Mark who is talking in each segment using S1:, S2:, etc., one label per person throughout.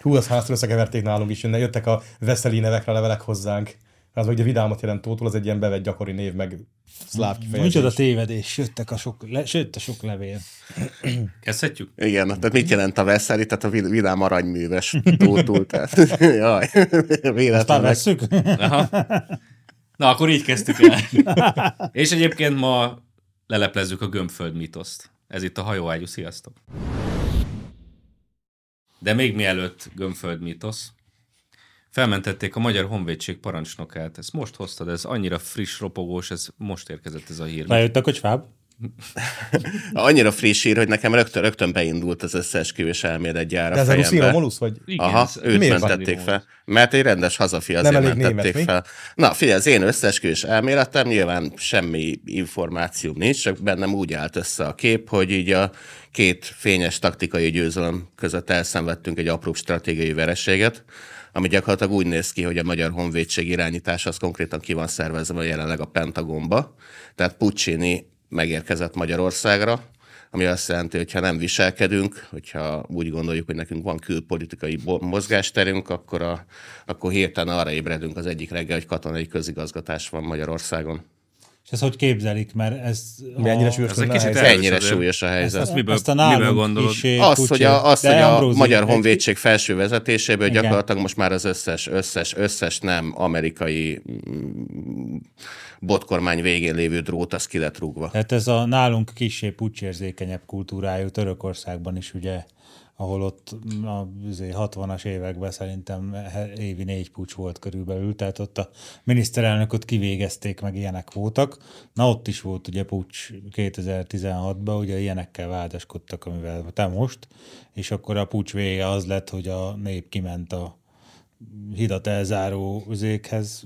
S1: Hú, az háztól összekeverték nálunk is, jönne, jöttek a veszeli nevekre a levelek hozzánk. Az meg ugye vidámat jelent Tótól, az egy ilyen bevett gyakori név, meg szláv kifejezés.
S2: Micsoda tévedés, jöttek a sok, le, sőt a sok levél.
S3: Kezdhetjük?
S4: Igen, tehát mit jelent a Veszeli? Tehát a vil- vidám aranyműves túltúl. Tehát, jaj,
S2: Aztán
S4: véletlenek.
S2: vesszük?
S3: Aha. Na, akkor így kezdtük el. És egyébként ma leleplezzük a gömbföld mitoszt. Ez itt a hajóágyú, sziasztok! De még mielőtt gömbföld mitosz, felmentették a Magyar Honvédség parancsnokát. Ezt most hoztad, ez annyira friss, ropogós, ez most érkezett ez a hír.
S2: Bejött a kocsmáb?
S4: Annyira friss hír, hogy nekem rögtön, rögtön beindult az összeesküvés elméletgyár
S1: De
S4: a
S1: ez a Lucina
S4: fejembe.
S1: Molusz, vagy?
S3: Igen,
S4: Aha,
S3: ez-
S4: őt
S1: miért
S4: mentették
S3: van?
S4: fel. Mert egy rendes hazafi azért
S1: elég
S4: mentették
S1: német, mi?
S4: fel. Na, figyelj, az én összeesküvés elméletem, nyilván semmi információm nincs, csak bennem úgy állt össze a kép, hogy így a két fényes taktikai győzelem között elszenvedtünk egy apró stratégiai vereséget, ami gyakorlatilag úgy néz ki, hogy a magyar honvédség irányítása az konkrétan ki van szervezve jelenleg a Pentagonba. Tehát Puccini megérkezett Magyarországra, ami azt jelenti, hogyha nem viselkedünk, hogyha úgy gondoljuk, hogy nekünk van külpolitikai bo- mozgásterünk, akkor, a, akkor hirtelen arra ébredünk az egyik reggel, hogy katonai közigazgatás van Magyarországon.
S2: És ezt hogy képzelik, mert ez...
S1: Mi ennyire súlyos
S3: Ez egy
S1: lenne a
S3: kicsit
S1: helyzet?
S3: Erős
S4: Ennyire
S3: azért.
S4: súlyos a helyzet.
S3: Ezt miből-
S2: azt a nálunk
S3: miből gondolod?
S2: kisé
S4: Az,
S2: kicsi.
S4: hogy a, az,
S2: De
S4: hogy a
S2: Ambrózi,
S4: Magyar
S2: egy-
S4: Honvédség felső vezetéséből
S2: Igen.
S4: gyakorlatilag most már az összes, összes, összes nem amerikai mm, botkormány végén lévő drót, az ki lett rúgva.
S2: Tehát Hát ez a nálunk kissé pucsérzékenyebb kultúrájú Törökországban is ugye, ahol ott a izé, 60-as években szerintem he- évi négy pucs volt körülbelül, tehát ott a miniszterelnököt kivégezték, meg ilyenek voltak. Na ott is volt ugye pucs 2016-ban, ugye ilyenekkel vádaskodtak, amivel te most, és akkor a pucs vége az lett, hogy a nép kiment a hidat elzáró üzékhez,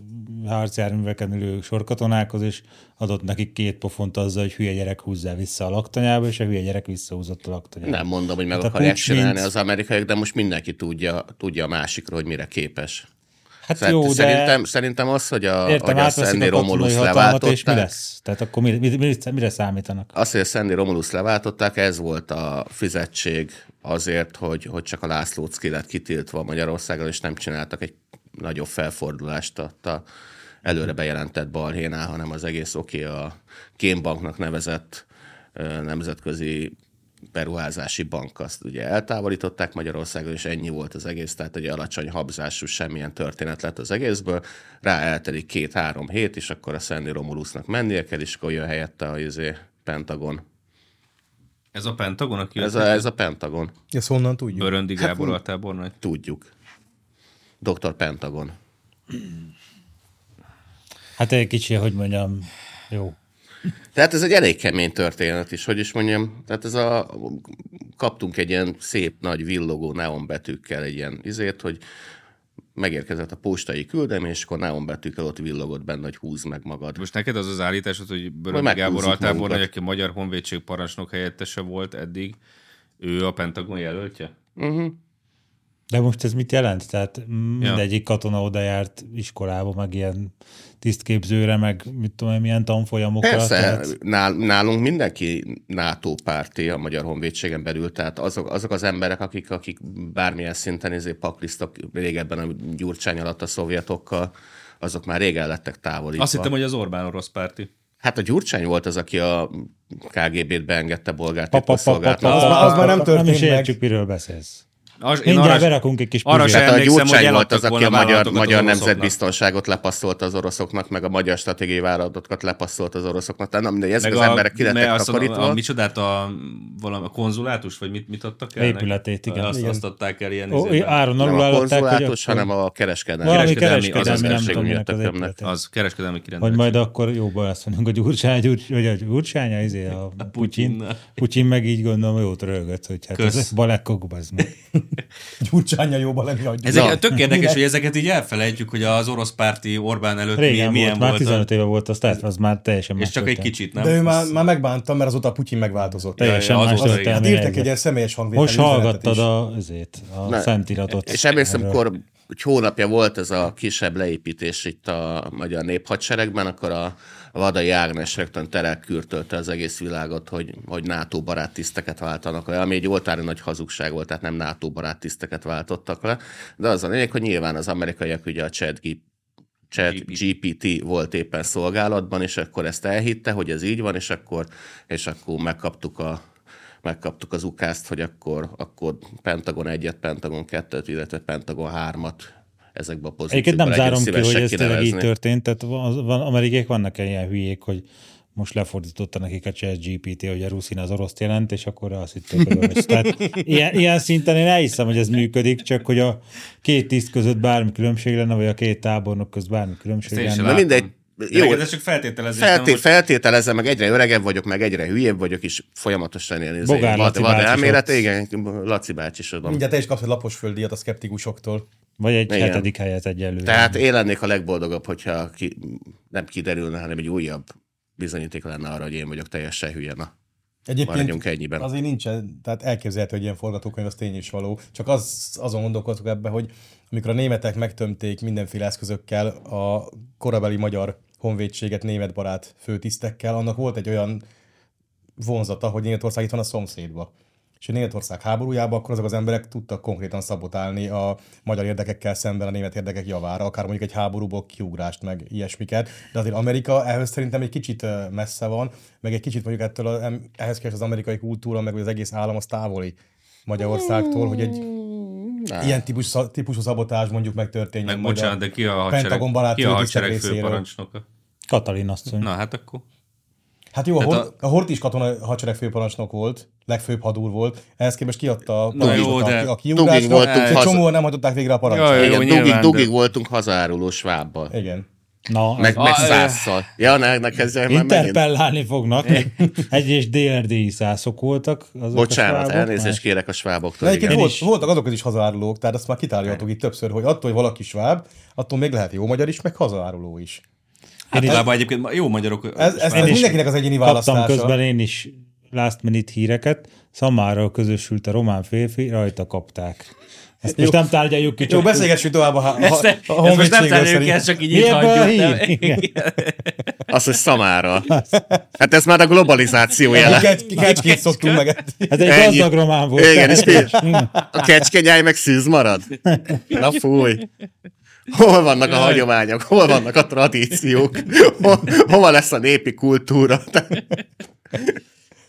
S2: harcjárműveken ülő sorkatonákhoz, és adott nekik két pofont azzal, hogy hülye gyerek húzzá vissza a laktanyába, és a hülye gyerek visszahúzott a laktanyába.
S4: Nem mondom, hogy meg
S2: Hát a
S4: akarják
S2: pucs
S4: csinálni
S2: mint-
S4: az amerikaiak, de most mindenki tudja, tudja a másikról, hogy mire képes.
S2: Hát
S4: Szerint,
S2: jó, de
S4: szerintem, szerintem az, hogy a,
S2: értem,
S4: hogy a
S2: átveszik
S4: Szenni
S2: a katonai
S4: Romulus
S2: hatalmat, és mi
S4: leváltották,
S2: lesz? Tehát akkor mi, mi, mi, mire számítanak?
S4: az, hogy a Szenni Romulus leváltották, ez volt a fizetség azért, hogy, hogy csak a Lászlócki lett kitiltva Magyarországon, és nem csináltak egy nagyobb felfordulást ott a előre bejelentett balhénál, hanem az egész oké a Kémbanknak nevezett ö, nemzetközi beruházási bank, azt ugye eltávolították Magyarországon, és ennyi volt az egész, tehát egy alacsony habzású semmilyen történet lett az egészből, rá eltelik két-három hét, és akkor a Szenni Romulusnak mennie kell, és akkor jön helyette a izé, Pentagon.
S3: Ez a Pentagon, aki
S4: Ez a, Hát ez a Pentagon,
S1: Ezt honnan tudjuk?
S3: Bőröndi Gábor altábornagy.
S4: tudjuk. Dr. Pentagon.
S2: Hát egy kicsi, hogy mondjam, jó.
S4: Tehát ez egy elég kemény történet is, hogy is mondjam, tehát ez a, kaptunk egy ilyen szép nagy villogó neonbetűkkel egy ilyen izért, hogy megérkezett a postai küldemény, és akkor neonbetűkkel ott villogott benne, hogy húzd meg magad.
S3: Most neked az az állításod, hogy
S4: Majd
S3: Böröndi
S4: meghúzzuk
S3: Gábor altábornagy,
S4: magunkat.
S3: aki a Magyar Honvédség parancsnok helyettese volt eddig, ő a Pentagon jelöltje?
S2: De most ez mit jelent? Tehát mindegyik katona oda járt iskolába, meg ilyen tisztképzőre, meg mit tudom én, milyen tanfolyamokra.
S4: Persze, hát
S3: hát.
S2: Tehát,
S4: nál- nálunk mindenki NATO párti a Magyar Honvédségen belül, tehát azok, azok az emberek, akik, akik bármilyen szinten ezért paklisztak régebben a gyurcsány alatt a szovjetokkal, azok már régen lettek távolítva.
S3: Azt hittem, hogy az Orbán orosz párti.
S4: Hát a gyurcsány volt az, aki a KGB-t beengedte bolgár
S2: pa, pa, pa, pa,
S4: titkosszolgálatnak.
S2: pa,
S1: Az már- az már nem
S2: Nem is
S1: történt meg.
S2: értjük, miről beszélsz.
S3: Az, én
S2: Mindjárt
S3: se-
S2: berakunk egy kis
S3: arra
S2: pizsát.
S3: sem
S4: Tehát Hát a
S3: emlékszem, hogy
S4: Gyurcsány volt
S3: eladtak
S4: az, aki
S3: volna
S4: a magyar,
S3: vállalatokat
S4: magyar
S3: az oroszoknak.
S4: nemzetbiztonságot lepasszolt az oroszoknak, meg a magyar stratégiai vállalatokat lepasszolt az oroszoknak. Tehát nem mindegy, ezek
S3: Meg
S4: az emberek ki
S3: meg
S4: lettek
S3: azt a, a,
S4: takarítva.
S3: micsodát, a, valami, a konzulátus, vagy mit, mit adtak el?
S2: Épületét,
S3: neki?
S2: igen.
S3: Azt,
S2: Igen.
S3: azt adták el ilyen
S2: Ó,
S3: izében.
S2: áron
S4: Nem
S2: alul
S4: a
S2: állották, hogy
S4: konzulátus,
S2: akkor-
S4: hanem a kereskedelmi.
S2: valami
S3: kereskedelmi,
S2: kereskedelmi,
S3: az
S2: kereskedelmi nem tudom,
S4: összességünk
S2: minek az
S4: jöttek többnek.
S2: épülete.
S3: Az kereskedelmi
S2: Hogy
S3: kirendelés.
S2: majd akkor jóban azt mondjuk, hogy Gyurcsány, Gyur, vagy a Gyurcsánya, izé, a, a Putyin,
S3: Putyinnal.
S2: Putyin meg így gondolom, hogy jót rögött, hogy hát
S3: Kösz.
S2: ez balekok, bazd meg.
S1: Gyurcsánya jóban lenni adjuk.
S3: Ezek Na. tök érdekes, hogy ezeket így elfelejtjük, hogy az orosz párti Orbán előtt
S2: Régen
S3: mi, milyen
S2: volt, már
S3: volt.
S2: 15 éve volt, az, tehát az már teljesen
S3: és
S2: más
S3: csak egy
S2: történet.
S3: kicsit, nem?
S1: De ő már, már megbántam, mert azóta a Putyin megváltozott.
S2: Teljesen
S3: Jaj, az
S2: más
S3: volt
S2: történet.
S3: régen.
S1: Hát írtak egy ilyen személyes hangvételű
S2: Most
S1: üzenetet
S2: hallgattad
S1: is.
S2: a, azért, a
S4: Na,
S2: szemtiratot.
S4: És emlékszem,
S2: erről.
S4: kor, egy hónapja volt ez a kisebb leépítés itt a magyar néphadseregben, akkor a Vadai Ágnes rögtön terelkürtölte az egész világot, hogy, hogy NATO barát tiszteket váltanak le, ami egy oltári nagy hazugság volt, tehát nem NATO barát tiszteket váltottak le, de az a lényeg, hogy nyilván az amerikaiak ugye a chat chat GPT. GPT volt éppen szolgálatban, és akkor ezt elhitte, hogy ez így van, és akkor, és akkor megkaptuk a, megkaptuk az ukázt, hogy akkor, akkor Pentagon 1-et, Pentagon 2-t, illetve Pentagon 3-at ezekbe a
S2: Egyébként
S4: pozíciókba
S2: nem zárom ki, hogy ez tényleg
S4: kinevezni.
S2: így történt, tehát van, van, amerikaiak vannak ilyen hülyék, hogy most lefordította nekik a chat GPT, hogy a ruszin az oroszt jelent, és akkor azt hitték, hogy orosz. Tehát ilyen, ilyen szinten én elhiszem, hogy ez működik, csak hogy a két tiszt között bármi különbség lenne, vagy a két tábornok között bármi különbség
S3: Ezt én sem
S2: lenne.
S4: Na
S3: Látom.
S4: mindegy,
S3: De
S4: jó,
S3: meg ez csak feltételezés. nem?
S4: Felté-
S3: Most-
S4: feltételezem, meg egyre öregebb vagyok, meg egyre hülyébb vagyok, és folyamatosan ilyen izé-
S2: Bogár
S4: vad,
S2: Laci
S4: vad
S2: bácsi is
S4: elmélet,
S2: ott.
S4: igen, Laci bácsi is oda.
S1: Mindjárt te is kapsz egy lapos földdíjat a szkeptikusoktól.
S2: Vagy egy
S4: Igen.
S2: hetedik helyet egyelőre.
S4: Tehát én lennék a legboldogabb, hogyha ki, nem kiderülne, hanem egy újabb bizonyíték lenne arra, hogy én vagyok teljesen hülye. Na, maradjunk
S1: Egyébként
S4: ennyiben.
S1: Azért nincsen, tehát elképzelhető, hogy ilyen forgatókönyv az tény is való. Csak az, azon gondolkodtuk ebbe, hogy amikor a németek megtömték mindenféle eszközökkel a korabeli magyar honvédséget német barát főtisztekkel, annak volt egy olyan vonzata, hogy Németország itt van a szomszédba. És a Németország háborújában akkor azok az emberek tudtak konkrétan szabotálni a magyar érdekekkel szemben a német érdekek javára, akár mondjuk egy háborúból kiugrást, meg ilyesmiket. De azért Amerika ehhez szerintem egy kicsit ö, messze van, meg egy kicsit mondjuk ettől a, em- ehhez képest az amerikai kultúra, meg az egész állam az távoli Magyarországtól, hogy egy ilyen típus, sza- típusú szabotás mondjuk megtörténjen.
S3: Meg
S1: magyar-
S3: bocsánat, de ki a
S1: Pentagon
S3: hadsereg,
S1: barát
S3: ki a
S1: főtisztek
S3: hadsereg
S1: részéről.
S3: főparancsnoka?
S2: Katalin asszony.
S3: Na hát akkor.
S1: Hát jó, a,
S3: Tehát
S1: Hort, a... a Hortis katona hadsereg főparancsnok volt, legfőbb hadúr volt, ehhez képest kiadta a
S3: Na jó,
S1: parancsot
S3: de
S1: a, a
S4: dugig voltunk
S1: kiugrásra, és
S4: haza-
S1: csomóan nem hajtották végre a parancsot.
S3: Jaj,
S1: Jaj.
S3: jó,
S4: Igen, dugig,
S3: nyilván,
S4: dugig
S3: de-
S4: voltunk hazáruló svábbal.
S1: Igen.
S2: Na, hát
S4: Meg,
S3: Ah,
S4: meg
S3: eh.
S4: százszal. Ja, ne, ne kezdjem már megint.
S2: interpellálni fognak. Egy és DRDI szászok voltak. Azok a
S4: Bocsánat,
S2: svábok,
S4: elnézést
S2: más-
S4: kérek a
S1: De
S4: sváboktól.
S1: egyébként
S4: Igen.
S2: Én
S1: volt,
S2: is.
S1: voltak azok is hazárulók, tehát ezt már kitárgyaltuk itt többször, hogy attól, hogy valaki sváb, attól még lehet jó magyar is, meg hazáruló is.
S3: Általában egyébként ma- jó magyarok.
S1: Hát Ez, ez, ez
S2: is
S1: mindenkinek az egyéni
S2: Kaptam
S1: választása.
S2: közben én is last minute híreket. Szamáról közösült a román férfi, rajta kapták. Ezt most nem tárgyaljuk ki.
S1: Jó,
S2: csak-
S1: beszélgessünk tovább a, há- a,
S3: Ezt,
S1: a,
S3: ezt
S1: a
S3: most nem
S1: honvédségről
S3: tárgyaljuk
S1: szerint.
S3: el, csak így
S2: Mi
S3: itt
S2: ebbe a
S3: hagyjuk.
S2: hír?
S3: nem?
S2: Igen.
S4: Azt, hogy szamára. Hát ez már a globalizáció jele.
S1: Kec- Kecskét szoktunk meg.
S2: Ez egy
S4: Ennyi.
S2: gazdag román volt.
S4: Igen, és mi? A kecskenyáj meg szűz marad? Na fúj! Hol vannak a hagyományok? Hol vannak a tradíciók? Ho- Hova lesz a népi kultúra?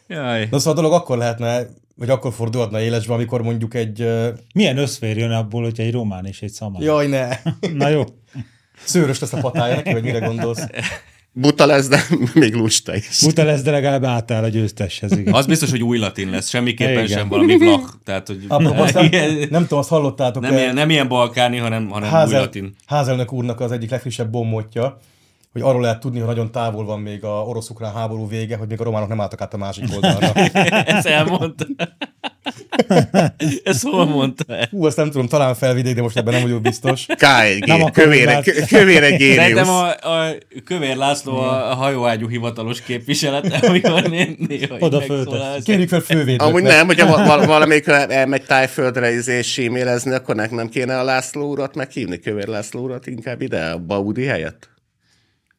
S3: Jaj.
S1: Na szóval a dolog akkor lehetne, vagy akkor fordulhatna élesbe, amikor mondjuk egy... ö,
S2: Milyen összfér jön abból, hogy egy román és egy szamár?
S1: Jaj, ne!
S2: Na jó.
S1: Szőrös lesz a patája neki, vagy mire gondolsz?
S4: Buta lesz, de még lusta is.
S2: Buta lesz, de legalább átáll a győzteshez. Igen.
S3: Az biztos, hogy új latin lesz, semmiképpen
S2: Igen.
S3: sem valami vlach. Tehát, hogy
S1: Apropó, azt
S3: Igen.
S1: nem, nem tudom, azt hallottátok
S3: nem, ilyen, nem ilyen balkáni, hanem, hanem új
S1: házel,
S3: latin.
S1: házelnök úrnak az egyik legfrissebb bombotja, hogy arról lehet tudni, hogy nagyon távol van még a orosz-ukrán háború vége, hogy még a románok nem álltak át a másik oldalra.
S3: Ezt elmondta. Ezt hol mondta el?
S1: Hú, azt nem tudom, talán felvidék, de most ebben nem vagyok biztos.
S2: Nem akarom
S4: K1G, kövér,
S2: már.
S4: egy- kövér egy géniusz.
S3: Szerintem a, a Kövér László a hajóágyú hivatalos képviselet, amikor né- néha így
S2: Oda
S3: megszólal.
S2: föltesz.
S1: Kérjük fel fővédőknek.
S4: Amúgy nem, hogyha va- val- valamelyik elmegy tájföldre izé símélezni, akkor nek nem kéne a László urat meghívni, kövér László urat inkább ide, a Baudi helyett.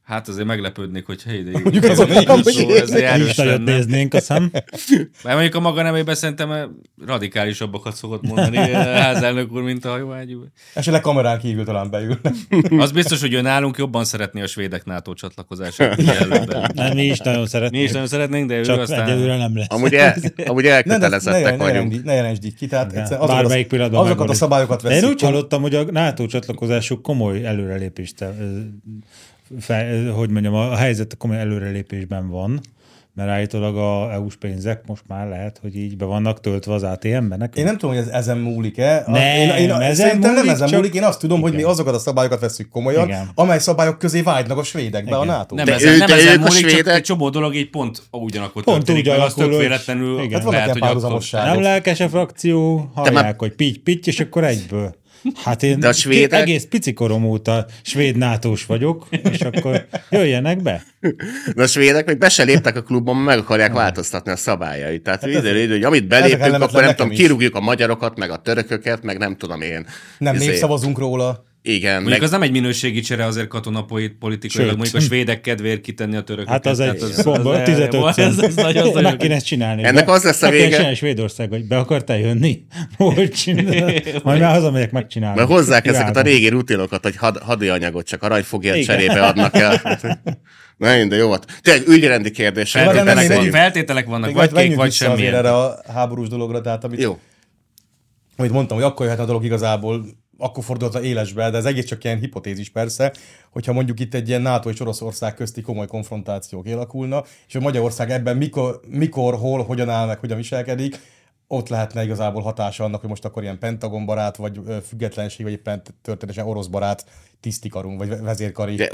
S3: Hát azért meglepődnék, hogy hely, de
S1: Mondjuk azon nem
S3: szó, ez
S2: Is
S3: erős
S2: nagyot
S3: lenne.
S2: néznénk, azt hiszem.
S3: Mert mondjuk a maga nemében szerintem eh, radikálisabbakat szokott mondani eh, házelnök úr, mint a hajóágyú.
S1: Esetleg kamerán kívül talán beülnek.
S3: Az biztos, hogy ő nálunk jobban szeretné a svédek NATO csatlakozását. mint előbb.
S2: Nem, mi is nagyon
S3: Mi is
S2: szeretnénk.
S3: nagyon szeretnénk, de ő
S2: Csak
S3: aztán...
S2: egyelőre nem lesz.
S4: Amúgy, el, amúgy
S1: Ne, ne, ne,
S4: elkötelezettek
S1: ne,
S4: vagyunk.
S1: jelentsd- ne jelentsd így ki, tehát
S2: Ja,
S1: egyszerűen azokat,
S2: Bármelyik
S1: a,
S2: pillanatban
S1: azokat a
S2: megoldjuk.
S1: szabályokat
S2: De én
S1: veszik.
S2: úgy hallottam, hogy a NATO csatlakozásuk komoly előrelépést, ö, fe, ö, hogy mondjam, a helyzet komoly előrelépésben van, mert állítólag a EU-s pénzek most már lehet, hogy így be vannak töltve az ATM-be.
S1: Én nem tudom, hogy ez ezen múlik-e. A-
S2: Nem,
S1: én, én,
S2: ezen
S1: szerintem
S2: múlik,
S1: nem ezen
S2: csak-
S1: múlik, én azt tudom, hogy mi azokat a szabályokat veszük komolyan,
S2: Igen.
S1: amely szabályok közé vágynak a svédek, be a NATO.
S3: Nem,
S4: De
S3: ezen,
S4: ő-
S3: nem
S4: de
S3: ezen
S4: ők a
S3: múlik, csak
S4: svédek-
S3: egy csomó dolog így pont ugyanakkor
S2: Pont
S3: történik,
S2: úgy
S3: meg az
S2: alakul,
S3: tök
S2: hogy-
S3: véletlenül
S2: igen.
S1: Hát vannak
S3: lehet,
S1: ilyen
S3: hogy akkor...
S1: párhuzamosságok.
S2: Nem lelkes a frakció, hallják, hogy pitty pitty, és akkor egyből. Hát én
S4: De a svédek-
S2: egész pici korom óta svéd nátós vagyok, és akkor jöjjenek be.
S4: De a svédek még be se léptek a klubban, meg akarják változtatni a szabályait. Tehát hát idő, idő, hogy amit belépünk,
S1: kellemetlen
S4: akkor nem tudom,
S1: nekem is.
S4: kirúgjuk a magyarokat, meg a törököket, meg nem tudom én.
S1: Nem
S4: Izé,
S1: népszavazunk róla.
S4: Igen,
S3: Mondjuk
S4: meg
S3: az nem egy minőségi csere azért katonapoi
S2: Sőt.
S3: politikailag, mondjuk a svédek kedvéért kitenni a törököket.
S2: Hát az egy
S3: Tehát
S2: bomba,
S3: az-
S2: 15
S3: Ez, ez nagyon, az
S2: Meg
S3: nagyon
S2: kéne ezt csinálni.
S4: Ennek az lesz a
S2: meg kéne
S4: vége.
S2: csinálni Svédország, hogy be akartál jönni? Hogy csinálod? Majd már hazamegyek, megcsinálom.
S4: mert hozzák
S2: Kivágom.
S4: ezeket a régi rutinokat, hogy had, hadi anyagot csak aranyfogért cserébe adnak el. Na minden jó volt. Tényleg ügyrendi kérdés.
S1: nem, nem,
S4: feltételek
S1: én
S4: vannak.
S1: egy-
S3: Feltételek vannak,
S1: Vagy
S3: vagy kék,
S1: menjünk
S3: vagy
S1: vissza
S3: semmi.
S1: azért erre a háborús dologra, tehát amit,
S4: Jó.
S1: amit mondtam, hogy akkor jöhetne a dolog igazából, akkor fordulhatna élesbe, de ez egész csak ilyen hipotézis persze, hogyha mondjuk itt egy ilyen NATO és Oroszország közti komoly konfrontációk kialakulna, és hogy Magyarország ebben mikor, mikor, hol, hogyan áll meg, hogyan viselkedik, ott lehetne igazából hatása annak, hogy most akkor ilyen Pentagon barát, vagy ö, függetlenség, vagy éppen történetesen orosz barát tisztikarunk, vagy ve- vezérkari.
S4: De,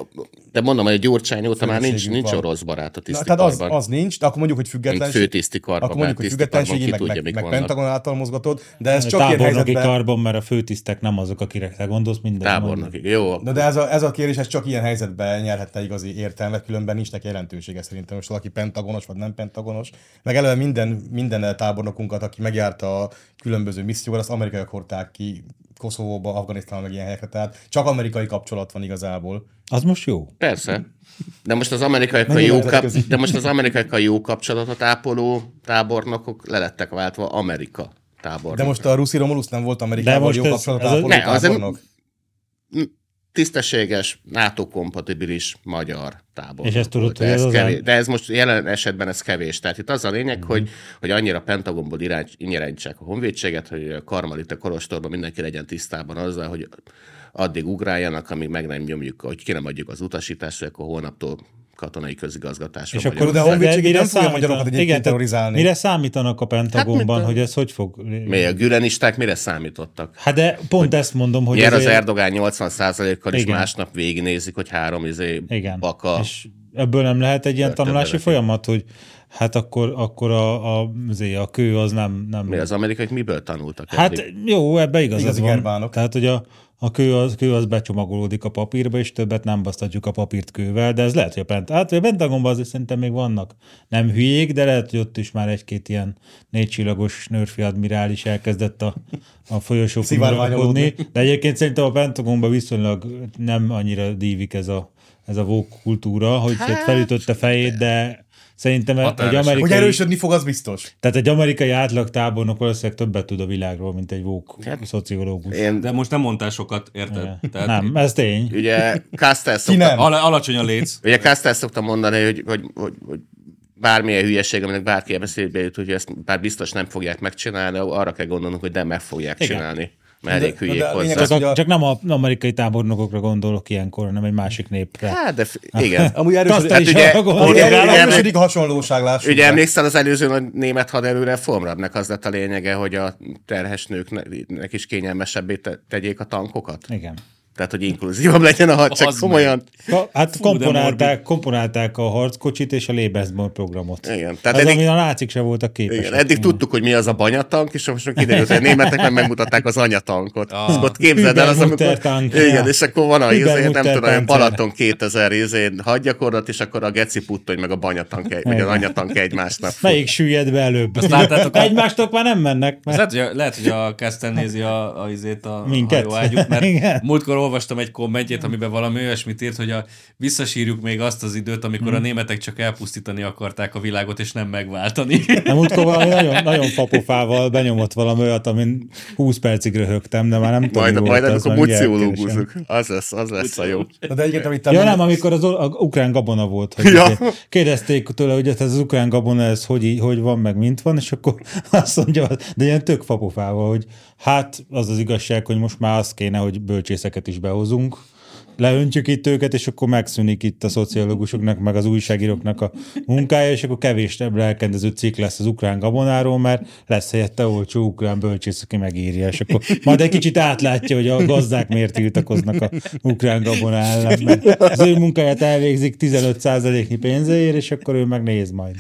S4: de mondom, hogy a Gyurcsány óta már nincs,
S1: Főnökségünk
S4: nincs
S1: van.
S4: orosz barát a
S1: Na, tehát az,
S4: tisztikarban.
S1: az nincs, de akkor mondjuk, hogy
S4: Mint
S1: függetlenség.
S4: főtisztikarban,
S1: Akkor mondjuk, hogy függetlenségi, meg, meg, meg Pentagon által mozgatod, de ez
S2: A
S1: csak ilyen
S2: tábornoki
S1: helyzetben...
S2: karban, mert a főtisztek nem azok, akire te gondolsz, minden.
S4: Tábornok. Jó,
S1: Na de ez a, ez a kérés, ez csak ilyen helyzetben nyerhetne igazi értelmet, különben nincs neki jelentősége szerintem, most valaki pentagonos vagy nem pentagonos. Meg eleve minden, minden tábornokunkat, aki megjárta a különböző missziókat, azt amerikaiak hordták ki Koszovóba, Afganisztánba, meg ilyen helyekre. Tehát csak amerikai kapcsolat van igazából.
S2: Az most jó.
S4: Persze. De most az amerikaiakkal
S1: Mennyire
S4: jó, kap...
S1: vezetkezik?
S4: de most az amerikaiakkal jó kapcsolatot ápoló tábornokok lelettek váltva Amerika tábornok.
S1: De most a Ruszi Romulus nem volt Amerikában
S2: De most
S1: jó
S2: ez-
S1: kapcsolat
S2: ez a-
S1: ápoló
S4: Ne, az nem-
S1: tábornok.
S4: Tisztességes, NATO-kompatibilis magyar tábor.
S2: És ezt tudod,
S4: volt. de
S2: hogy ez
S4: ez,
S2: az Mhm.
S4: kevés,
S2: em-
S4: de ez most jelen esetben ez kevés. Tehát itt az a lényeg, hogy, hogy annyira Pentagonból irány- irányítsák a honvédséget, hogy a Karmalita Kolostorban mindenki legyen tisztában azzal, hogy addig ugráljanak, amíg meg nem nyomjuk, hogy ki nem adjuk az utasítást, hogy akkor holnaptól katonai közigazgatásra
S2: És akkor
S1: de a honvédség így nem fogja
S2: számítanak-
S1: magyarokat egyébként
S2: Igen, tehát
S1: terrorizálni.
S2: Mire számítanak a Pentagonban,
S4: mint a-
S2: hogy ez hogy fog...
S4: Mi a gülenisták mire számítottak?
S2: Hát de pont ezt mondom, hogy...
S4: Nyer az
S2: azért-
S4: Erdogán 80%-kal, és
S2: Igen.
S4: másnap végignézik, hogy három izé
S2: Igen.
S4: baka.
S2: És ebből nem lehet egy ilyen tanulási
S4: neki.
S2: folyamat, hogy hát akkor, akkor a, a, azért a kő az nem... nem
S4: Mi az amerikaiak miből tanultak?
S2: hát
S4: eddig?
S2: jó, ebbe igazad
S1: Igazi
S2: van.
S1: germánok.
S2: Tehát, hogy a, a kő, az, kő az becsomagolódik a papírba, és többet nem basztatjuk a papírt kővel, de ez lehet, hogy a, pent, hát, hogy a Pentagonban azért szerintem még vannak nem hülyék, de lehet, hogy ott is már egy-két ilyen négycsillagos nőrfi admirális elkezdett a, a folyosókon
S1: Szivárványolódni.
S2: uralkodni. De egyébként szerintem a Pentagonban viszonylag nem annyira dívik ez a, ez a vók kultúra, hogy hát, felütötte fejét, de szerintem egy
S3: Határosan.
S2: amerikai,
S1: Hogy erősödni fog, az biztos.
S2: tehát egy amerikai átlagtábornok valószínűleg többet tud a világról, mint egy vók
S4: Hát,
S2: szociológus.
S4: Én,
S3: De most nem mondtál sokat, érted?
S4: hát
S3: Tehát
S2: Nem, ez tény.
S4: ugye Kastel
S1: Ki
S4: szokta,
S1: nem?
S3: Ala, alacsony a léc.
S4: ugye Kastel szokta mondani, hogy, hogy, hogy, hogy bármilyen hülyeség, aminek bárki beszélbe jut, hogy ezt bár biztos nem fogják megcsinálni, arra kell gondolnunk, hogy de meg fogják
S2: Igen.
S4: csinálni. Mert elég
S1: de-
S4: hülyék
S1: de a lényeg
S4: hozzá.
S1: az-
S2: Csak,
S1: ugye
S2: a,
S1: a-
S2: csak nem az amerikai tábornokokra gondolok ilyenkor, hanem egy másik népre.
S4: Hát, de f- igen.
S1: Amúgy erősödik,
S2: Azt
S1: hát,
S2: is
S4: ugye-
S2: hallgatom.
S4: ugye-
S1: erősödik,
S4: ugye-
S1: erősödik a hasonlóság, lássuk.
S4: Ugye
S1: be.
S4: emlékszel az előző nagy német haderő reformradnak az lett a lényege, hogy a terhes nőknek is kényelmesebbé te- tegyék a tankokat?
S2: Igen.
S4: Tehát, hogy inkluzívabb legyen a hadsereg,
S3: Az
S4: komolyan.
S2: Ka- Hát Fú,
S3: de
S2: komponálták, komponálták a harckocsit és a Lebensborn programot.
S4: Igen,
S2: Tehát
S4: tehát
S2: Az, eddig...
S4: eddig-
S2: amin a nácik se voltak képesek.
S4: Igen, eddig tudtuk, hogy mi az a banyatank, és most már kiderült, hogy a németek meg megmutatták az anyatankot. Ah. Akkor ott képzeld el az, amikor...
S2: Übermuttertank.
S4: Igen, és akkor van a izé, nem tudom, olyan
S2: Übermutterpanzer.
S4: Balaton 2000 izén hadgyakorlat, és akkor a geci puttony meg a banyatank, egy- vagy az anyatank egymásnak. fut.
S2: Melyik süllyed be előbb?
S3: Azt láttátok a-
S2: Egymástól már nem mennek.
S3: Ez
S2: Mert...
S3: lehet, hogy a, lehet, hogy a Keszten nézi a, a, izét a
S2: Minket?
S3: hajóágyuk, mert
S2: Igen.
S3: múltkor olvastam egy kommentjét, amiben valami olyasmit írt, hogy a, visszasírjuk még azt az időt, amikor a németek csak elpusztítani akarták a világot, és nem megváltani.
S2: Nem múltkor valami nagyon, nagyon fapofával benyomott valami olyat, amin 20 percig röhögtem, de már nem tudom,
S4: Majd,
S2: mi
S4: majd
S2: volt az,
S4: amikor
S2: mert mindjárt
S4: muciológuzunk.
S2: keresem.
S4: Az lesz, az lesz a jó.
S1: Na de egyébként, amit te
S2: Ja,
S1: mondtál-
S2: nem, amikor az, o- a ukrán gabona volt. Hogy
S4: Ja.
S2: izé- Kérdezték tőle, hogy hát ez az ukrán gabona, ez hogy, í- hogy van, meg mint van, és akkor azt mondja, de ilyen tök fapofával, hogy hát az az igazság, hogy most már az kéne, hogy bölcsészeket is behozunk, leöntjük itt őket, és akkor megszűnik itt a szociológusoknak, meg az újságíróknak a munkája, és akkor kevés lelkendező cikk lesz az ukrán gabonáról, mert lesz helyette olcsó ukrán bölcsész, aki megírja, és akkor majd egy kicsit átlátja, hogy a gazdák miért tiltakoznak a ukrán gabona ellen, mert az ő munkáját elvégzik 15%-nyi pénzéért, és akkor ő megnéz majd.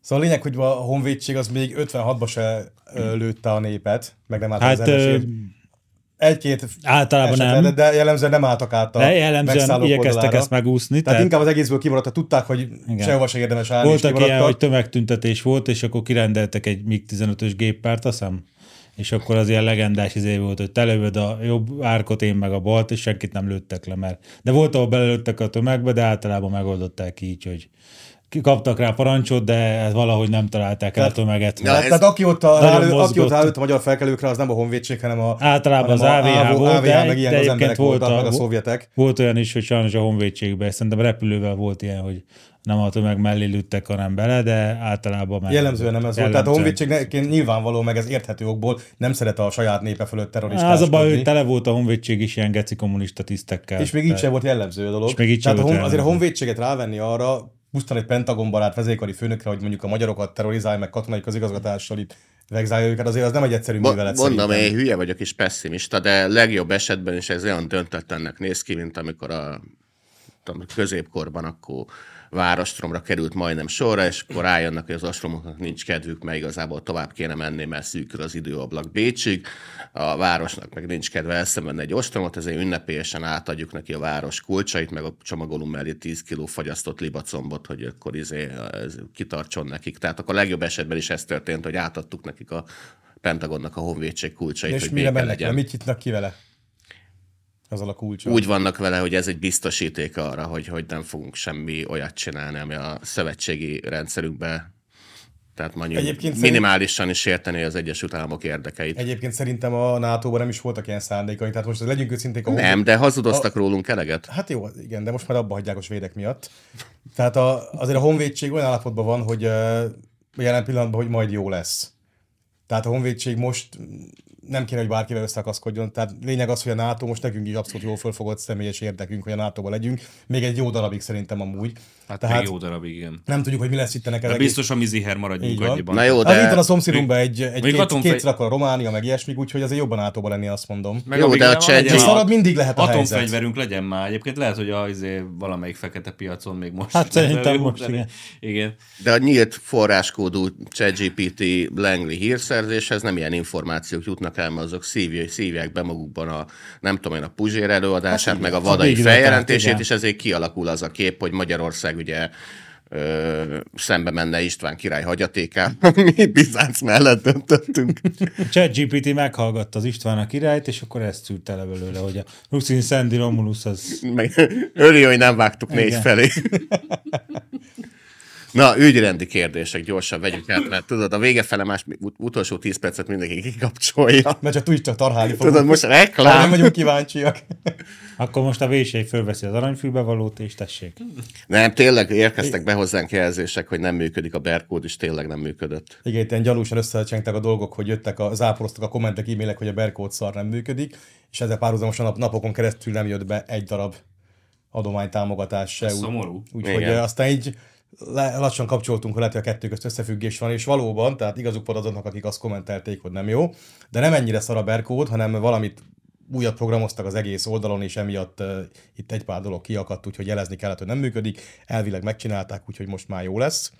S1: Szóval a lényeg, hogy a honvédség az még 56-ba se ö, lőtte a népet, meg nem állt
S2: Hát,
S1: az ellenségét.
S2: ö,
S1: Egy-két
S2: általában
S1: esetre,
S2: nem.
S1: de jellemzően nem álltak át a
S2: De jellemzően
S1: megszállók
S2: Hát, igyekeztek
S1: oldalára.
S2: ezt megúszni.
S1: Tehát
S2: Tehát
S1: inkább az egészből kimaradt, tudták, hogy Igen. sehova se érdemes állni, és
S2: voltak ilyen,
S1: kimaradtak.
S2: hogy tömegtüntetés volt, és akkor kirendeltek egy MiG-15-ös géppárt, azt hiszem. És akkor az ilyen legendás izé volt, hogy te lövöd a jobb árkot, én meg a balt, és senkit nem lőttek le, mert... De volt, ahol belelőttek a tömegbe, de általában megoldották így, hogy ki- kaptak rá parancsot, de valahogy nem találták el a
S1: Tehát-
S2: tömeget.
S4: Ja,
S1: Tehát,
S4: ez-
S1: tehát aki ott, a,
S2: Nagyon
S1: rálő, aki ott
S2: mozgott.
S1: rálőtt a magyar felkelőkre, az nem a honvédség, hanem a
S2: Általában az AVH, volt,
S1: AVH
S2: de,
S1: meg ilyen
S2: de
S1: az
S2: egyébként
S1: emberek
S2: volt,
S1: voltak, meg a
S2: vo-
S1: szovjetek.
S2: Volt olyan is, hogy sajnos a honvédségben, szerintem repülővel volt ilyen, hogy nem a tömeg mellé lőttek, hanem bele, de általában meg.
S1: Jellemzően nem ez volt. Tehát a
S2: Jellemzően.
S1: honvédség ne- nyilvánvaló, meg ez érthető okból nem szeret a saját népe fölött terroristáskodni.
S2: Az a baj, hogy tele volt a honvédség is ilyen geci kommunista tisztekkel.
S1: És még így sem volt jellemző a dolog.
S2: És még így sem
S1: Tehát a
S2: volt
S1: hon, azért a
S2: jellemző.
S1: honvédséget rávenni arra, pusztán egy Pentagon barát vezérkari főnökre, hogy mondjuk a magyarokat terrorizálja, meg katonai közigazgatással itt vegzálja őket, azért az nem egy egyszerű
S4: Mo-
S1: művelet
S4: Mondom,
S1: szerintem.
S4: én hülye vagyok és pessimista, de legjobb esetben is ez olyan döntetlennek néz ki, mint amikor a tudom, középkorban akkor várostromra került majdnem sorra, és akkor rájönnek, hogy az ostromoknak nincs kedvük, mert igazából tovább kéne menni, mert szűkül az időablak Bécsig, a városnak meg nincs kedve elszemenni egy ostromot, ezért ünnepélyesen átadjuk neki a város kulcsait, meg a csomagolunk mellé 10 kiló fagyasztott libacombot, hogy akkor izé, ez kitartson nekik. Tehát akkor a legjobb esetben is ez történt, hogy átadtuk nekik a Pentagonnak a honvédség kulcsait,
S1: És
S4: hogy
S1: mire
S4: béke
S1: mennek le?
S4: legyen.
S1: Mit nyitnak ki vele? Azzal a kulcsa.
S4: Úgy vannak vele, hogy ez egy biztosíték arra, hogy, hogy nem fogunk semmi olyat csinálni, ami a szövetségi rendszerünkbe tehát
S1: Egyébként
S4: mondjuk Egyébként
S1: szerint-
S4: minimálisan is érteni az Egyesült Államok érdekeit. Egy...
S1: Egyébként szerintem a NATO-ban nem is voltak ilyen szándékai, tehát most legyünk őszinték a honvéd-
S4: Nem, de hazudoztak a... rólunk eleget.
S1: Hát jó, igen, de most már abba hagyják a svédek miatt. Tehát a, azért a honvédség olyan állapotban van, hogy ö, jelen pillanatban, hogy majd jó lesz. Tehát a honvédség most nem kéne, hogy bárkivel összeakaszkodjon. Tehát lényeg az, hogy a NATO most nekünk is abszolút jól fölfogott személyes érdekünk, hogy a NATO-ba legyünk. Még egy jó darabig szerintem amúgy.
S3: Hát
S1: Tehát
S3: még jó darabig, igen.
S1: nem tudjuk, hogy mi lesz itt ennek
S3: De
S1: az egész-
S3: biztos a miziher maradjunk
S1: Így van.
S3: annyiban.
S4: Na jó,
S1: Az itt
S4: de,
S1: van a szomszédunkban egy, egy
S3: még
S1: két,
S3: atomfej-
S1: kétszer akkor a Románia, meg ilyesmik, úgyhogy azért jobban átóba lenni, azt mondom.
S3: Meg
S4: Jó,
S3: amíg
S4: de a
S3: le-
S4: cseh-
S3: legyen
S4: De
S3: a-
S1: szarad mindig lehet a helyzet.
S3: Atomfegyverünk legyen már. Egyébként lehet, hogy a, izé, valamelyik fekete piacon még most.
S2: Hát szerintem
S3: Jó,
S2: most
S3: de-
S2: igen.
S3: igen.
S4: de a nyílt forráskódú ChatGPT Langley hírszerzéshez nem ilyen információk jutnak el, mert azok szívják, szívják be magukban a, nem tudom én, a Puzsér előadását, hát, meg a vadai
S2: végig vetett,
S4: feljelentését,
S2: igen.
S4: és ezért kialakul az a kép, hogy Magyarország ugye ö, szembe menne István király hagyatékával. Mi Bizánc mellett döntöttünk.
S2: ChatGPT meghallgatta az István a királyt, és akkor ezt szűrte le belőle, hogy a Ruxin Sandy Romulus az...
S4: Meg örülj, hogy nem vágtuk négy
S2: Igen.
S4: felé. Na, ügyrendi kérdések, gyorsan vegyük át, mert tudod, a vége fele más ut- utolsó tíz percet mindenki kikapcsolja.
S1: Mert csak tudjuk, csak tarhálni fogunk.
S4: Tudod, most
S1: Már nem
S4: reklám.
S1: vagyunk kíváncsiak.
S2: Akkor most a vésely fölveszi az aranyfülbe valót, és tessék.
S4: Nem, tényleg érkeztek be hozzánk jelzések, hogy nem működik a berkód, és tényleg nem működött.
S1: Igen, itt ilyen gyanúsan összecsengtek a dolgok, hogy jöttek a záporoztak a kommentek, e-mailek, hogy a berkót szar nem működik, és ezzel párhuzamosan nap, napokon keresztül nem jött be egy darab adománytámogatás se. Úgy-
S3: szomorú.
S1: Úgyhogy
S4: Igen.
S1: eh, aztán így le- lassan kapcsoltunk, hogy lehet, hogy a kettő közt összefüggés van, és valóban, tehát igazuk volt azoknak, akik azt kommentelték, hogy nem jó, de nem ennyire szar a berkód, hanem valamit újat programoztak az egész oldalon, és emiatt uh, itt egy pár dolog kiakadt, úgyhogy jelezni kellett, hogy nem működik, elvileg megcsinálták, úgyhogy most már jó lesz.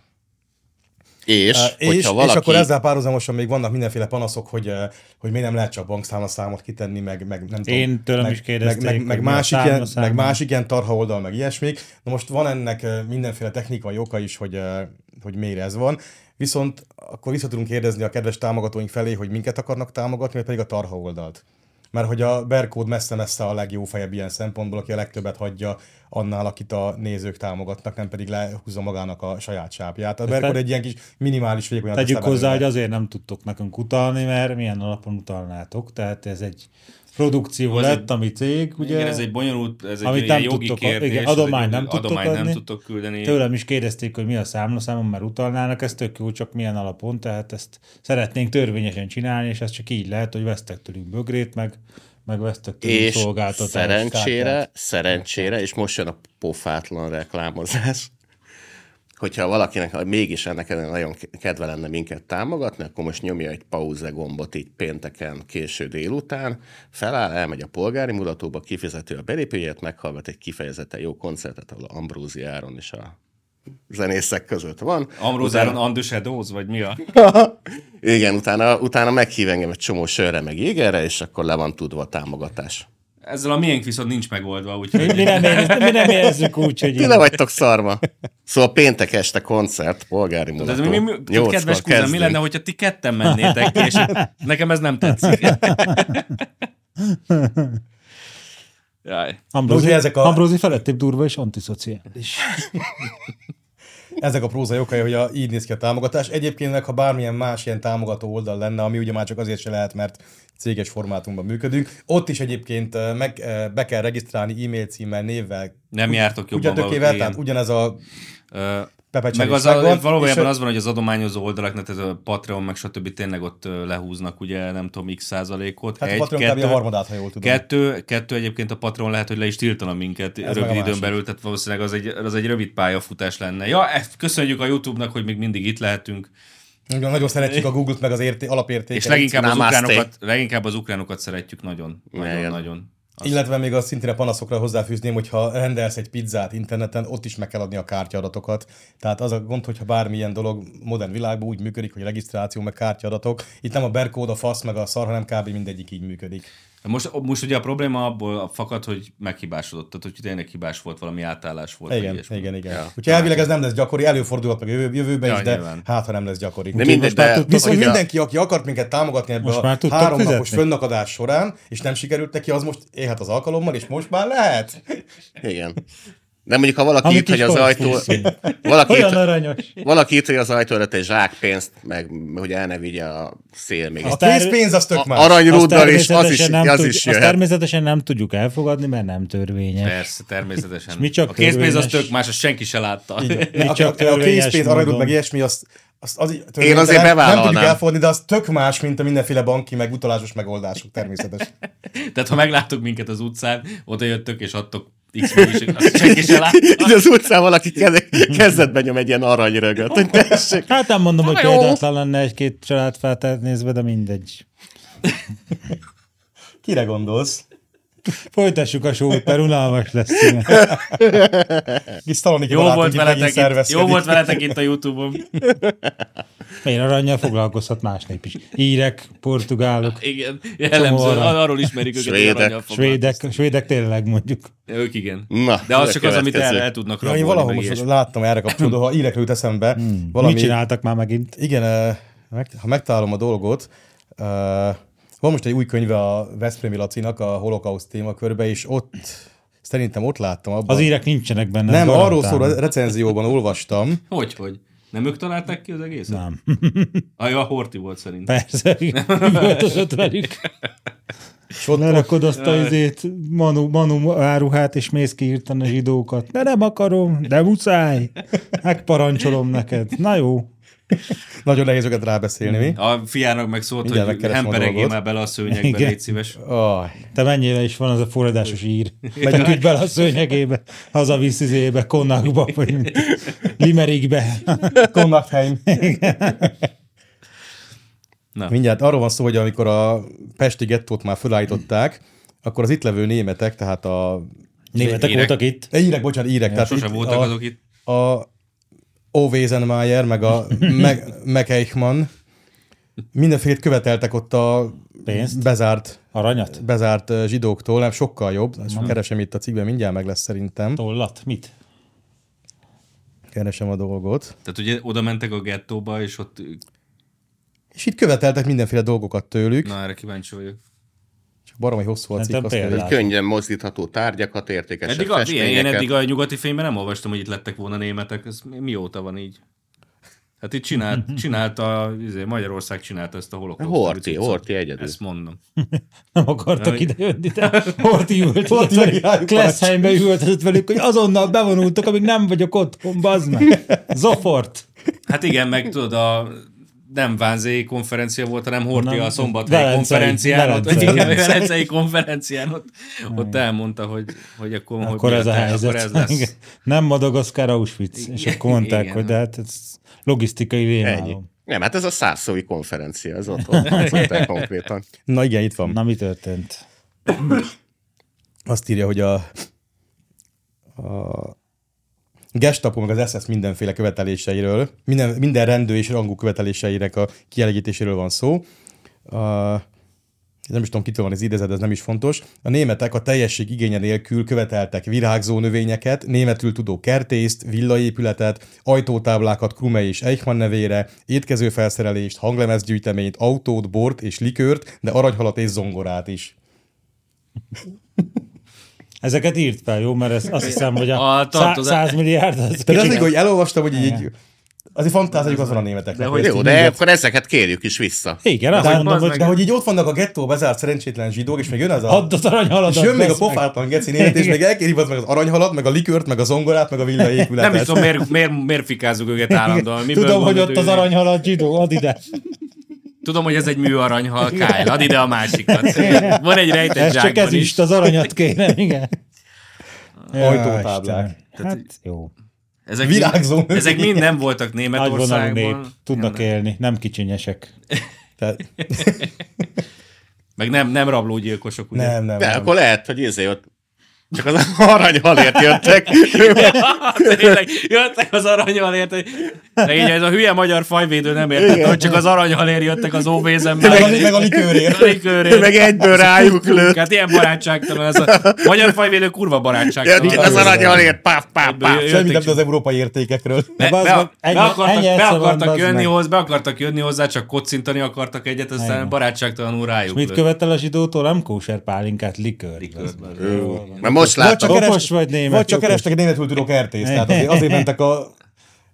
S4: És,
S1: Á,
S4: és hogyha valaki...
S1: és akkor ezzel párhuzamosan még vannak mindenféle panaszok, hogy, eh, hogy miért nem lehet csak bankszámlaszámot kitenni, meg, meg nem tudom.
S2: Én tőlem
S1: meg,
S2: is kérdezték,
S1: Meg, meg,
S2: hogy
S1: meg,
S2: mi a
S1: másik ilyen,
S2: számlaszám.
S1: meg másik ilyen tarha oldal, meg ilyesmik. Na most van ennek eh, mindenféle technikai oka is, hogy, eh, hogy miért ez van. Viszont akkor vissza tudunk kérdezni a kedves támogatóink felé, hogy minket akarnak támogatni, vagy pedig a tarha oldalt. Mert hogy a Berkód messze-messze a legjófejebb ilyen szempontból, aki a legtöbbet hagyja annál, akit a nézők támogatnak, nem pedig lehúzza magának a saját sápját. A Berkód egy ilyen kis minimális vékony
S2: Tegyük
S1: aztán
S2: hozzá, hogy
S1: belőle.
S2: azért nem tudtok nekünk utalni, mert milyen alapon utalnátok. Tehát ez egy produkció
S3: Ez
S2: lett,
S3: egy-
S2: ami cég, ugye?
S3: Igen, ez egy bonyolult, ez egy
S2: Amit
S3: ilyen
S2: nem
S3: jogi
S2: tudtok-
S3: kérdés.
S2: igen,
S3: ez egy-
S2: adományt nem tudtok
S3: adományt nem
S2: adni.
S3: tudtok küldeni.
S2: Tőlem is kérdezték, hogy mi a számlaszámom, mert utalnának, ez tök jó, csak milyen alapon, tehát ezt szeretnénk törvényesen csinálni, és ez csak így lehet, hogy vesztek tőlünk bögrét, meg, meg vesztek tőlünk
S4: és
S2: szolgáltatást.
S4: szerencsére,
S2: kártyát.
S4: szerencsére, és most jön a pofátlan reklámozás, hogyha valakinek mégis ennek ellenére nagyon kedve lenne minket támogatni, akkor most nyomja egy pauze gombot így pénteken késő délután, feláll, elmegy a polgári mulatóba, kifizeti a belépőjét, meghallgat egy kifejezetten jó koncertet, ahol Ambrózi Áron és a zenészek között van.
S3: Amrózáron Andus Edoz, vagy mi a?
S4: Igen, utána, utána meghív engem egy csomó sörre, meg jégerre, és akkor le van tudva a támogatás.
S3: Ezzel a miénk viszont nincs megoldva, úgyhogy...
S2: Mi nem, érezzük, mi nem érezzük úgy, hogy...
S4: Ti le vagytok szarva. Szóval péntek este koncert, polgári
S3: De ez
S4: mulató.
S3: mi, mi, mi, kedves kuzem, mi lenne, hogyha ti ketten mennétek ki, és nekem ez nem tetszik. Jaj.
S2: Ambrózi,
S1: Ugye ezek
S2: ezek
S1: a-
S2: a... Ambrózi felettébb durva és antiszociális.
S1: Ezek a prózai okai, hogy a, így néz ki a támogatás. Egyébként, meg, ha bármilyen más ilyen támogató oldal lenne, ami ugye már csak azért se lehet, mert céges formátumban működünk, ott is egyébként eh, meg, eh, be kell regisztrálni e-mail címmel, névvel,
S3: Nem jártok jobban
S1: ugyatökével,
S3: valahol,
S1: tehát
S3: igen.
S1: ugyanez a
S3: Ö,
S1: pepecselés
S3: Meg az a,
S1: megvan,
S3: valójában
S1: és-
S3: az van, hogy az adományozó oldalaknak, tehát a Patreon, meg stb. tényleg ott ö, lehúznak ugye nem tudom x százalékot.
S1: Hát a Patreon kb. a harmadát, ha jól tudom.
S3: kettő, kettő egyébként a Patreon lehet, hogy le is tiltana minket
S1: meg a
S3: rövid időn
S1: másik.
S3: belül, tehát valószínűleg az egy, az egy rövid pályafutás lenne. Ja, ezt köszönjük a YouTube-nak, hogy még mindig itt lehetünk,
S1: Nagyon, nagyon szeretjük a Google-t, meg az érté, alapértéket.
S3: és leginkább az,
S4: Namaste.
S3: ukránokat, leginkább az ukránokat szeretjük nagyon,
S4: Igen.
S3: nagyon-nagyon.
S1: Illetve még a szintén a panaszokra hozzáfűzném, hogy ha rendelsz egy pizzát interneten, ott is meg kell adni a kártyadatokat. Tehát az a gond, hogyha bármilyen dolog modern világban úgy működik, hogy regisztráció, meg kártyadatok, itt nem a berkód, a fasz, meg a szar, hanem kb. mindegyik így működik.
S3: Most, most ugye a probléma abból fakad, hogy meghibásodott, tehát hogy tényleg hibás volt, valami átállás volt. vagy
S1: Igen,
S3: ilyesmi.
S1: igen, igen.
S4: Ja.
S1: Ja. Úgyhogy elvileg ez nem lesz gyakori, előfordulhat meg a jövő- jövőben
S3: Ja,
S1: is, de
S3: nyilván.
S1: hát, ha nem lesz gyakori.
S4: De mindegy,
S2: most már
S4: de
S2: tudtok,
S1: Viszont
S4: hogy a-
S1: mindenki, aki akart minket támogatni ebbe
S2: Most már
S1: a
S2: tudtok
S1: három napos
S2: fizetni?
S1: fönnakadás során, és nem sikerült neki, az most élhet az alkalommal, és most már lehet.
S4: Igen. De mondjuk, ha valaki
S2: Ami
S4: itt, hogy
S2: kis
S4: az ajtó...
S2: konfúzió.
S4: Valaki
S2: Olyan
S4: itt,
S2: aranyos.
S4: valaki itt, hogy az ajtó előtt egy zsák pénzt, meg hogy el ne vigye a szél még.
S1: A
S4: egy-
S2: terv-
S1: pénzpénz az tök
S4: A,
S1: más.
S2: Azt
S4: aranyrúddal, és az is,
S2: természetesen nem
S4: az
S2: tud-
S4: is
S2: azt
S4: jöhet.
S2: természetesen nem tudjuk elfogadni, mert nem törvényes.
S3: Persze, természetesen.
S2: mi csak
S3: a készpénz az
S2: törvényes.
S3: tök más, azt senki se látta.
S1: Így,
S2: csak
S1: csak a, a
S2: törvényes
S1: készpénz, aranyod,
S2: módon.
S1: meg ilyesmi, azt, azt az,
S4: Én azért
S1: Nem
S4: bevállalnám.
S1: tudjuk elfogadni, de az tök más, mint a mindenféle banki, meg utalásos megoldások természetesen.
S3: Tehát ha megláttok minket az utcán, oda jöttök és adtok x is, azt senki se
S4: Így
S3: látta.
S4: az utcán valaki kezd- kezdetben nyom egy ilyen aranyrögöt, hogy tessék.
S2: Hát nem mondom, hogy
S3: jó.
S2: példátlan lenne egy-két családfát nézve, de mindegy.
S1: Kire gondolsz?
S2: Folytassuk a sót, mert unalmas lesz. tényleg.
S1: Kis Szaloniki
S3: Jó
S1: barátunk
S3: volt,
S1: itt megint
S3: veletek itt,
S1: szervezkedik.
S3: jó volt veletek itt a Youtube-on.
S2: Én aranyjal foglalkozhat más nép is. Írek, portugálok,
S3: Igen, jellemző,
S2: arany.
S3: ar- arról ismerik őket, hogy
S4: Svédek.
S3: aranyal foglalkoznak.
S2: svédek, svédek tényleg mondjuk.
S3: Ők igen.
S4: Na,
S3: De az
S4: a
S3: csak az, amit el,
S4: következő.
S3: el tudnak
S1: Ja,
S3: rabolni.
S1: én valahol
S3: meg
S1: most
S3: ilyesmi.
S1: láttam erre kapcsolódó, ha írekre jut eszembe,
S2: Valami... Mit
S1: valami,
S2: csináltak már megint?
S1: Igen, eh, meg- ha megtalálom a dolgot, eh, van most egy új könyve a Veszprémi Lacinak a holokauszt témakörbe, és ott, szerintem ott láttam abban.
S2: Az írek nincsenek benne.
S1: nem,
S2: garantálom.
S1: arról szól, a recenzióban olvastam.
S3: Hogy, hogy? Nem ők találták ki az egészet? Nem. Ah, ja, Horti volt szerintem.
S2: Persze, öltözött velük.
S1: És ott,
S2: Lerakod azt a izét, manu, manu áruhát, és mész ki írtani a zsidókat. De nem akarom, de muszáj. Megparancsolom neked. Na jó.
S1: Nagyon nehéz őket rábeszélni, mi?
S3: A fiának meg szólt,
S1: Mindjárt
S3: hogy
S1: megkeresem a
S3: hemperegjél
S1: dolgot.
S3: már bele a szőnyegbe,
S2: Igen.
S3: légy szíves.
S1: Aj,
S2: Te mennyire is van az a forradásos ír. Megyünk így bele a szőnyegébe, hazavisz izébe, konnakba, vagy mit- limerikbe.
S1: Konnakheim.
S3: Na.
S1: Mindjárt arról van szó, hogy amikor a Pesti gettót már fölállították, akkor az itt levő németek, tehát a...
S2: Németek
S3: Írek.
S2: voltak itt.
S1: Eh, Írek, bocsánat, írek. tehát
S3: Sose
S1: itt
S3: voltak
S1: a,
S3: azok itt.
S1: a Ovesenmeyer, meg a Meg- McEichmann mindenfélét követeltek ott a
S2: Pénzt?
S1: bezárt,
S2: Aranyat?
S1: bezárt ö, zsidóktól, nem sokkal jobb, ezt keresem itt a cikkben, mindjárt meg lesz szerintem,
S2: Tollat? Mit?
S1: keresem a dolgot.
S3: Tehát ugye oda mentek a gettóba, és ott...
S1: És itt követeltek mindenféle dolgokat tőlük,
S3: Na, erre kíváncsi vagyok.
S1: csak baromi hosszú a cikk,
S2: Szerintem
S1: azt mondja,
S2: példát.
S1: hogy
S4: Könnyen mozdítható tárgyakat, értékesebb
S3: Eddig a, ilyen, én
S4: festményeket.
S3: eddig a nyugati fényben nem olvastam, hogy itt lettek volna németek. Ez mi- mióta van így? Hát itt csinált, csinálta, izé, Magyarország csinálta ezt a holokauszt.
S4: Horti, Horti egyedül.
S3: Ezt mondom.
S2: Nem akartak ide jönni, de Horti ült,
S1: meg rájuk
S2: Kleszheimbe ültetett velük, hogy azonnal bevonultak, amíg nem vagyok otthon, bazd meg. Zofort.
S3: Hát igen, meg tudod, a nem Vánzéi konferencia volt, hanem Horti
S2: Nem,
S3: a szombathely
S2: Velencei,
S3: konferencián, ott,
S2: Velencei.
S3: igen, Velencei konferencián, ott, ott elmondta, hogy, hogy akkor, hogy
S2: Akkor
S3: mi
S2: ez a
S3: lett,
S2: helyzet.
S3: Akkor ez lesz.
S2: Igen. Nem Madagaszkár, Auschwitz. És akkor mondták,
S3: igen.
S2: hogy de hát ez logisztikai
S4: Ennyi.
S2: rémálom.
S4: Nem, hát ez a szárszói konferencia, ez ott volt konkrétan.
S1: Na igen, itt van.
S2: Na, mi történt?
S1: Azt írja, hogy a, a Gestapo meg az SS mindenféle követeléseiről, minden, minden rendő és rangú követeléseinek a kielégítéséről van szó. Uh, nem is tudom, kitől van az idezet, ez nem is fontos. A németek a teljesség igénye nélkül követeltek virágzó növényeket, németül tudó kertészt, villaépületet, ajtótáblákat Krume és Eichmann nevére, étkezőfelszerelést, hanglemezgyűjteményt, autót, bort és likőrt, de aranyhalat és zongorát is.
S2: Ezeket írt fel, jó? Mert ez, azt hiszem, hogy a,
S3: A
S2: a
S3: tartozás-
S2: 100 milliárd az
S1: Tehát az,
S2: kicsit-
S1: még, hogy elolvastam, hogy így, így azért fantázáljuk azon a németeknek.
S3: De
S1: hogy
S3: hogy-
S1: ezt
S4: Jó,
S1: így
S4: de
S1: mindjárt-
S4: akkor ezeket kérjük is vissza.
S2: Igen, azt
S1: de,
S2: mondom,
S3: bazd
S2: hogy
S3: meg-
S1: de hogy így ott vannak a gettó bezárt szerencsétlen zsidók, és még jön az a...
S2: add az aranyhaladat.
S1: és jön még a
S2: bazd meg.
S1: pofátlan geci német, és még elkéri bazd meg az aranyhalat, meg a likört, meg a zongorát, meg a villaépületet.
S3: Nem is tudom, miért, miért, miért fikázzuk őket állandóan. Miből
S2: Tudom, hogy
S3: gondolod,
S2: ott az aranyhalat zsidó, add ide.
S3: Tudom, hogy ez egy műaranyhal, Kyle, add ide a másikat. Van egy rejtett
S2: Ez csak
S3: zsákban
S2: ez
S3: is.
S2: is, az aranyat kéne, igen. Jaj,
S1: Ajtótáblák.
S2: Istenem.
S3: Tehát-
S2: Hát jó.
S3: Ezek,
S1: Virágzó
S3: mind, ezek mind
S1: növények.
S3: nem voltak
S2: Nagyvonalú nép,
S3: Németországban.
S2: tudnak élni, nem kicsinyesek.
S1: Tehát,
S3: Meg nem, nem rablógyilkosok, ugye?
S1: nem, nem,
S4: De
S1: nem.
S4: akkor lehet, hogy izé ott csak az aranyhalért jöttek.
S3: Tényleg, jöttek az aranyhalért, hogy Szegény, ez a hülye magyar fajvédő nem értett, hogy csak az aranyhalért jöttek az óvézemben.
S1: Meg a li- meg a likőrért.
S3: likőrért.
S4: Meg egyből rájuk lőtt.
S3: Hát ilyen barátságtalan ez a magyar fajvédő kurva
S4: Jött
S3: barátságtalan.
S4: itt az aranyhalért, páf, páf, páf.
S1: Semmit nem tud az európai értékekről.
S3: Be,
S2: bazd
S3: be,
S2: meg,
S3: be,
S2: ennyi-
S3: akartak,
S2: ennyi
S3: be,
S2: egyszer van,
S3: akartak
S2: bazd
S3: jönni
S2: meg.
S3: hozzá, be akartak jönni hozzá, csak kocintani akartak egyet, aztán barátságtalanul rájuk.
S2: Mit
S3: lőtt.
S2: követel a zsidótól? Nem kóser pálinkát, likőr.
S4: Mert most
S1: Vagy csak,
S4: láttam,
S2: Okos
S1: keres,
S2: vagy német,
S1: vagy csak
S2: okos.
S1: kerestek egy németül tudó kertészt, tehát azért, azért mentek a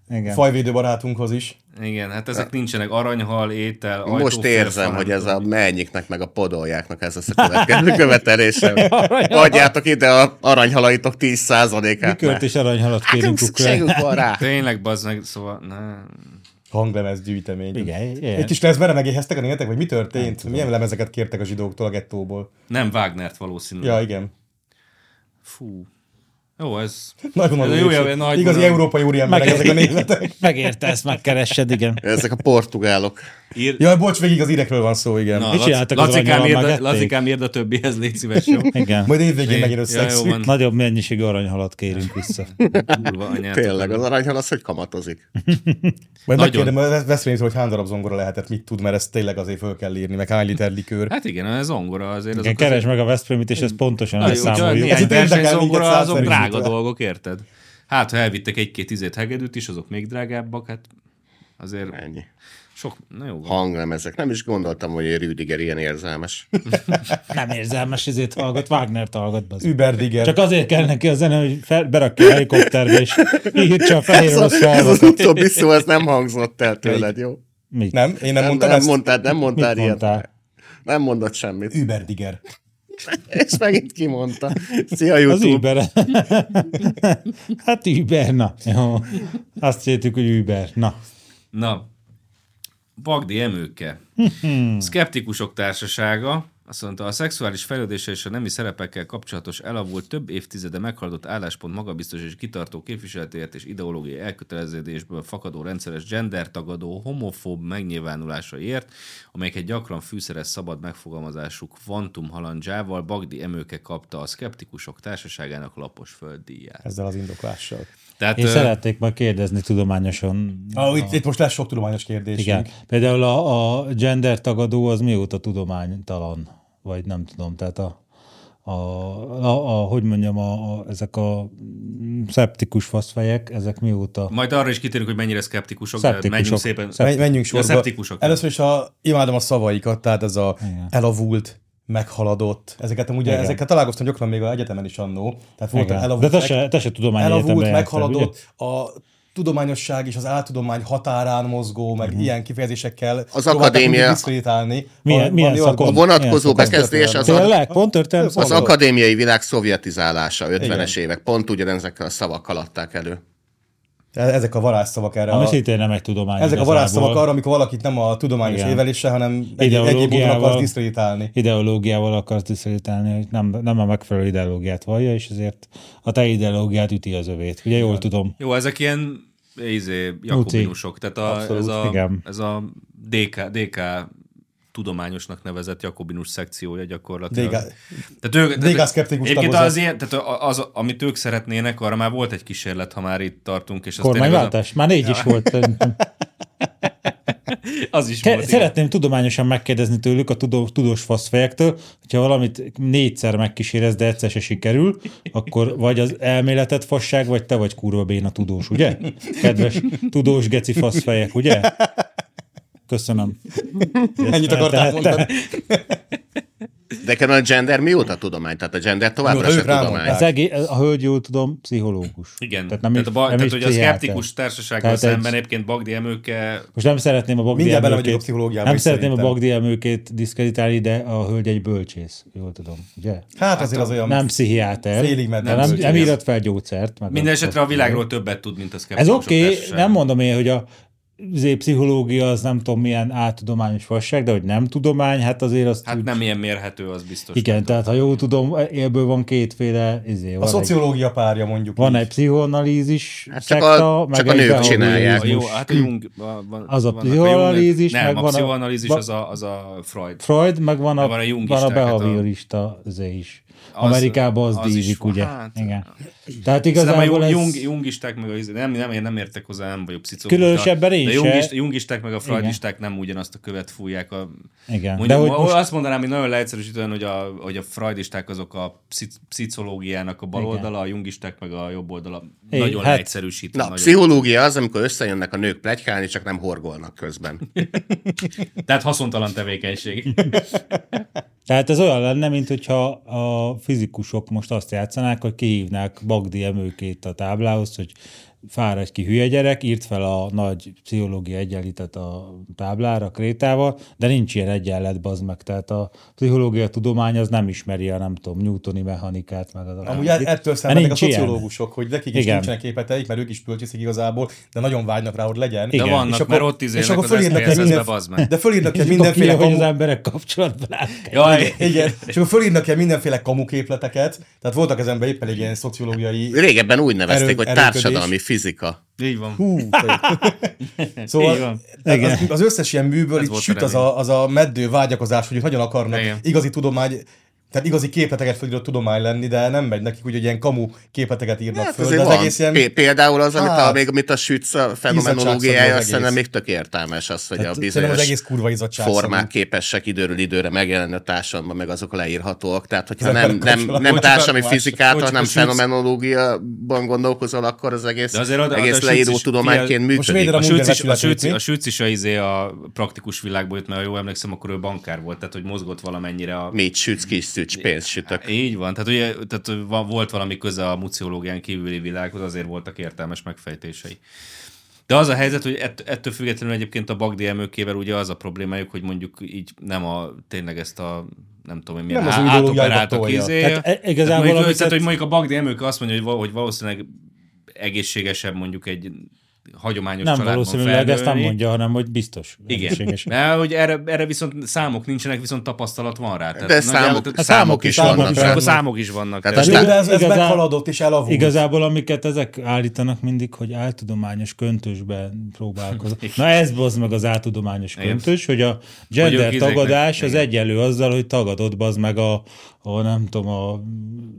S2: Igen.
S1: fajvédő barátunkhoz is.
S3: Igen, hát ezek nincsenek aranyhal, étel,
S4: most
S3: ajtófél,
S4: érzem,
S3: fán.
S4: hogy ez a mennyiknek meg a podoljáknak ez lesz a következő követelése. Adjátok ide a aranyhalaitok 10%-át.
S2: Likőrt
S4: mert-
S2: és aranyhalat
S4: Hát nem
S2: kérünk ukra.
S4: szükségünk van rá.
S3: Tényleg bazd meg, szóval... Ne.
S1: Hanglemez gyűjtemény.
S2: Igen, ilyen.
S1: Itt is lesz benne megéheztek a németek, vagy mi történt? Milyen lemezeket kértek a zsidóktól a gettóból?
S3: Nem Wagnert valószínűleg.
S1: Ja, igen.
S3: Fú. Jó, ez...
S1: Nagy
S3: Ez
S1: gondolom,
S3: a jó, jó, nagy
S1: Igazi
S3: vonalú.
S1: európai úriemberek
S2: Meg-
S1: ezek a németek.
S2: Megérte ezt, megkeressed, igen.
S4: Ezek a portugálok.
S3: Ír...
S1: Jaj, bocs, végig az írekről van szó, igen.
S3: Na,
S2: Mit
S3: Laci-
S2: csináltak az
S3: Lacikám,
S2: aranyhal,
S3: írd a,
S2: megették?
S3: Lacikám írd a többihez, légy szíves, jó?
S2: Igen.
S1: Majd évvégén megint
S3: ja, jó
S1: összekszünk.
S3: van,
S2: Nagyobb mennyiségű aranyhalat kérünk vissza.
S3: kurva anyát.
S4: Tényleg, az aranyhal az, hogy kamatozik.
S1: Majd
S3: Nagyon.
S1: megkérdem, mert Veszprémtől, hogy hány darab zongora lehetett, mit tud, mert ezt tényleg azért föl kell írni, meg hány liter likőr.
S3: Hát igen, ez zongora azért.
S2: Igen,
S3: Azok
S2: keresd meg a Veszprémit, és ezt pontosan
S3: azért, nagyon,
S2: leszámoljuk.
S1: Ez
S3: néhány
S1: itt érdekel
S3: versenyzongora,
S1: minket
S3: azok
S1: százszerűen.
S3: drága dolgok, érted? Hát, ha elvittek egy-két izét hegedűt is, azok még drágábbak, hát azért
S4: Ennyi.
S3: sok, na jó van.
S4: Hangnem ezek. Nem is gondoltam, hogy Rüdiger ilyen érzelmes.
S2: Nem érzelmes, ezért hallgat, Wagnert hallgat. bazd.
S1: Überdiger.
S2: Csak azért kell neki a zene, hogy fel, berakja a helikopterbe, és írtsa a fehér
S4: Ez, a,
S2: orosz
S4: ez az
S2: felhozat.
S4: utóbbi szó, ez nem hangzott el tőled, jó?
S2: Mit?
S1: Nem? Én nem,
S4: Nem,
S1: mondtam
S4: nem
S1: ezt?
S4: mondtál, nem mondtál
S2: Mit
S4: ilyet.
S2: mondtál?
S4: Nem mondott semmit.
S1: Überdiger.
S4: És megint kimondta. Szia
S2: Az
S4: YouTube.
S2: Uber. hát Uber, na. Jó. Azt hittük, hogy Uber. Na.
S3: Na, Bagdi Emőke. Szkeptikusok társasága azt mondta, a szexuális fejlődése és a nemi szerepekkel kapcsolatos elavult több évtizede meghaladott álláspont magabiztos és kitartó képviseletéért és ideológiai elköteleződésből fakadó rendszeres gendertagadó homofób megnyilvánulásaiért, amelyeket gyakran fűszeres szabad megfogalmazású kvantum halandzsával Bagdi Emőke kapta a szkeptikusok társaságának lapos földdíját.
S1: Ezzel az indoklással.
S3: Tehát,
S1: Hát,
S2: És
S3: ö,
S2: szerették majd kérdezni tudományosan.
S1: Ah, itt, itt, most lesz sok tudományos kérdés.
S2: Igen. Például a, a gender tagadó az mióta tudománytalan? Vagy nem tudom, tehát a, a, a, a hogy mondjam, a, a, ezek a mm, szeptikus faszfejek, ezek mióta?
S3: Majd arra is kitérünk, hogy mennyire szkeptikusok, szkeptikusok. de
S2: Szkeptikusok.
S3: menjünk szépen.
S1: Menj, menjünk
S3: Ja,
S1: sorba.
S3: szkeptikusok.
S1: Először is a, imádom a szavaikat, tehát ez a
S2: Igen.
S1: elavult, meghaladott. Ezeket amúgy
S2: Igen.
S1: ezekkel találkoztam gyakran még a egyetemen is annó. Tehát volt
S2: Igen.
S1: elavult,
S2: De te se, te se tudományi
S1: elavult
S2: egyetemre jártál, ugye?
S1: meghaladott, a tudományosság és az áltudomány határán mozgó, meg ilyen kifejezésekkel próbálták mindig
S4: akadémia-
S1: diszkrétálni.
S2: Mhm. Milyen-
S1: Valami-
S2: milyen
S1: valami
S2: szakon?
S4: A
S1: olyasmi-
S4: vonatkozó
S2: Ilyen
S4: bekezdés az, a,
S2: Tényleg? Pont történet?
S4: az akadémiai világ szovjetizálása 50-es évek. Pont ugyanezekkel a szavakkal adták elő.
S1: E, Ezek a varázsszavak erre.
S2: Ami
S1: A,
S2: szintén nem egy tudomány.
S1: ezek a
S2: igazából.
S1: varázsszavak arra, amikor valakit nem a tudományos
S2: Igen.
S1: éveléssel, hanem egy, egyéb módon
S2: Ideológiával.
S1: akarsz diszkrétálni.
S2: ideológiával akarsz diszkreditálni, hogy nem, nem a megfelelő ideológiát vallja, és ezért a te ideológiát üti az övét. Ugye jól tudom.
S3: Jó, ezek ilyen izé, jakobinusok, tehát a, ez, a,
S2: igen.
S3: ez a DK, DK tudományosnak nevezett Jakobinus szekciója gyakorlatilag.
S1: Déga-
S3: tehát ők,
S1: Déga szkeptikus
S3: egyébként
S1: tagozat.
S3: az, ilyen, tehát az, amit ők szeretnének, arra már volt egy kísérlet, ha már itt tartunk, és az, tényleg az,
S2: Kormányváltás? Már négy is volt. szerintem.
S3: az is
S2: Te,
S3: volt. igen.
S2: szeretném tudományosan megkérdezni tőlük, a tudó, tudós faszfejektől, hogyha valamit négyszer megkísérez, de egyszer se sikerül, akkor vagy az elméletet fasság, vagy te vagy kurva béna tudós, ugye? Kedves tudós geci faszfejek, ugye? Köszönöm.
S1: Ennyit akartál mondani.
S4: De nekem a gender mióta tudomány? Tehát a gender továbbra
S1: Mióta
S4: se
S1: ők rámondták.
S4: tudomány.
S2: Ez egé- a hölgy, jól tudom, pszichológus. Tehát,
S3: Igen, tehát,
S2: nem
S3: tehát, a
S2: így-
S3: ba,
S2: nem
S3: tehát
S2: így
S3: hogy a
S2: pszichiáter.
S3: szkeptikus társasággal
S2: Tehát egy-
S3: szemben egyébként Bagdi Emőke
S2: Most nem szeretném a Bagdi
S1: Mindjárt bele
S2: Emőkét-
S1: vagyok a pszichológiába
S2: Nem
S1: is
S2: szeretném a
S1: szerintem.
S2: Bagdi emőkét diszkreditálni, de a hölgy egy bölcsész, jól tudom, ugye?
S1: Hát azért az olyan...
S2: Nem pszichiáter.
S1: Félig meddig
S2: De nem,
S1: bölcsész.
S2: nem írott fel gyógyszert. Meg
S3: Minden esetre a világról többet tud, mint a szkeptikus
S2: Ez oké, okay, nem mondom én, hogy a azért pszichológia az nem tudom milyen áltudományos fasság, de hogy nem tudomány, hát azért azt
S3: Hát
S2: úgy,
S3: nem ilyen mérhető, az biztos.
S2: igen, tehát ha jól tudom, élből van kétféle, izé,
S1: A
S2: van, egy,
S1: szociológia párja mondjuk
S2: van
S1: így.
S2: egy pszichoanalízis
S4: Hát csak a-
S2: szekta, meg
S4: csak a
S2: egy
S4: nők
S2: behaviorizmus.
S4: csinálják.
S3: A jó, hát a Jung, a- van,
S2: Az a
S3: vannak Jung-
S2: pszichoanalízis, meg
S3: nem, a
S2: van a-
S3: pszichoanalízis
S2: va-
S3: az, a, az a Freud.
S2: Freud, meg van a,
S3: Meg van a
S2: van
S3: jungista,
S2: a
S3: tehát a-
S2: behaviorista zé is.
S3: Az-
S2: Amerikában az,
S3: az
S2: az
S3: is
S2: dízik,
S3: van,
S2: ugye?
S3: hát.
S2: Igen. Tehát
S3: Igazából a
S2: igazából
S3: Jung,
S2: ez...
S3: Jung, jungisták meg a, izé- nem, nem, én nem értek hozzá, nem vagyok pszichológus.
S2: Különösebben
S3: de-
S2: én
S3: de
S2: se.
S3: jungist, jungisták meg a freudisták nem ugyanazt a követ fújják. A,
S2: Igen,
S3: Mondjuk,
S2: de
S3: de
S2: hogy most-
S3: Azt mondanám, hogy nagyon leegyszerűsítően, hogy a, hogy a freudisták azok a pszic- pszichológiának a bal
S2: Igen.
S3: oldala, a jungisták meg a jobb oldala.
S2: É,
S3: Nagyon
S2: hát-
S3: leegyszerűsítve.
S4: Na, a
S3: nagyon-
S4: pszichológia az, amikor összejönnek a nők plegykálni, csak nem horgolnak közben.
S3: Tehát haszontalan tevékenység.
S2: Tehát ez olyan lenne, mint hogyha a fizikusok most azt játszanák, hogy kihívnák Bagdi emőkét a táblához, hogy fáradj ki hülye gyerek, írt fel a nagy pszichológia egyenlitet a táblára, a krétával, de nincs ilyen egyenlet, bazd meg. Tehát a pszichológia tudomány az nem ismeri a, nem tudom, newtoni mechanikát, meg az
S1: Amúgy hát
S2: akármit.
S1: ettől
S2: Mert
S1: szenvednek a
S2: Hát nincs ilyen.
S1: szociológusok, hogy nekik is
S2: Igen.
S1: nincsenek képeteik, mert ők is bölcsészik igazából, de nagyon vágynak rá, hogy legyen.
S2: De
S1: És
S3: vannak,
S1: akkor-
S3: mert ott izélnek
S1: és akkor
S3: az
S1: fölírnak
S3: SZPSZ-be,
S1: mindenf-
S3: bazd meg.
S1: De fölírnak
S2: És
S1: egy
S2: mindenféle ki,
S1: mindenféle
S2: hogy az
S1: kamu...
S2: emberek kapcsolatban áll.
S3: Jaj,
S1: Igen, és akkor fölírnak ilyen mindenféle kamuképleteket, tehát voltak ezenben éppen egy ilyen szociológiai...
S4: Régebben úgy nevezték,
S1: Erő-
S4: hogy
S1: erőködés.
S4: társadalmi fizika.
S3: így van.
S1: Hú, te-
S3: Így
S1: szóval
S3: van.
S1: tehát az, az, összes ilyen műből
S3: Ez
S1: itt
S3: volt a
S1: süt az
S3: remény.
S1: a, az a meddő vágyakozás, hogy ők nagyon akarnak
S3: Igen.
S1: igazi tudomány, tehát igazi képleteket fölíró tudomány lenni, de nem megy nekik, úgy, hogy ilyen kamu képleteket írnak
S4: Hát
S1: föl,
S4: azért
S1: de az
S4: van.
S1: egész ilyen...
S4: Pé- Például az, amit a,
S1: Hát.
S4: még, amit a Sütz a
S1: Izzadságszagú az
S4: fenomenológiája,
S1: egész.
S4: azt szerintem még tök értelmes az, hogy a
S1: Tehát szerintem az
S4: bizonyos
S1: egész kurva izzadság.
S4: formák képesek időről időre megjelenni a társadalomban, meg azok leírhatóak. Tehát, hogyha
S1: Ezek
S4: nem,
S1: a
S4: nem,
S1: kapcsolat-
S4: nem
S1: Bocs,
S4: társadalmi
S1: Kovács-
S4: fizikát,
S3: Bocs,
S4: hanem
S3: Kovács-
S4: fenomenológiában gondolkozol, akkor az egész,
S3: De azért oda-
S4: egész
S3: oda a
S4: leíró
S3: Sütz is
S4: tudományként
S3: figyel-
S1: Most védem
S4: működik.
S1: a
S3: A sőc is, a
S1: munkáját
S3: sőc,
S1: ületülni.
S3: a sőc is a, izé a praktikus világból jött, mert ha jól emlékszem, akkor ő bankár volt, tehát hogy mozgott valamennyire a...
S4: Mit sütsz, kis szücs, pénzt sütök.
S3: Így van, tehát ugye tehát hogy va- volt valami köze a muciológián kívüli világhoz, azért voltak értelmes megfejtései. De az a helyzet, hogy ett, ettől függetlenül egyébként a Bagdi emőkével ugye az a problémájuk, hogy mondjuk így nem a, tényleg ezt a nem tudom én milyen
S1: Nem az
S3: á-
S1: ideológiájukat
S3: átoperáltak
S1: tolja.
S3: izé.
S2: Tehát, e- igazából,
S3: tehát, mondjuk,
S2: amit
S3: tehát,
S2: tett-
S3: hogy mondjuk a Bagdi emőke azt mondja, hogy, val- hogy valószínűleg egészségesebb mondjuk egy hagyományos
S2: Nem
S3: családban
S2: valószínűleg, ezt nem
S3: felnőni.
S2: mondja, hanem hogy biztos.
S3: Igen.
S2: Egészséges.
S3: Mert hogy erre, erre viszont számok nincsenek, viszont tapasztalat van rá. Tehát
S4: De
S3: nagyjából-
S4: számok,
S3: tehát-
S4: számok is
S2: számok
S4: vannak.
S2: is
S4: rá.
S3: akkor számok is vannak.
S4: Tehát
S3: Tehát,
S4: a
S1: De
S4: Tehát-
S1: ez, ez
S2: Igazán-
S1: meghaladott és elavult.
S2: Igazából, amiket ezek állítanak mindig, hogy áltudományos köntösben próbálkoznak. Na ez bazd meg az áltudományos köntös, hogy a
S3: Hogy
S2: gender
S3: ők izéknek-
S2: tagadás az egyenlő azzal, hogy tagadod bazd meg a, a nem tudom, a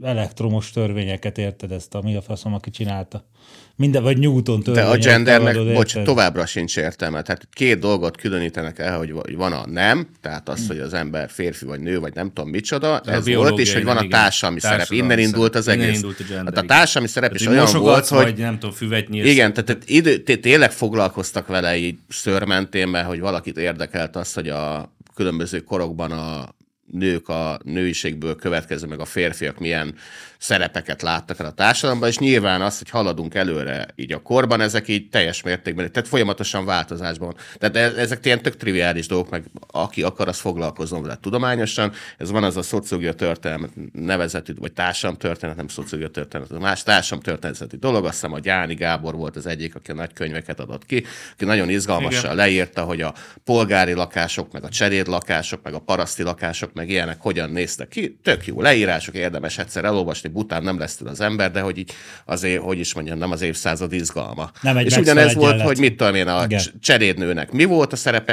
S2: elektromos törvényeket, érted ezt, a mi a faszom, aki csinálta. Minden, vagy Newton
S4: De
S2: törvényeket
S4: a gendernek,
S2: tagadod,
S4: bocs,
S2: érted?
S4: továbbra sincs értelme. Tehát két dolgot különítenek el, hogy hogy van a nem, tehát az, hogy az ember férfi vagy nő, vagy nem tudom micsoda,
S3: Hm. a
S4: ez
S3: biológiai
S4: volt, és hogy van a
S3: nem, igen.
S4: társadalmi szerep.
S3: Társadalmi
S4: Innen indult az
S3: szerep. Innen
S4: egész.
S3: indult a gender,
S4: Hát a
S3: igen.
S4: társadalmi szerep is
S3: hogy
S4: olyan volt,
S3: mosogatsz,
S4: hogy
S3: vagy nem tudom, füvet nyírsz.
S4: igen, tehát itt idő, té- tényleg foglalkoztak vele így szörmentén, mert hogy valakit érdekelt az, hogy a különböző korokban a nők a nőiségből következő, meg a férfiak milyen szerepeket láttak el a társadalomban, és nyilván az, hogy haladunk előre így a korban, ezek így teljes mértékben, tehát folyamatosan változásban van. Tehát e- ezek ilyen tök triviális dolgok, meg aki akar, az foglalkozom vele tudományosan. Ez van az a szociológia történet nevezetű, vagy társam történet, nem szociológia történet, a más társam történeti dolog. Azt hiszem a Gyáni Gábor volt az egyik, aki a nagy könyveket adott ki, aki nagyon izgalmasan leírta, hogy a polgári lakások, meg a cseréd lakások, meg a paraszti lakások, meg meg ilyenek hogyan néztek ki. Tök jó leírások, érdemes egyszer elolvasni, bután nem lesz tőle az ember, de hogy így azért, hogy is mondjam, nem az évszázad izgalma.
S2: Nem egy
S4: és
S2: Maxwell
S4: ugyanez volt,
S2: egyenlet.
S4: hogy mit tudom én, a
S2: Igen.
S4: c- cserédnőnek mi volt a szerepe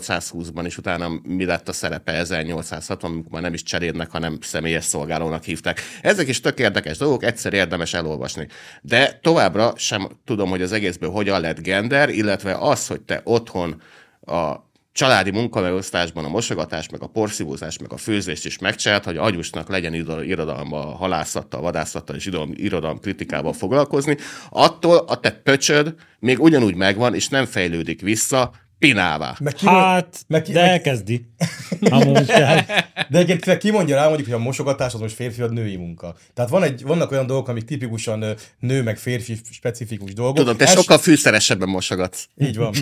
S4: 1820-ban, és utána mi lett a szerepe 1860, amikor már nem is cserédnek, hanem személyes szolgálónak hívták. Ezek is tök érdekes dolgok, egyszer érdemes elolvasni. De továbbra sem tudom, hogy az egészből hogyan lett gender, illetve az, hogy te otthon a családi munkamegosztásban a mosogatás, meg a porszívózás, meg a főzést is megcsinált, hogy agyusnak legyen iroda- irodalma a halászattal, vadászattal és irodalom, irodalom kritikával foglalkozni, attól a te pöcsöd még ugyanúgy megvan, és nem fejlődik vissza pinává.
S1: Meg ki,
S2: Hát,
S1: meg,
S2: de
S1: de... meg,
S2: elkezdi a munkát.
S1: de egyébként ki mondja rá, mondjuk, hogy a mosogatás az most férfi vagy női munka. Tehát van egy, vannak olyan dolgok, amik tipikusan ö, nő meg férfi specifikus dolgok.
S4: Tudom, te
S1: Ez-
S4: sokkal fűszeresebben mosogatsz.
S1: Így van.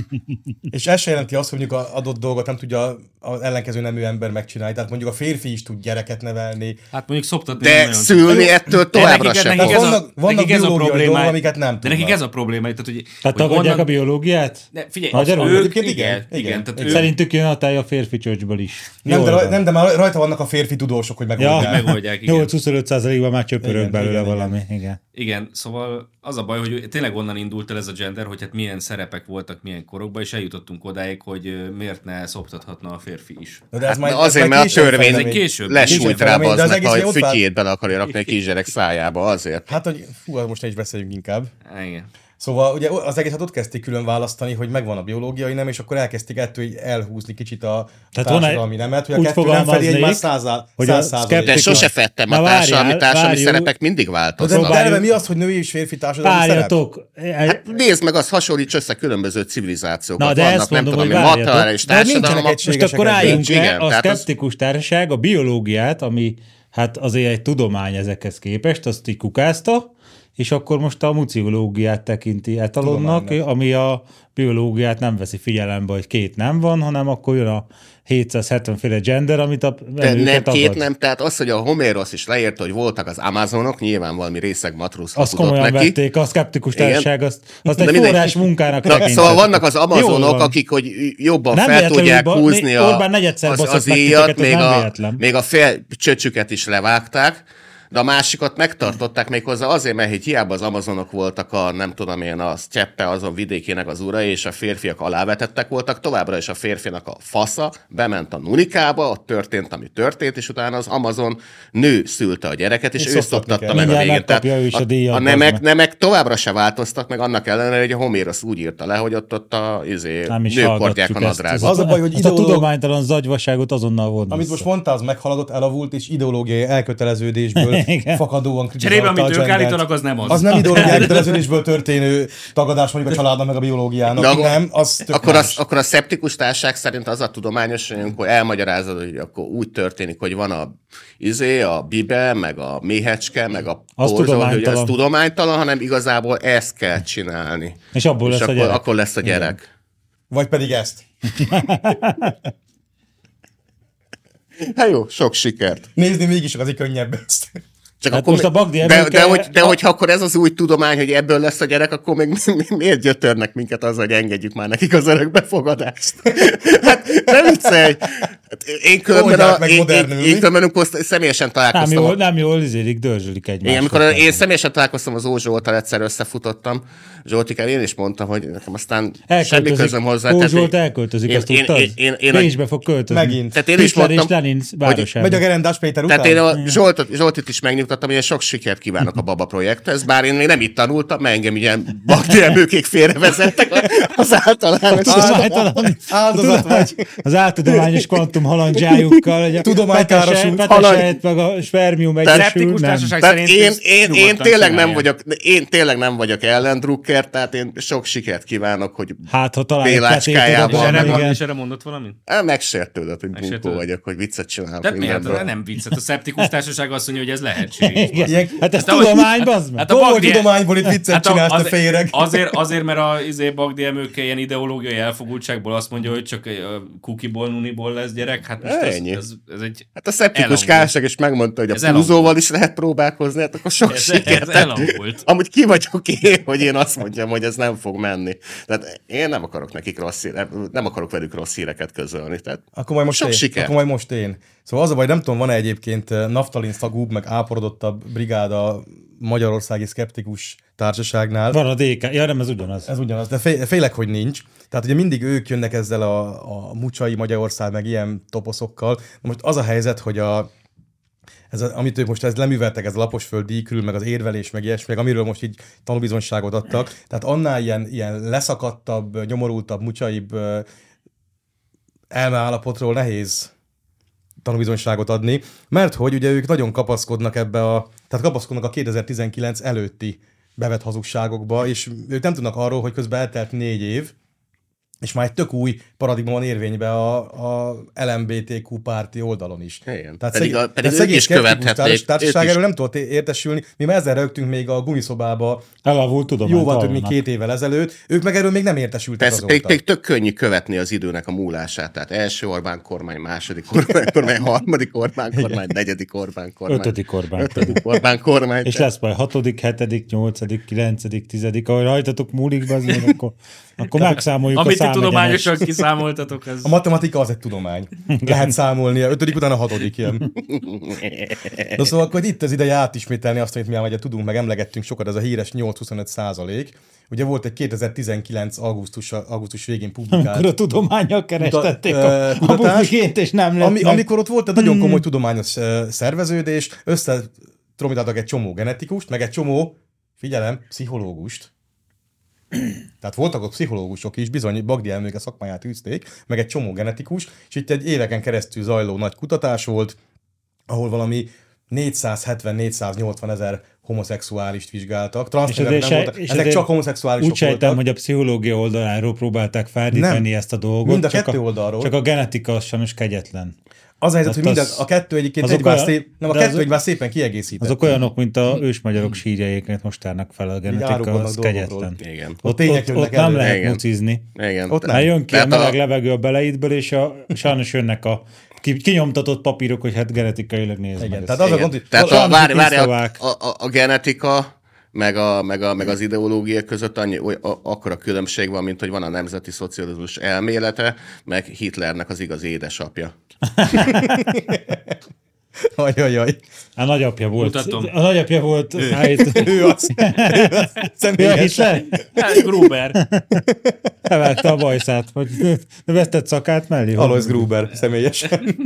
S1: És ez se jelenti azt, hogy mondjuk az adott dolgot nem tudja az ellenkező nemű ember megcsinálni. Tehát mondjuk a férfi is tud gyereket nevelni.
S3: Hát mondjuk szoptatni nem
S4: De
S3: nagyon
S4: szülni ettől továbbra
S3: nekik-
S4: sem.
S3: nekik
S4: fogsz.
S1: ez- Vannak- vannak biológiai dolgok, amiket nem
S3: De
S1: tudnak.
S3: nekik ez a probléma. Tehát, hogy,
S2: Tehát
S3: hogy
S2: tagadják a biológiát?
S3: Ne, figyelj,
S2: Magyarul?
S3: ők,
S1: Egyébként
S3: igen,
S1: igen,
S3: igen,
S1: igen.
S3: igen, tehát
S1: Én
S3: ők
S2: Szerintük jön a táj a férfi csöcsből is.
S1: Nem
S2: Jól
S1: de, raj,
S2: van.
S1: nem, de már rajta vannak a férfi tudósok, hogy megoldják.
S2: Ja,
S3: megoldják, igen.
S2: 8-25%-ban már csöpörök
S1: Igen,
S2: belőle
S1: igen, igen.
S2: valami. Igen.
S3: Igen, szóval az a baj, hogy tényleg onnan indult el ez a gender, hogy hát milyen szerepek voltak milyen korokban, és eljutottunk odáig, hogy ö, miért ne szoptathatna a férfi is.
S1: Na, de ez
S4: Hát
S1: majd,
S4: na azért,
S1: ez majd
S4: mert a
S1: később
S4: törvény-
S1: fejlemény.
S3: Ez egy később.
S1: Később
S4: Lesújt rá
S1: felemé- de az
S4: baznak,
S1: egész
S4: hogy
S1: ott vár-
S4: fütyét bele akarja rakni a kisgyerek szájába azért.
S1: Hát, hogy fú, hát most ne is beszéljünk inkább.
S3: Á, Igen.
S1: Szóval ugye az egészet ott kezdték külön választani, hogy megvan a biológiai nem, és akkor elkezdték ettől így elhúzni kicsit a
S2: Tehát
S1: Tehát
S2: van egy-
S1: társadalmi nemet, hogy a
S2: úgy
S1: kettő nem fedi
S2: fogalmaznék,
S1: egymás százá,
S2: hogy a
S1: száz százalék.
S4: De
S2: szkeptikus-
S4: sose fettem
S2: Na
S4: a
S2: várjál,
S4: társadalmi, társadalmi
S2: várjunk.
S4: szerepek mindig
S1: Na de,
S4: változnak.
S1: de
S2: Próbáljuk-
S1: eleve mi az, hogy női és férfi társadalmi szerep?
S2: Várjatok!
S4: Hát nézd meg, azt hasonlíts össze különböző civilizációkat.
S2: Na, de
S4: Vannak,
S2: ezt
S4: nem
S2: mondom,
S4: tudom,
S2: hogy
S4: én, matára
S2: várjatok.
S4: és
S1: De hát nincsenek
S4: társadalom.
S1: egy-
S2: Most
S1: Egységesek
S2: akkor
S1: ebben.
S2: álljunk le,
S4: Igen,
S2: a
S4: tehát az-
S2: szkeptikus társaság a biológiát, ami hát azért egy tudomány ezekhez képest, azt így kukázta, és akkor most a muciológiát tekinti etalonnak,
S1: Tudománynak.
S2: ami a biológiát nem veszi figyelembe, hogy két nem van, hanem akkor jön a 770 féle gender, amit a
S4: De
S2: emlőke
S4: nem, két
S2: tagad.
S4: nem, tehát az, hogy a Homérosz is leírta, hogy voltak az Amazonok, nyilván valami részeg matróz
S2: Azt
S4: tudott
S2: komolyan
S4: neki.
S2: vették, a szkeptikus
S4: Igen.
S2: társaság, azt, azt
S4: De
S2: egy
S4: mindegy.
S2: forrás munkának
S4: Na, szóval vannak az
S2: Jól
S4: amazonok,
S2: van.
S4: akik hogy jobban
S2: Nem
S4: fel
S2: véletlen,
S4: tudják
S2: hogy ba-
S4: húzni
S2: né-
S4: a,
S2: Orbán negyedszer
S4: az,
S2: baszott
S4: az
S2: meg
S4: íjat,
S2: titeket, ez
S4: még
S2: nem
S4: a,
S2: véletlen.
S4: még a fél csöcsüket is levágták, de a másikat megtartották még hozzá azért, mert hogy hiába az amazonok voltak a, nem tudom én, a cseppe azon vidékének az urai, és a férfiak alávetettek voltak, továbbra is a férfinak a fasza bement a nunikába, ott történt, ami történt, és utána az amazon nő szülte a gyereket, és,
S1: És
S4: ő
S1: szoptatni
S4: szoptatta
S1: kell.
S4: meg a
S2: Mindjárt
S4: végén.
S2: megkapja ő is a díjat,
S4: a
S2: bazd
S4: nemek,
S2: meg.
S4: nemek továbbra se változtak meg, annak ellenére, hogy a Homérosz úgy írta le, hogy ott, ott a izé,
S2: Nem is
S4: nők hordják a
S2: hallgatjuk ezt.
S4: nadrágot.
S1: Az a baj, hogy
S2: Azt a
S1: ideológ-
S2: tudománytalan zagyvaságot azonnal vonna
S1: Amit most
S2: vissza.
S1: mondtál, az meghaladott, elavult és ideológiai elköteleződésből
S2: Igen.
S1: fakadóan
S3: Cserébe,
S1: kritizálta
S3: amit
S1: a
S3: ők
S1: gendert.
S3: állítanak, az nem az.
S1: Az nem ideológiai elköteleződésből történő tagadás mondjuk a családnak meg a biológiának,
S4: De akkor-
S1: nem, az tök
S4: Akkor,
S1: más.
S4: az, akkor a szeptikus társág szerint az a tudományos, hogy amikor elmagyarázod, hogy akkor úgy történik, hogy van a izé, a bibe, meg a méhecske, meg a
S2: Az
S4: porzol, hogy ez
S2: tudománytalan.
S4: tudománytalan, hanem igazából ezt kell csinálni.
S2: És abból
S4: és
S2: lesz a
S4: akkor,
S2: gyerek.
S4: akkor lesz a gyerek.
S1: Vagy pedig ezt.
S4: Hát jó, sok sikert.
S1: Nézni mégis azért könnyebb ezt.
S4: Csak
S2: Hát
S4: akkor
S2: most
S4: mi-
S2: a Bagdi
S4: de,
S2: Emőke-
S4: de, hogy, de hogyha akkor ez az új tudomány, hogy ebből lesz a gyerek, akkor még mi- mi- miért gyötörnek minket azzal, hogy engedjük már nekik az örökbefogadást? hát nem viccelj! Hát Én különben,
S1: Oldják
S4: a,
S1: meg
S4: én, én,
S1: modernül, mi?
S4: én különben amikor személyesen
S2: Nem
S4: találkoztam.
S2: jól,
S4: a-
S2: nem jól izélik, dörzsölik egymást.
S4: Igen, amikor én személyesen találkoztam az Ózs Zsoltal, egyszer összefutottam. Zsoltikán én is mondtam, hogy nekem aztán semmi közöm hozzá.
S2: Ó,
S4: tehát
S2: Zsolt
S4: én-
S2: elköltözik,
S4: én-
S2: azt
S4: én,
S2: tudtad?
S4: én, én, én, a-
S2: Bécsbe fog költözni.
S1: Megint.
S4: tehát én is
S2: Hitler és
S4: mondtam,
S2: Lenin városába.
S1: Megy a gerendás Péter után?
S4: Tehát én a Zsoltot, Zsoltit is megnyugtattam, hogy én sok sikert kívánok a Baba projekthez, bár én még nem itt tanultam, mert engem ilyen bakti emőkék félrevezettek az általános.
S2: Tudománytalan-
S1: Áldozat vagy.
S2: Az áltudományos kvantum halandzsájukkal, hogy a
S1: Tudománykáros
S2: petese-
S1: út.
S2: petesejt, meg a spermium egyesül,
S3: szkeptikus
S2: nem.
S3: társaság
S4: Tehát
S3: szerint
S4: én,
S3: ezt
S4: én, én,
S3: nyugodtan
S4: tényleg nem
S3: csinálják.
S4: vagyok, én tényleg nem vagyok ellendrukker, tehát én sok sikert kívánok, hogy
S2: Hát, ha talál egy
S4: Bélácskájában.
S2: petét
S4: És
S3: És erre,
S2: oda
S3: mond,
S2: igen.
S3: és erre mondott valamit?
S4: Á, megsértődött, hogy bunkó
S3: Megsértődött.
S4: vagyok, hogy viccet csinálok
S3: De miért?
S4: mindenből.
S3: De nem vicc. Hát a szeptikus társaság azt mondja, hogy ez lehetséges.
S2: Igen.
S1: Ilyen-
S2: Hát ez
S3: Hát ahogy-
S2: tudomány, bazd meg.
S3: Hát a
S1: Komoly
S3: Bagdi- Hát
S1: tudományból itt viccet
S3: a-
S1: csinálsz, te
S3: azért-
S1: féreg.
S3: Azért, azért, mert a izé Bagdi Emőke ilyen ideológiai elfogultságból azt mondja, hogy csak ö, kukiból, nuniból lesz gyerek. Hát most ez,
S4: Ennyi.
S3: ez, ez egy...
S4: Hát a szeptikus
S3: Elhangzott.
S4: kárság is megmondta, hogy
S3: Ez
S4: a
S3: elhangzott.
S4: húzóval is lehet próbálkozni, hát akkor sok
S3: Ez- ez
S4: sikert.
S3: elhangzott.
S4: Amúgy ki vagyok én, hogy én azt mondjam, hogy ez nem fog menni. Tehát én nem akarok nekik rossz híre, nem akarok velük rossz híreket közölni. Tehát
S1: Akkor majd most
S4: sok
S1: én.
S4: sikert.
S1: Akkor majd most én. Szóval az a baj, nem tudom, van-e egyébként eh, naftalin szagúbb, meg áporodottabb brigáda Magyarországi Szkeptikus Társaságnál.
S2: Van a DK, ja nem, ez ugyanaz.
S1: Ez ugyanaz, de fé- félek, hogy nincs. Tehát ugye mindig ők jönnek ezzel a, a mucsai Magyarország, meg ilyen toposzokkal. Na most az a helyzet, hogy a, ez, a- amit ők most ez leműveltek, ez a laposföld díjkül, meg az érvelés, meg ilyesmi, meg amiről most így tanúbizonyságot adtak. Tehát annál ilyen, ilyen leszakadtabb, nyomorultabb, mucsaibb ö, elmeállapotról nehéz tanúbizonyságot adni, mert hogy ugye ők nagyon kapaszkodnak ebbe a, tehát kapaszkodnak a 2019 előtti bevett hazugságokba, és ők nem tudnak arról, hogy közben eltelt négy év, és már egy tök új paradigma van érvénybe a, a LMBTQ párti oldalon is.
S4: Igen.
S1: Tehát
S4: Pedig a-
S1: szegény, pedig
S4: pedig ők
S1: szegény
S4: is
S1: is követhetnék.
S4: követhetnék,
S1: Társaság
S4: ők is.
S1: erről nem tudott é- értesülni. Mi már ezzel rögtünk még a gumiszobába
S2: Elavult tudom.
S1: jóval több, mint két évvel ezelőtt. Ők meg erről még nem értesültek
S4: Persze,
S1: azóta.
S4: pedig, pedig tök könnyű követni az időnek a múlását. Tehát első Orbán kormány, második Orbán kormány, harmadik Orbán kormány, negyedik Orbán kormány.
S2: Ötödik Orbán
S4: Ötödik Orbán kormány.
S2: És lesz majd hatodik, hetedik, nyolcadik, kilencedik, tizedik, ahogy rajtatok múlik, be, azért, akkor, akkor megszámoljuk a
S3: Amit ti
S2: számegyenes.
S3: tudományosan kiszámoltatok, ez...
S1: A matematika az egy tudomány. Lehet számolni, a ötödik után a hatodik ilyen. Na szóval akkor itt az ideje átismételni azt, amit mi már ugye tudunk, meg emlegettünk sokat, ez a híres 8-25 százalék. Ugye volt egy 2019. augusztus, augusztus végén
S2: Akkor
S1: publikált
S2: a tudományjal kerestették
S1: Kutat- ö,
S2: a, a
S1: kutatás,
S2: publiként, és nem lett
S1: Ami,
S2: meg. Hmm.
S1: amikor ott volt egy nagyon komoly tudományos ö, szerveződés, összetromítottak egy csomó genetikust, meg egy csomó, figyelem, pszichológust. Tehát voltak ott pszichológusok is, bizony Bagdi elmék a szakmáját űzték, meg egy csomó genetikus, és itt egy éveken keresztül zajló nagy kutatás volt, ahol valami 470-480 ezer homoszexuálist vizsgáltak. Transzneműek
S2: azért
S1: nem
S2: se-
S1: voltak,
S2: és
S1: ezek
S2: azért
S1: csak homoszexuálisok
S2: Úgy sejtem,
S1: voltak.
S2: hogy a pszichológia oldaláról próbálták fárdítani
S1: Nem.
S2: ezt a dolgot.
S1: Mind a
S2: csak
S1: kettő oldalról.
S2: Csak a genetika sajnos kegyetlen.
S1: Az a helyzet, hogy
S2: Hát
S1: minden,
S2: az-
S1: a kettő egyébként
S2: azok
S1: egymás,
S2: olyan-
S1: szép, nem, a
S2: de
S1: kettő
S2: azok-
S1: egymás szépen kiegészített.
S2: Azok olyanok, mint a ősmagyarok sírjaiket most tárnak fel a genetika,
S1: árulkodnak
S2: az
S1: dolgokról.
S2: kegyetlen.
S4: Igen.
S2: Ott,
S1: tények
S2: ott,
S1: jönnek
S2: ott nem
S1: elő.
S2: lehet
S4: Igen.
S2: mucizni.
S4: Igen.
S1: Ott nem.
S2: Hát jön ki a
S4: Tehát a-
S2: meleg levegő a beleidből, és a, sajnos jönnek a ki- kinyomtatott papírok, hogy hát genetikailag nézd
S1: Igen,
S2: meg.
S1: tehát
S2: ezt.
S1: az a
S4: Igen.
S1: gond, hogy
S4: Tehát a,
S2: valami
S4: várj, várj, a,
S2: tisztavák.
S4: a, a, a genetika, meg, a, meg, a, meg az ideológia között annyi, oly, a, akkora különbség van, mint hogy van a nemzeti szocializmus elmélete, meg Hitlernek az igaz édesapja.
S1: Ajajaj.
S2: A nagyapja volt.
S3: Mutatom.
S2: A nagyapja volt. Hát,
S1: Ő az. Ő az.
S2: ja,
S1: Személyes.
S2: Hitler
S3: Hát, Gruber.
S2: elvágta a bajszát, hogy vesztett szakát mellé. hogy-
S1: Alois Gruber személyesen.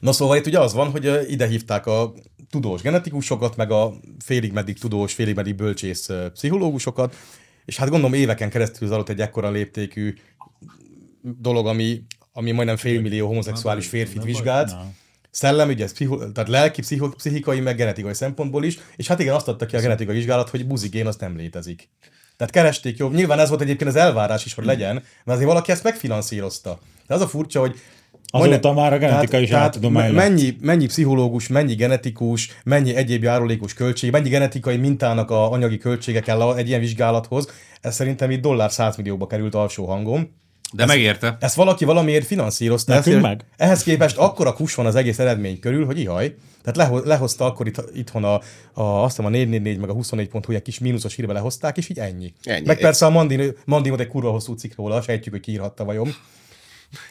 S1: Na szóval itt ugye az van, hogy ö, ide hívták a tudós genetikusokat, meg a félig meddig tudós, félig meddig bölcsész ö, pszichológusokat, és hát gondolom éveken keresztül zajlott egy ekkora léptékű dolog, ami, ami majdnem félmillió homoszexuális férfit vizsgált. Szellem, ugye, pszicho- tehát lelki, pszicho- pszichikai, meg genetikai szempontból is, és hát igen, azt adta ki a genetikai vizsgálat, hogy buzigén az nem létezik. Tehát keresték jobb. Nyilván ez volt egyébként az elvárás is, hogy legyen, mert azért valaki ezt megfinanszírozta. De az a furcsa, hogy
S2: Azóta
S1: majdnem-
S2: már a genetika
S1: tehát-
S2: is
S1: tehát
S2: áltudomány
S1: me-
S2: lett.
S1: mennyi, mennyi pszichológus, mennyi genetikus, mennyi egyéb járulékos költség, mennyi genetikai mintának a anyagi költsége kell a- egy ilyen vizsgálathoz, ez szerintem itt dollár 100 millióba került alsó hangom.
S3: De megérte.
S1: Ezt valaki valamiért finanszírozta.
S2: Nekünk
S1: Ezt-
S2: meg?
S1: Ehhez képest akkora kus van az egész eredmény körül, hogy ihaj. Tehát leho- lehozta akkor itt, itthon a, a, azt hiszem a 444 meg a 24.hu egy kis mínuszos hírbe lehozták, és így ennyi.
S4: Ennyi.
S1: Meg persze a Mandin, Mandin volt egy kurva hosszú cikk róla, sejtjük, hogy kiírhatta vajon.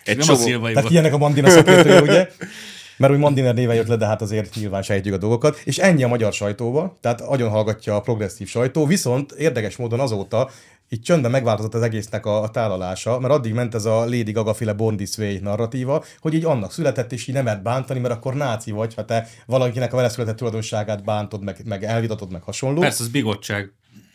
S4: Egy
S3: Nem a
S4: csomó,
S3: szilvai
S1: Tehát
S3: volt.
S1: ilyenek a Mandina szakértője, ugye? Mert úgy Mandiner néven jött le, de hát azért nyilván sejtjük a dolgokat. És ennyi a magyar sajtóba, tehát agyon hallgatja a progresszív sajtó, viszont érdekes módon azóta itt csöndben megváltozott az egésznek a, a tálalása, mert addig ment ez a Lady Gaga féle Born This Way narratíva, hogy így annak született, és így nem lehet bántani, mert akkor náci vagy, ha te valakinek a vele született tulajdonságát bántod, meg, meg elvitatod, meg hasonló.
S3: Persze, az bigottság.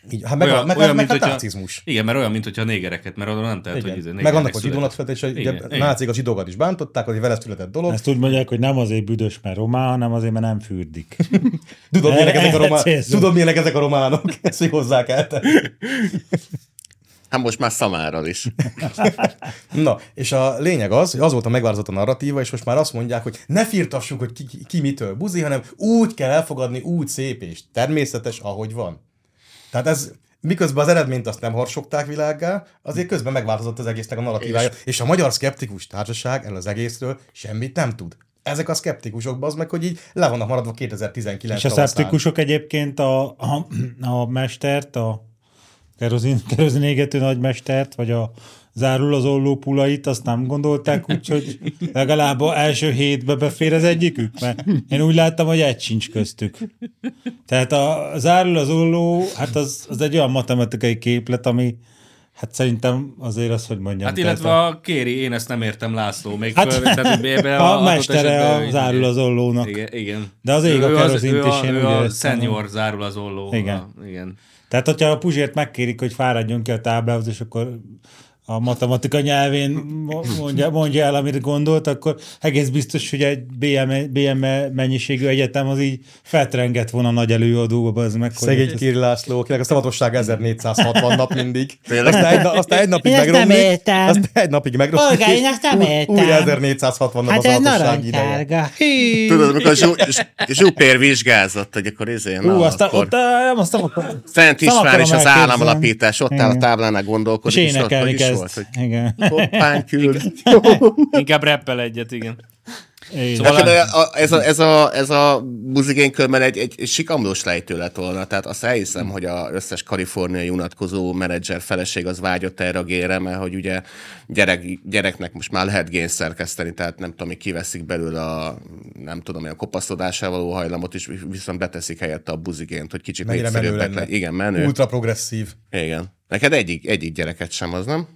S1: Így, hát meg, olyan, meg, olyan, meg hát nácizmus.
S3: Igen, mert olyan, mint hogyha a négereket, mert oda nem tehet, hogy izé,
S1: Igen.
S3: négernek
S1: Meg annak a
S3: született.
S1: zsidónak született, és
S3: Igen,
S1: ugye
S3: igen.
S1: nácik a zsidókat is bántották, hogy vele született dolog.
S2: Ezt úgy mondják, hogy nem azért büdös, mert román, hanem azért, mert nem fürdik.
S1: Tudod, milyenek ezek a, román...
S2: Elcélzünk.
S1: Tudod, milyenek ezek a románok. Ezt még hozzá kell tenni.
S4: hát most már szamárral is.
S1: Na, és a lényeg az, hogy azóta megváltozott a narratíva, és most már azt mondják, hogy ne firtassuk, hogy ki, ki, ki mitől buzi, hanem úgy kell elfogadni, úgy szép és természetes, ahogy van. Tehát ez miközben az eredményt azt nem harsogták világgá, azért közben megváltozott az egésznek a narratívája, és, és a magyar szkeptikus társaság erről az egészről semmit nem tud. Ezek a szkeptikusok, az meg, hogy így le vannak maradva 2019
S2: És a
S1: tavaszán.
S2: szeptikusok egyébként a, a, a mestert, a kerozin, kerozin égető nagymestert, vagy a zárul az ollópulait, azt nem gondolták, úgyhogy legalább a első hétbe befér az egyikük, mert én úgy láttam, hogy egy sincs köztük. Tehát a zárul az olló, hát az, az egy olyan matematikai képlet, ami hát szerintem azért az, hogy mondjam.
S3: Hát
S2: tehát
S3: illetve a kéri, én ezt nem értem László még
S2: Hát,
S3: hát, föl, tehát hogy ebbe
S2: a, a
S3: adott
S2: mestere
S3: esetben-
S2: a zárul az ollónak.
S3: Igen, igen.
S2: De az ég a
S3: Ő
S2: kerozint
S3: ő
S2: is,
S3: a,
S2: én
S3: ő
S2: úgy
S3: a
S2: éreztem.
S3: senior zárul az olló.
S2: Igen.
S3: A, igen.
S2: Tehát, hogyha a Puzsért megkérik, hogy fáradjon ki a táblához, és akkor a matematika nyelvén mo- mondja, mondja el, amit gondolt, akkor egész biztos, hogy egy E- BM, BM mennyiségű egyetem az így feltrengett volna nagy előadóba, az meg. hogy-
S1: Szegény Kiri László, akinek a szabadosság 1460 nap mindig.
S4: Tényleg?
S1: Aztán egy, na- aztán egy napig
S5: Én ezt nem
S1: megromlik.
S5: értem.
S1: Aztán egy napig megromlik.
S5: Olga, én
S1: és
S5: ezt nem
S1: új-
S5: értem.
S1: Új 1460 nap
S5: Hát
S1: a
S5: ez
S1: szabadosság ideje.
S5: narancssárga.
S4: Tudod, amikor Zsú- Zsupér vizsgázott, hogy akkor izé, na,
S2: Ú, aztán
S4: akkor
S2: ott, á, nem, azt nem akarom.
S4: Szent
S2: nem
S4: István
S2: akarom
S4: és az
S2: elképzelni.
S4: államalapítás, ott áll a táblánál
S2: És
S4: gondolkodik, és, ott hogy
S2: énekelni
S4: is
S2: kezd.
S4: volt, hogy
S2: Igen.
S4: hoppán küld.
S3: Inkább rappel egyet, igen.
S2: Igen.
S3: Szóval
S4: Hát, de a- ez, a, ez, a, ez a muzigénkörben egy, egy sikamlós lejtő lett volna, tehát azt elhiszem, hogy az összes kaliforniai unatkozó menedzser feleség az vágyott erre a gére, mert hogy ugye gyerek, gyereknek most már lehet génszerkeszteni, tehát nem tudom, hogy kiveszik belőle a, nem tudom, a kopaszodásával való hajlamot, és viszont beteszik helyette a buzigént, hogy kicsit
S1: Mennyire menő
S4: népszerűbbek
S1: lenne.
S4: le. Igen, menő.
S1: Ultra progresszív.
S4: Igen. Neked egyik, egyik gyereket sem az, nem?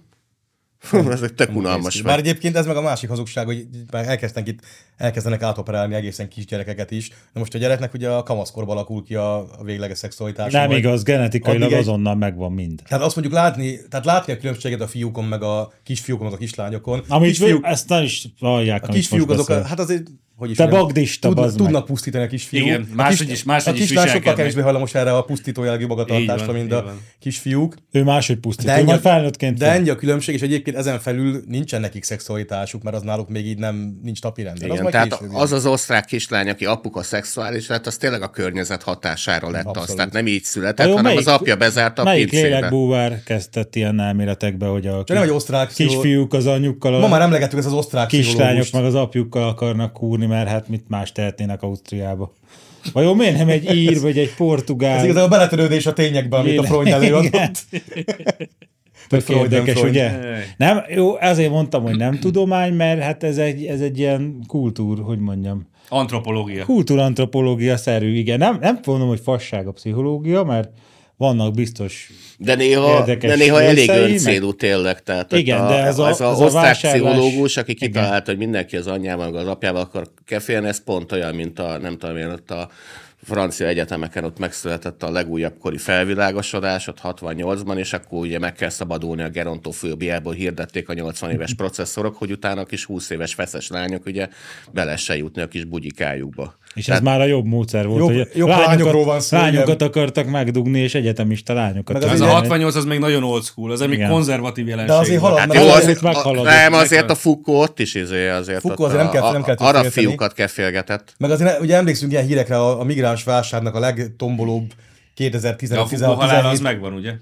S4: Fú, ez egy tök unalmas
S1: Bár
S4: vagy.
S1: egyébként ez meg a másik hazugság, hogy már elkezdenek itt, elkezdenek átoperálni egészen kisgyerekeket is. Na most a gyereknek ugye a kamaszkorban alakul ki a, a végleges szexualitása.
S2: Nem
S1: vagy-
S2: igaz, genetikailag
S1: Addig egy-
S2: azonnal megvan mind.
S1: Tehát azt mondjuk látni, tehát látni a különbséget a fiúkon, meg a kisfiúkon, meg a kislányokon.
S2: Amit
S1: kisfiúk,
S2: ezt nem is hallják.
S1: a
S2: amit
S1: kisfiúk
S2: most
S1: azok,
S2: beszél.
S1: hát azért, hogy is
S2: Te
S1: mondjam,
S2: bagdista,
S1: tudnak,
S2: bazd meg.
S1: tudnak pusztítani a kisfiúk.
S3: Igen, máshogy is- máshogy
S1: a
S3: is
S1: kislány sokkal
S3: viselkednek.
S1: kevésbé hajlamos erre a pusztító jellegű magatartásra,
S3: Így van,
S1: mint
S3: így
S1: a
S3: van.
S1: kisfiúk.
S2: Ő máshogy pusztít.
S1: ennyi
S2: Ő
S1: a-
S2: majd felnőttként.
S1: de
S2: fog.
S1: ennyi a különbség, és egyébként ezen felül nincsen nekik szexualitásuk, mert az náluk még így nem, nincs napirenden.
S4: Igen,
S1: Hát az
S4: tehát
S1: később jön.
S4: az az osztrák kislány, aki apuka szexuális lett, az tényleg a környezet hatására lett
S1: Abszolút.
S4: az. Tehát nem így
S2: Na
S4: született,
S2: jó,
S4: hanem
S2: melyik-
S4: az apja bezárta a
S2: Melyik
S4: pincébe.
S2: lélekbúvár kezdett ilyen elméletekbe, hogy a
S1: De nem, hogy osztrák pszichó-
S2: kisfiúk az anyjukkal,
S1: Ma
S2: a
S1: már emlegettük ezt az osztrák
S2: kislányok
S1: pszichológust.
S2: meg az apjukkal akarnak kúrni, mert hát mit más tehetnének Ausztriába. Vajon miért nem egy ír vagy egy
S1: Ez
S2: portugál?
S1: igazából a beletörődés a tényekben, amit a Freud előadott.
S2: Tök
S1: Freud, nem
S2: érdekes,
S1: Freud.
S2: ugye? Nem, jó, ezért mondtam, hogy nem tudomány, mert hát ez egy, ez egy ilyen kultúr, hogy mondjam,
S3: Antropológia.
S2: kultúrantropológia szerű, igen. Nem, nem mondom, hogy fasság a pszichológia, mert vannak biztos
S4: De néha,
S2: Érdekes
S4: de néha elég
S2: részei, meg-
S4: öncélú tényleg. Tehát ott
S2: Igen,
S4: a,
S2: de ez a-
S4: az, a,
S2: ez
S4: az
S2: a
S4: osztrák
S2: vásárlás-
S4: pszichológus, aki kitalálta, hogy mindenki az anyjával, meg az apjával akar kefélni, ez pont olyan, mint a, nem tudom én, ott a francia egyetemeken ott megszületett a legújabb kori felvilágosodás, ott 68-ban, és akkor ugye meg kell szabadulni a gerontofóbiából, hirdették a 80 éves
S2: Mhm.
S4: processzorok, hogy utána a kis 20 éves feszes lányok ugye bele se jutni a kis bugyikájukba.
S2: És ez már a jobb módszer volt,
S1: Jobb-
S2: hogy
S1: jobb lányokról van szó,
S2: lányokat
S1: igen.
S2: akartak megdugni, és egyetemista lányokat.
S1: Meg az
S3: Ez a
S1: Igen.
S3: 68 az még nagyon old school, az még
S2: Igen.
S3: konzervatív jelenség.
S1: De azért
S3: volt.
S1: halad,
S4: Hát
S1: mert
S4: jó,
S2: az-
S1: az,
S4: azért,
S2: amit
S4: a,
S2: meghaladott.
S4: nem, azért a Foucault ott is izé, azért,
S1: Foucault
S4: ott
S1: azért nem kell-
S4: a,
S1: nem kell
S4: a, arab
S1: félteni.
S4: fiúkat kefélgetett.
S1: meg azért ugye emlékszünk ilyen hírekre a, a migráns válságnak a legtombolóbb 2015
S3: De a fugó halála az megvan, ugye?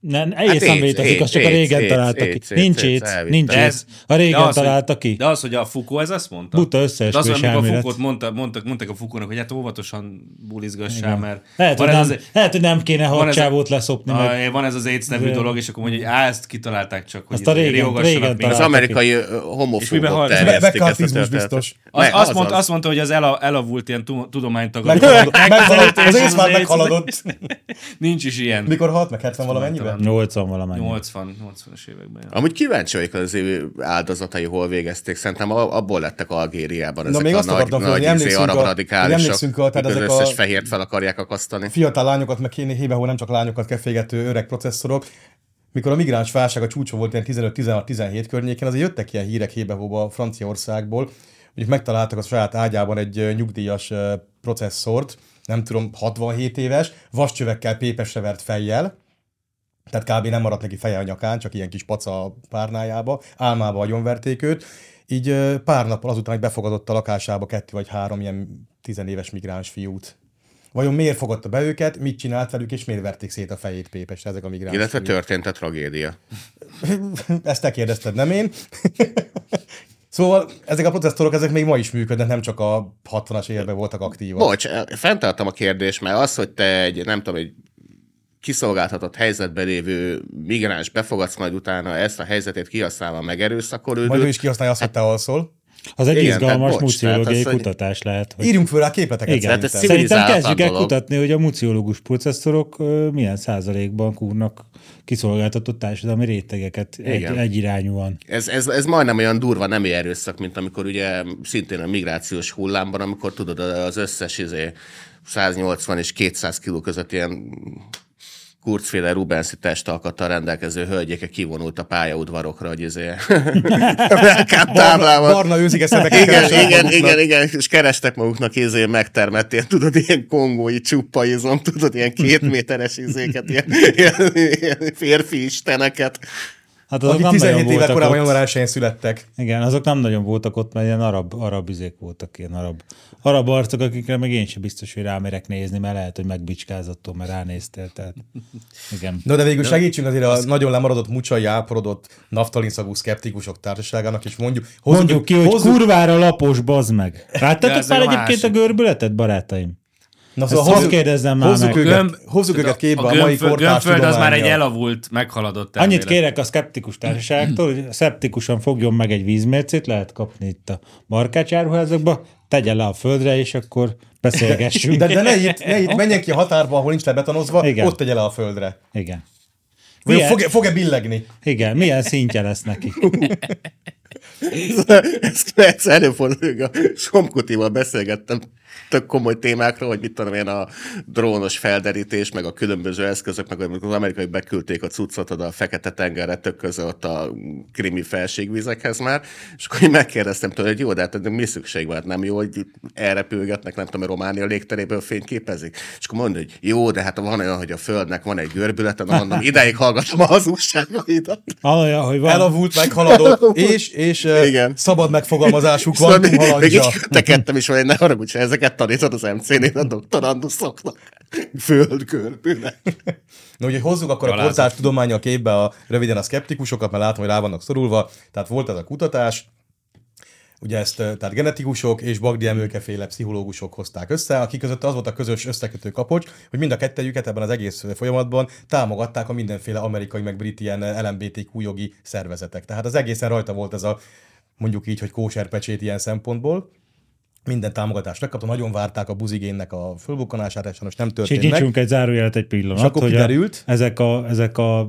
S2: Nem, egész nem
S4: éjsz,
S2: létezik,
S4: éjsz,
S2: az csak a
S4: éjsz,
S2: régen
S4: éjsz,
S2: találta ki.
S4: éjsz, éjsz,
S2: Nincs
S4: éjsz,
S2: éjsz,
S4: elvittem.
S2: nincs
S4: De ez-
S2: éjsz. A
S3: De
S2: régen
S3: az, hogy-
S2: találta ki.
S3: De az, hogy a Foucault ez azt mondta.
S2: Buta
S3: De az,
S2: összeesküvés
S3: amikor a
S2: elmélet.
S3: Foucault mondta, mondtak, mondtak a Foucault-nak, hogy hát óvatosan bulizgassál, mert
S2: Lehet, hogy
S3: van, ez
S2: nem,
S3: az,
S2: lehet, hogy nem kéne
S3: van ez-
S2: hadcsávót leszopni, meg
S3: a, van ez az AIDS nevű
S2: De-
S3: dolog, és akkor mondja, hogy á, ezt kitalálták csak, hogy
S2: Azt a
S3: izé,
S2: régen-
S3: riogassanak
S2: régen
S4: Az
S3: minket.
S2: találták.
S4: amerikai ö,
S3: miben
S4: homofóbok
S3: halt?
S4: terjesztik ezt a
S1: Megkartizmus
S4: történetet.
S1: biztos.
S3: Az,
S4: Ne,
S3: azt,
S4: azaz.
S3: mondta, azt mondta, hogy az ela, elavult ilyen tu- tudománytagadó.
S1: Meghaladott, meghaladott, az ész már
S3: AIDS-
S1: meghaladott.
S3: Nincs is ilyen.
S1: Mikor halt meg 70 valamennyiben?
S2: 80 valamennyi.
S3: 80, 80-as években. ja.
S4: Amúgy kíváncsi vagyok az ő áldozatai, hol végezték. Szerintem a- abból lettek Algériában
S1: Na,
S4: ezek
S1: még
S4: a
S1: azt
S4: nagy,
S1: akartam
S4: nagy
S1: mondani,
S4: izé,
S1: emlékszünk
S4: arab
S1: a-
S4: radikálisok,
S1: hogy emlékszünk a- tehát
S4: akik az
S1: ezek a-
S4: összes fehért fel akarják akasztani.
S1: Fiatal lányokat, meg kéne hébe, hol nem csak lányokat kell fégető öreg processzorok. Mikor a migráns válság a csúcsa volt ilyen 15-16-17 környéken, azért jöttek ilyen hírek hébe-hóba Franciaországból, hogy megtaláltak a saját ágyában egy ö, nyugdíjas ö, processzort, nem tudom, 67 éves, vascsövekkel pépesre vert fejjel, tehát kb. nem maradt neki feje a nyakán, csak ilyen kis paca a párnájába, álmába agyonverték őt. Így ö, pár nappal azután, hogy befogadott a lakásába kettő vagy három ilyen tizenéves migráns fiút. Vajon miért fogadta be őket, mit csinált velük, és miért verték szét a fejét pépesre ezek a migráns
S4: Illetve
S1: fiúk?
S4: történt a tragédia.
S1: Ezt te kérdezted, nem én. szóval ezek a protestorok, ezek még ma is működnek, nem csak a 60-as években voltak aktívak.
S4: Bocs, eh, fenntartom a kérdést, mert az, hogy te egy, nem tudom, egy kiszolgáltatott helyzetben lévő migráns befogadsz, majd utána ezt a helyzetét kihasználva megerőszakol
S1: Majd ő is kihasználja azt, hogy te alszol.
S2: Az egy
S4: Igen,
S2: Igen,
S4: tehát
S2: izgalmas
S4: bocs,
S2: muciológiai
S4: tehát az, hogy-
S2: kutatás lehet. Hogy...
S1: Írjunk föl rá képleteket
S2: Igen,
S4: Tehát ez
S1: szerintem.
S4: szív-
S2: szerintem
S4: civilizáltan
S2: kezdjük el
S4: dolog.
S2: kutatni, hogy a muciológus processzorok ö, milyen százalékban kúrnak kiszolgáltatott társadalmi rétegeket egy,
S4: Igen.
S2: egyirányúan.
S4: Ez, ez, ez majdnem olyan durva nem erőszak, mint amikor ugye szintén a migrációs hullámban, amikor tudod, az összes izé, 180 és 200 kiló között ilyen kurcféle Rubenszi testalkattal rendelkező hölgyeke kivonult a pályaudvarokra, hogy izé, táblával.
S1: Barna őzik eszembe
S4: Igen, igen, igen, igen, és kerestek maguknak izé megtermett, ilyen, tudod, ilyen kongói csuppaizom, tudod, ilyen kétméteres izéket, ilyen, ilyen, ilyen férfi isteneket.
S2: Hát
S1: Akik
S2: azok nem nagyon
S1: 17 éve
S2: voltak
S1: korábban
S2: ott.
S1: január 1 szulettek.
S2: Igen, azok nem nagyon voltak ott, mert ilyen arab, arab izék voltak, ilyen arab, arab arcok, akikre meg én sem biztos, hogy rámerek nézni, mert lehet, hogy megbicskázattól, mert ránéztél, tehát igen.
S1: No, de végül segítsünk azért a nagyon lemaradott, mucsai áporodott, naftalin szagú szkeptikusok társaságának, és mondjuk, hozzuk,
S2: Mondjuk ki, hogy
S1: hozzuk,
S2: kurvára lapos, bazd meg.
S3: De
S2: Láttatok
S3: ez
S2: már
S3: a
S2: egyébként
S3: másik.
S2: a görbületet, barátaim?
S1: na, szóval
S2: hadd kérdezzem már
S1: hozzuk
S2: meg.
S1: őket,
S3: Gömb-
S1: hozzuk
S3: Tehát
S1: őket képbe a,
S3: gömbföld-
S1: mai kortárs
S3: gömbföld az már egy
S1: tudománnyal.
S3: elavult,
S2: Annyit
S3: meghaladott elmélet.
S2: kérek a szkeptikus társaságtól, hogy szeptikusan fogjon meg egy vízmércét, lehet kapni itt a markácsáruházakba, tegye le a földre, és akkor beszélgessünk.
S1: De, de ne itt, ne itt, menjen ki a határba, ahol nincs lebetonozva,
S2: Igen.
S1: ott tegye le a földre.
S2: Igen.
S1: Vagy
S2: Milyen,
S1: fog-e, fog-e billegni?
S2: Igen, milyen szintje lesz neki?
S4: Ez ez előfordul, hogy a Somkutival beszélgettem tök komoly témákról, hogy mit tudom én, a drónos felderítés, meg a különböző eszközök, meg amikor az amerikai beküldték a cuccot oda a Fekete-tengerre, tök közel ott a krimi felségvizekhez már, és akkor én megkérdeztem tőle, hogy jó, de hát ennek mi szükség van, Hát nem jó, hogy elrepülgetnek, nem tudom, Románia légteréből fényképezik. És akkor mondja, hogy jó, de hát van olyan, hogy a Földnek van egy görbülete, na mondom, ideig hallgatom a hazugságaidat.
S2: Olyan, hogy van.
S1: Elavult, meghaladott, és, és ö,
S4: Igen.
S1: szabad megfogalmazásuk van,
S4: Szóval még- még
S1: halandja.
S4: így tekedtem is, hogy ne haragudj, ha ezeket tanítod az MC-nél a doktoranduszoknak. Földkörbűnek.
S2: Hát
S1: Na ugye hozzuk akkor a
S3: Galázat.
S1: kortárs tudományjal képbe a, röviden a szkeptikusokat, mert látom, hogy rá vannak szorulva. Tehát volt ez a kutatás, ugye ezt ö, tehát genetikusok és Bagdi Emőkeféle pszichológusok hozták össze, akik között az volt a közös összekötő kapocs, hogy mind a kettejüket ebben az egész folyamatban támogatták a mindenféle amerikai meg brit ilyen ö, LMBTQ jogi szervezetek. Tehát az egészen rajta volt ez a mondjuk így, hogy kóserpecsét ilyen szempontból. Minden támogatást megkapta, nagyon várták a buzigénnek a fölbukkanását, és sajnos nem
S2: És így
S1: történt meg.
S2: nyicsunk egy zárójelet egy pillanat,
S1: És akkor
S2: hogy
S1: kiderült?
S2: A, ezek, a, ezek a, az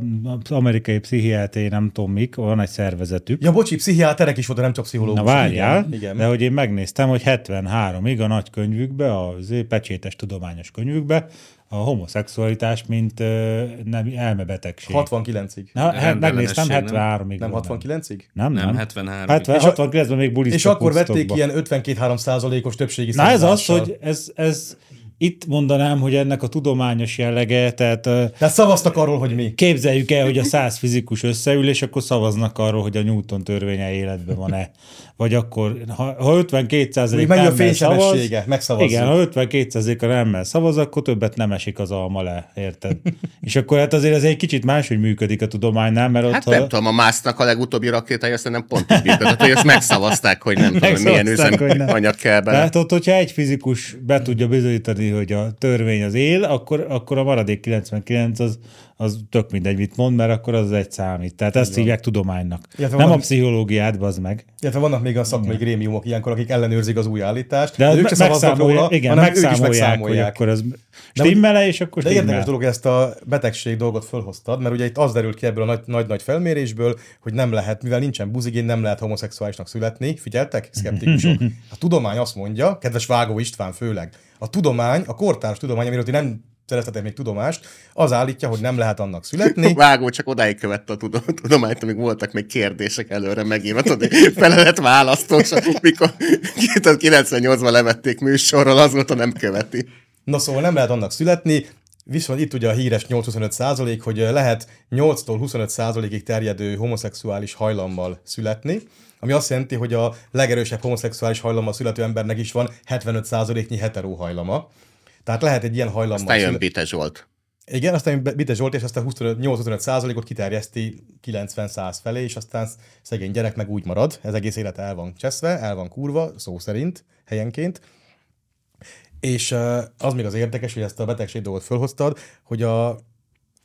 S2: amerikai pszichiátriai nem tudom mik, van egy szervezetük,
S1: Ja, bocsi, pszichiáterek is voltak, nem csak
S2: Na
S1: pszichológusok.
S2: várjál,
S1: Igen, igen.
S2: de hogy én megnéztem, hogy 73-ig a nagy könyvükbe, az pecsétes tudományos könyvükbe a homoszexualitás, mint ö, nem, elmebetegség.
S1: 69-ig.
S2: Na, hát
S3: Rendellenesség,
S2: megnéztem
S3: nem?
S2: 73-ig.
S1: Nem
S2: van.
S1: 69-ig?
S2: Nem,
S3: Nem,
S2: nem.
S3: 73-ig.
S2: 70,
S1: És a-
S2: 69-ben még buliztak
S1: És akkor vették
S2: Woodstockba.
S1: ilyen 52-3 százalékos többségi
S2: Na ez az,
S1: szavazással.
S2: hogy ez, ez itt mondanám, hogy ennek a tudományos jellege, tehát ö,
S1: Tehát szavaztak arról, hogy mi.
S2: Képzeljük el, hogy a száz fizikus összeül, és akkor szavaznak arról, hogy a Newton törvénye életben van-e. Vagy akkor, ha, ha 52 százalék
S1: Még mennyi a
S2: nemmel
S1: fénysebessége?
S2: szavaz-
S1: Megszavazzuk.
S2: Igen, ha 52 százaléka nemmel szavaz, akkor többet nem esik az alma le, érted? és akkor hát azért ez egy kicsit máshogy működik a tudománynál, mert ott
S4: Hát
S2: ha-
S4: nem tudom, a másznak a legutóbbi rakétája, aztán nem pont így működött, hogy ezt megszavazták, hogy nem tudom, hogy milyen
S2: Megszavazták, hogy nem.
S4: üzemanyag kell bele.
S2: Tehát ott, hogyha egy fizikus be tudja bizonyítani, hogy a törvény az él, akkor, akkor a maradék 99 az, az tök mindegy, mit mond, mert akkor az egy számít. Tehát ezt hívják tudománynak.
S1: Illetve
S2: nem
S1: van-
S2: a pszichológiát, bazd meg.
S1: Illetve vannak még a szakmai grémiumok ilyenkor, akik ellenőrzik az új állítást.
S2: De az
S1: Hát ők
S2: me-
S1: se szavaznak
S2: megszámolják,
S1: róla,
S2: igen,
S1: hanem ők is
S2: megszámolják, hogy
S1: megszámolják.
S2: akkor az stimmele, és akkor
S1: De érdekes
S2: stimmel.
S1: dolog, hogy ezt a betegség dolgot fölhoztad, mert ugye itt az derült ki ebből a nagy- nagy-nagy felmérésből, hogy nem lehet, mivel nincsen buzigén, nem lehet homoszexuálisnak születni. Figyeltek, szkeptikusok? A tudomány azt mondja, kedves Vágó István főleg, a tudomány, a kortárs tudomány, amiről ti nem szereztetek még tudomást, az állítja, hogy nem lehet annak születni.
S4: Vágó csak odáig követte a tudom- tudományt, amíg voltak még kérdések előre megírva, tudod, felelet választós, mikor 98-ban levették műsorról, azóta nem követi.
S1: Na szóval nem lehet annak születni, viszont itt ugye a híres 8-25 százalék, hogy ö, lehet 8-tól 25 százalékig terjedő homoszexuális hajlammal születni, ami azt jelenti, hogy a legerősebb homoszexuális hajlammal születő embernek is van 75 százaléknyi heteró hajlama. Tehát lehet egy ilyen hajlammal
S4: Aztán jön
S1: szület-
S4: Bite Zsolt.
S1: Igen, aztán jön Bite Zsolt, és aztán 25 8-25 százalékot kiterjeszti 90-100 felé, és aztán szegény gyerek meg úgy marad, ez egész élet el van cseszve, el van kurva, szó szerint, helyenként. És ö, az még az érdekes, hogy ezt a betegség dolgot fölhoztad, hogy a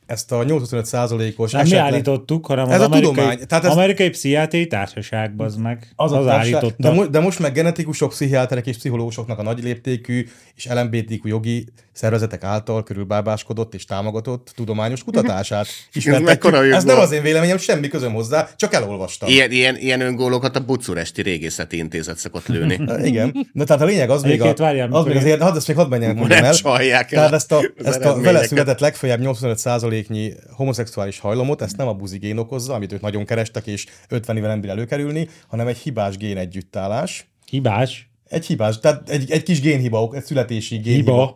S1: ezt a 85%-os
S2: Nem Hát mi állítottuk, hanem
S1: Ez
S2: az
S1: a
S2: amerikai,
S1: tudomány. Tehát ez-
S2: amerikai pszichiátriai társaságban az meg. Az,
S1: az,
S2: az
S1: a társa,
S2: állította.
S1: de, mo- de, most meg genetikusok, pszichiáterek és pszichológusoknak a nagy léptékű és LMBTQ jogi szervezetek által körülbábáskodott és támogatott tudományos kutatását ismertetjük.
S4: mekkora
S1: Ez
S4: jogból?
S1: nem az én véleményem, semmi közöm hozzá, csak elolvastam.
S4: Ilyen, ilyen, ilyen öngólókat a Bucuresti Régészeti Intézet szokott lőni.
S1: Na, Igen. Na tehát a lényeg az még, a,
S2: Egyébként várjál,
S1: az
S2: mikor
S1: még
S2: én-
S1: azért, hadd ezt még hadd menjen mondjam
S4: Ne
S1: el.
S4: csalják el
S1: Tehát ezt a,
S4: az
S1: ezt a vele
S4: eredményeket.
S1: született legfeljebb 85%-nyi homoszexuális hajlamot, ezt nem a buzi gén okozza, amit ők nagyon kerestek, és 50 éven nem bír előkerülni, hanem egy hibás gén együttállás.
S2: Hibás.
S1: Egy hibás, tehát egy, egy kis génhiba, ok- egy születési génhiba.
S2: Hiba.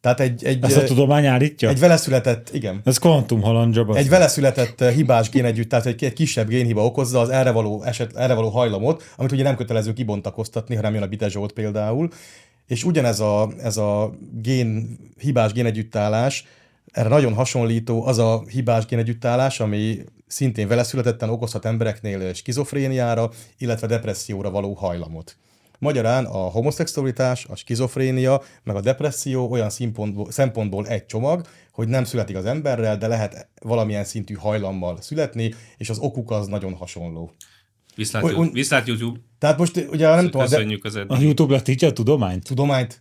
S1: Tehát egy, egy,
S2: Ezt a tudomány állítja?
S1: egy vele született, igen.
S2: Ez kvantum halandja.
S1: Egy vele született eh, hibás génegyütt, tehát egy egy kisebb génhiba okozza az erre való, eset, erre való hajlamot, amit ugye nem kötelező kibontakoztatni, hanem jön a Bite Zsolt például. És ugyanez a, ez a gén, hibás génegyüttállás, erre nagyon hasonlító az a hibás génegyüttállás, ami szintén vele születetten okozhat embereknél eh, skizofréniára, illetve depresszióra való hajlamot. Magyarán a homoszexualitás, a skizofrénia, meg a depresszió olyan színpontból, szempontból egy csomag, hogy nem születik az emberrel, de lehet valamilyen szintű hajlammal születni, és az okuk az nagyon hasonló.
S3: Viszlát,
S1: Oly- un-
S3: viszlát YouTube.
S1: Tehát most ugye nem tudom, de
S3: Köszönjük az eddig.
S2: A YouTube látítja a tudományt?
S1: tudományt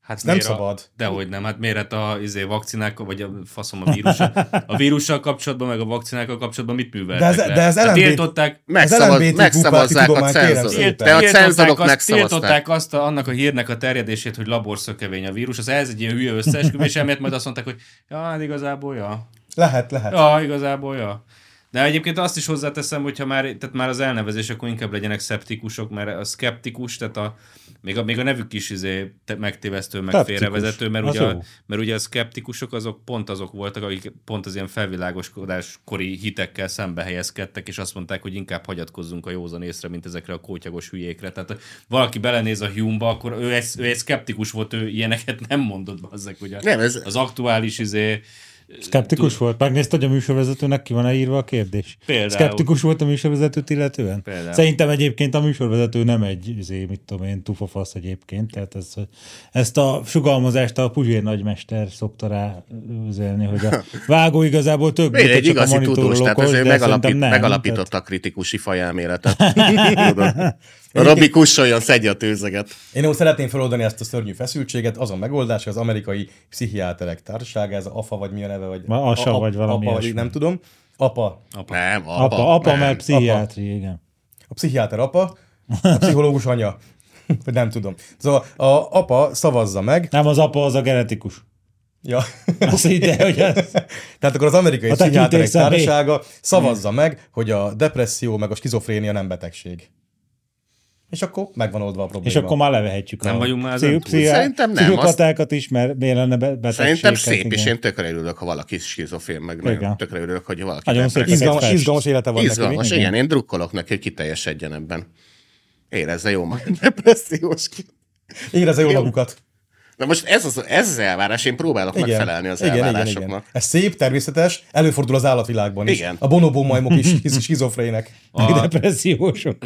S3: Hát
S1: nem
S3: miért a-
S1: szabad.
S3: Dehogy nem, hát miért hát a izé, vakcinák, vagy a faszom a vírus, a vírussal kapcsolatban, meg a vakcinákkal kapcsolatban mit műveltek
S1: De ez-
S3: le?
S1: de ez
S3: Hát
S1: LMB
S3: tiltották,
S1: Az
S4: Megszavaz,
S1: LMBTQ
S4: megszavazzák a
S1: párti tudomány, kérem
S4: cenzorok.
S1: szépen.
S4: De a
S3: tiltották
S4: cenzorok
S3: azt,
S4: megszavazták.
S3: tiltották azt a, annak a hírnek a terjedését, hogy laborszökevény a vírus, az ez egy ilyen hülye összeesküvés, emiatt majd azt mondták, hogy ja, hát igazából, ja.
S1: lehet, lehet.
S3: Ja, igazából, ja. De egyébként azt is hozzáteszem, hogyha már, tehát már az elnevezés, akkor inkább legyenek szeptikusok, mert a szkeptikus, tehát a, még, a, még a nevük is izé te- megtévesztő, meg
S1: Szkeptikus.
S3: félrevezető, mert
S2: Az
S3: ugye, a,
S2: jó.
S3: mert ugye a szkeptikusok azok pont azok voltak, akik pont az ilyen felvilágoskodáskori hitekkel szembe helyezkedtek, és azt mondták, hogy inkább hagyatkozzunk a józan észre, mint ezekre a kótyagos hülyékre. Tehát ha valaki belenéz a Hume-ba, akkor ő egy, ő egy szkeptikus volt, ő ilyeneket nem mondott be ezek, ugye.
S4: Nem, ez-
S3: Az aktuális izé,
S2: Skeptikus volt? Megnézte, hogy a műsorvezetőnek ki van-e írva a kérdés?
S3: Például.
S2: Skeptikus volt a műsorvezetőt illetően?
S3: Például.
S2: Szerintem egyébként a műsorvezető nem egy, izé, mit tudom én, tufafasz egyébként, tehát ez, ezt a sugalmazást a Puzsér nagymester szokta rá üzelni, hogy a vágó igazából több,
S4: Miért egy
S2: csak a
S4: igazi tudós,
S2: monitorról
S4: tehát
S2: okoz,
S4: ez ő
S2: de
S4: megalapít,
S2: szerintem nem.
S4: megalapította a kritikusi fajelméletet. Tudod? A Robi kussoljon, szedje a tőzeget.
S1: Én úgy szeretném feloldani ezt a szörnyű feszültséget, az a megoldás, hogy az amerikai pszichiáterek társasága, ez a AFA vagy mi a neve, vagy
S2: Ma ASA
S1: a-
S2: vagy valami
S1: APA, vagy
S2: ilyesmi.
S1: nem tudom. APA,
S4: Nem, apa.
S2: Tehát apa, apa
S4: nem.
S2: mert pszichiátri, igen.
S1: a pszichiáter apa, a pszichológus anya. Vagy nem tudom. Szóval a apa szavazza meg.
S2: Nem, az apa az a genetikus.
S1: Ja.
S2: Azt hitte, hogy ez...
S1: Tehát akkor az amerikai
S2: A
S1: pszichiáterek
S2: tekintély személy.
S1: társasága szavazza meg, hogy a depresszió meg a skizofrénia nem betegség. És akkor megvan oldva a
S2: És
S1: probléma.
S2: akkor már levehetjük
S3: Nem
S2: a
S3: vagyunk már ezen
S2: pszichi-
S3: túl.
S2: pszichi-
S4: Szerintem nem,
S2: pszichopatákat is, mert miért lenne be- betegségek.
S4: Szerintem szép, és
S2: igen.
S4: én tökre örülök, ha valaki skizofén, meg nagyon
S2: Igen.
S4: tökre örülök, hogy valaki
S2: Nagyon
S4: depresszió.
S2: szép.
S1: izgalmas,
S2: Fest.
S1: izgalmas élete van neki. mi?
S4: Izgalmas, igen. Én drukkolok neki, hogy kiteljesedjen ebben. Érezze jó magát depressziós ki.
S1: Érezze jól magukat.
S4: Na most ez az, ez az elvárás, én próbálok igen. megfelelni az elvárásoknak.
S1: Ez szép, természetes, előfordul az állatvilágban is.
S4: Igen.
S1: A bonobó majmok is is skizofrének.
S2: A... Depressziósok.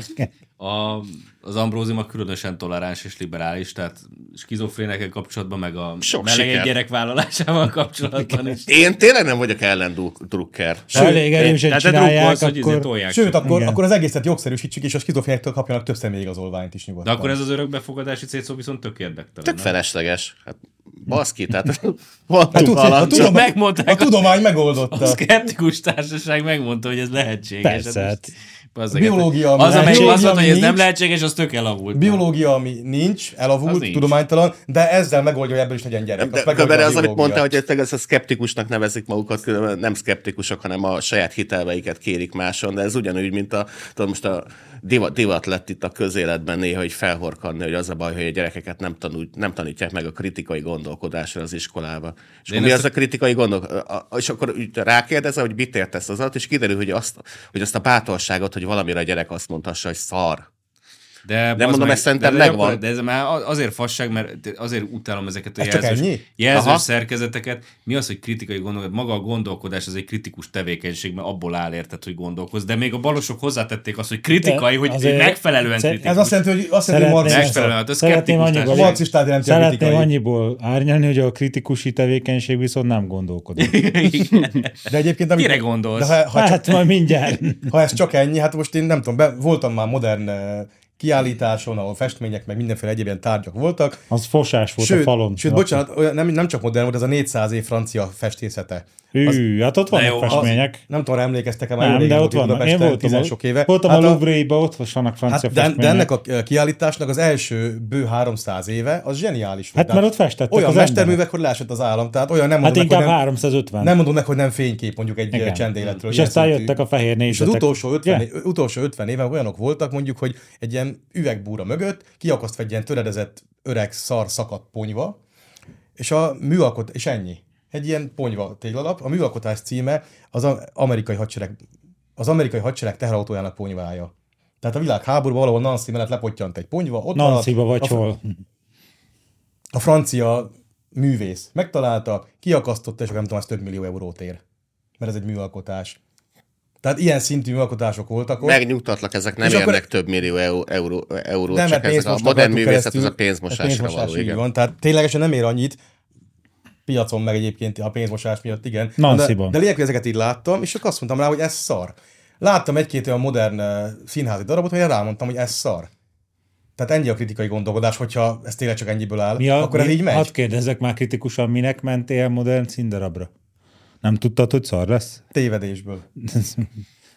S3: A, az ambrózima különösen toleráns és liberális, tehát skizofrénekkel kapcsolatban, meg a
S4: Sok
S3: meleg
S4: siker.
S3: gyerek vállalásával kapcsolatban is.
S4: Én tényleg nem vagyok ellendrukker.
S2: Ha elég erősen
S3: Tehát te drukkolsz,
S2: csinálják,
S3: hogy izé
S2: akkor...
S3: tolják.
S1: Sőt,
S3: Sőt,
S1: akkor,
S2: Igen.
S1: akkor az egészet jogszerűsítsük, és a skizofrénektől kapjanak több személyigazolványt is
S3: de
S1: nyugodtan.
S3: akkor ez az örökbefogadási célszó viszont tök érdektelen.
S4: Tök
S3: nem?
S4: felesleges. Hát, baszki, tehát voltunk
S1: tudomány- a,
S4: halandó.
S1: tudomány,
S3: megmondták
S1: a
S3: a-
S1: tudomány megoldotta.
S3: A szkeptikus társaság megmondta, hogy ez lehetséges.
S2: Persze,
S3: Hát most- bazzeg,
S1: Biológia,
S3: Az, amelyik
S1: biológia
S3: azt mondta, hogy ez nem
S1: nincs.
S3: lehetséges, az tök elavult.
S1: Biológia, ami nincs, elavult,
S3: Az
S1: nincs.
S3: nincs.
S1: tudománytalan, de ezzel megoldja, hogy ebből is legyen gyerek.
S4: De
S1: Azt megoldja
S4: körülbelül
S1: a
S4: az, amit
S1: biológia.
S4: mondta, hogy ezt ezt a szkeptikusnak nevezik magukat, különben nem szkeptikusok, hanem a saját hitelveiket kérik máson, de ez ugyanúgy, mint a, tudom, most a divat, divat lett itt a közéletben néha, hogy felhorkanni, hogy az a baj, hogy a gyerekeket nem, tanul, nem tanítják meg a kritikai gondolkodásra az iskolába. És
S3: én
S4: akkor mi
S3: ezt
S4: az a kritikai gondolkodás? És akkor így rákérdezel, hogy mit értesz az alatt, és kiderül, hogy azt, hogy azt a bátorságot, hogy valamire a gyerek azt mondhassa, hogy szar
S3: De,
S4: De
S3: bazd
S4: mondom, ez szerintem
S3: de, de,
S4: megvan.
S3: gyakor- De ez már a- azért fasság, mert azért utálom ezeket a
S1: Ez csak
S3: jelzős,
S1: ennyi?
S3: jelzős
S4: Aha.
S3: szerkezeteket. Mi az, hogy kritikai gondolkodás? Maga a gondolkodás az egy kritikus tevékenység, mert abból áll érted, hogy gondolkoz. De még a balosok hozzátették azt, hogy kritikai,
S2: De
S3: hogy
S2: azért-
S3: megfelelően
S2: Ez
S3: kritikus.
S1: Ez azt jelenti, hogy azt jelenti, hogy
S2: Szeretném-
S1: marxista.
S3: Megfelelően, hát ez
S2: Szeretném
S3: szkeptikus
S2: annyiból-
S1: A marxistát jelenti a
S2: Szeretném
S1: kritikai.
S2: annyiból árnyalni, hogy a kritikusi tevékenység viszont nem gondolkodik.
S1: De egyébként... amikor-
S3: Mire gondolsz?
S1: De ha, ha, csak,
S2: Hát majd mindjárt.
S1: ha ez csak ennyi, hát most én nem tudom, be, voltam már modern eh, kiállításon, ahol festmények, meg mindenféle egyéb ilyen tárgyak voltak,
S2: Az fosás volt a
S1: Sőt,
S2: falon.
S1: sőt bocsánat, olyan, nem, nem csak modern volt, ez a 400 év francia festészete.
S2: Hű, hát ott
S3: De
S2: vannak
S3: jó, az-
S2: festmények.
S1: Nem tudom, emlékeztek-e már
S2: Nem,
S1: jó régen
S2: de ott
S1: volt
S2: vannak. Én
S1: Budapesten,
S2: voltam, a-
S1: sok éve.
S2: voltam
S1: Hát
S2: a Louvre-ba, ott vannak francia
S1: Hát de,
S2: festmények.
S1: de ennek a kiállításnak az első bő 300 éve, az zseniális volt.
S2: Hát mert ott festettek
S1: Olyan
S2: az
S1: mesterművek, hogy lásott az állam, tehát olyan nem
S2: Hát
S1: mondom, meg,
S2: inkább
S1: hogy nem,
S2: 350.
S1: nem mondom meg, hogy nem fénykép mondjuk egy
S2: Igen.
S1: Igen. csendéletről.
S2: És
S1: ilyen
S2: aztán
S1: szintű.
S2: jöttek a fehér
S1: És az
S2: nézetek.
S1: utolsó 50,
S2: Ugye?
S1: é- utolsó 50 éven olyanok voltak mondjuk, hogy egy ilyen üvegbúra mögött kiakasztva egy ilyen töredezett öreg szar szakadt ponyva, és a műalkot, és ennyi. Egy ilyen ponyva téglalap. A műalkotás címe az a- amerikai hadsereg, az amerikai hadsereg teherautójának ponyvája. Tehát a világháborúban valahol Nancy mellett lepottyant egy ponyva, ott
S2: Nanciba
S1: maradt,
S2: vagy
S1: a,
S2: hol.
S1: a francia művész megtalálta, kiakasztotta, és akkor nem tudom, ez több millió eurót ér. Mert ez egy műalkotás. Tehát ilyen szintű műalkotások voltak ott.
S4: Megnyugtatlak, ezek nem
S1: És akkor-
S4: érnek több millió euró, euró, eurót,
S1: Nem,
S4: csak
S1: mert
S4: ezek a
S1: pénzmosnak
S4: modern
S1: rajtuk
S4: művészet, az
S1: keresztül,
S4: a pénzmosásra
S1: pénzmosás,
S4: való,
S1: így
S4: igen.
S1: Van, tehát ténylegesen nem ér annyit, piacon meg egyébként a pénzmosás miatt, igen. de,
S2: Nancy-ban.
S1: de lényeg, hogy ezeket így láttam, és csak azt mondtam rá, hogy ez szar. Láttam egy-két olyan modern uh, színházi darabot, amire rámondtam, hogy ez szar. Tehát ennyi a kritikai gondolkodás, hogyha ez tényleg csak ennyiből áll,
S2: Mi
S1: akkor ez
S2: mi- hát-
S1: így megy.
S2: Hadd kérdezzek már kritikusan, minek mentél modern színdarabra? Nem tudtad, hogy szar lesz?
S1: Tévedésből.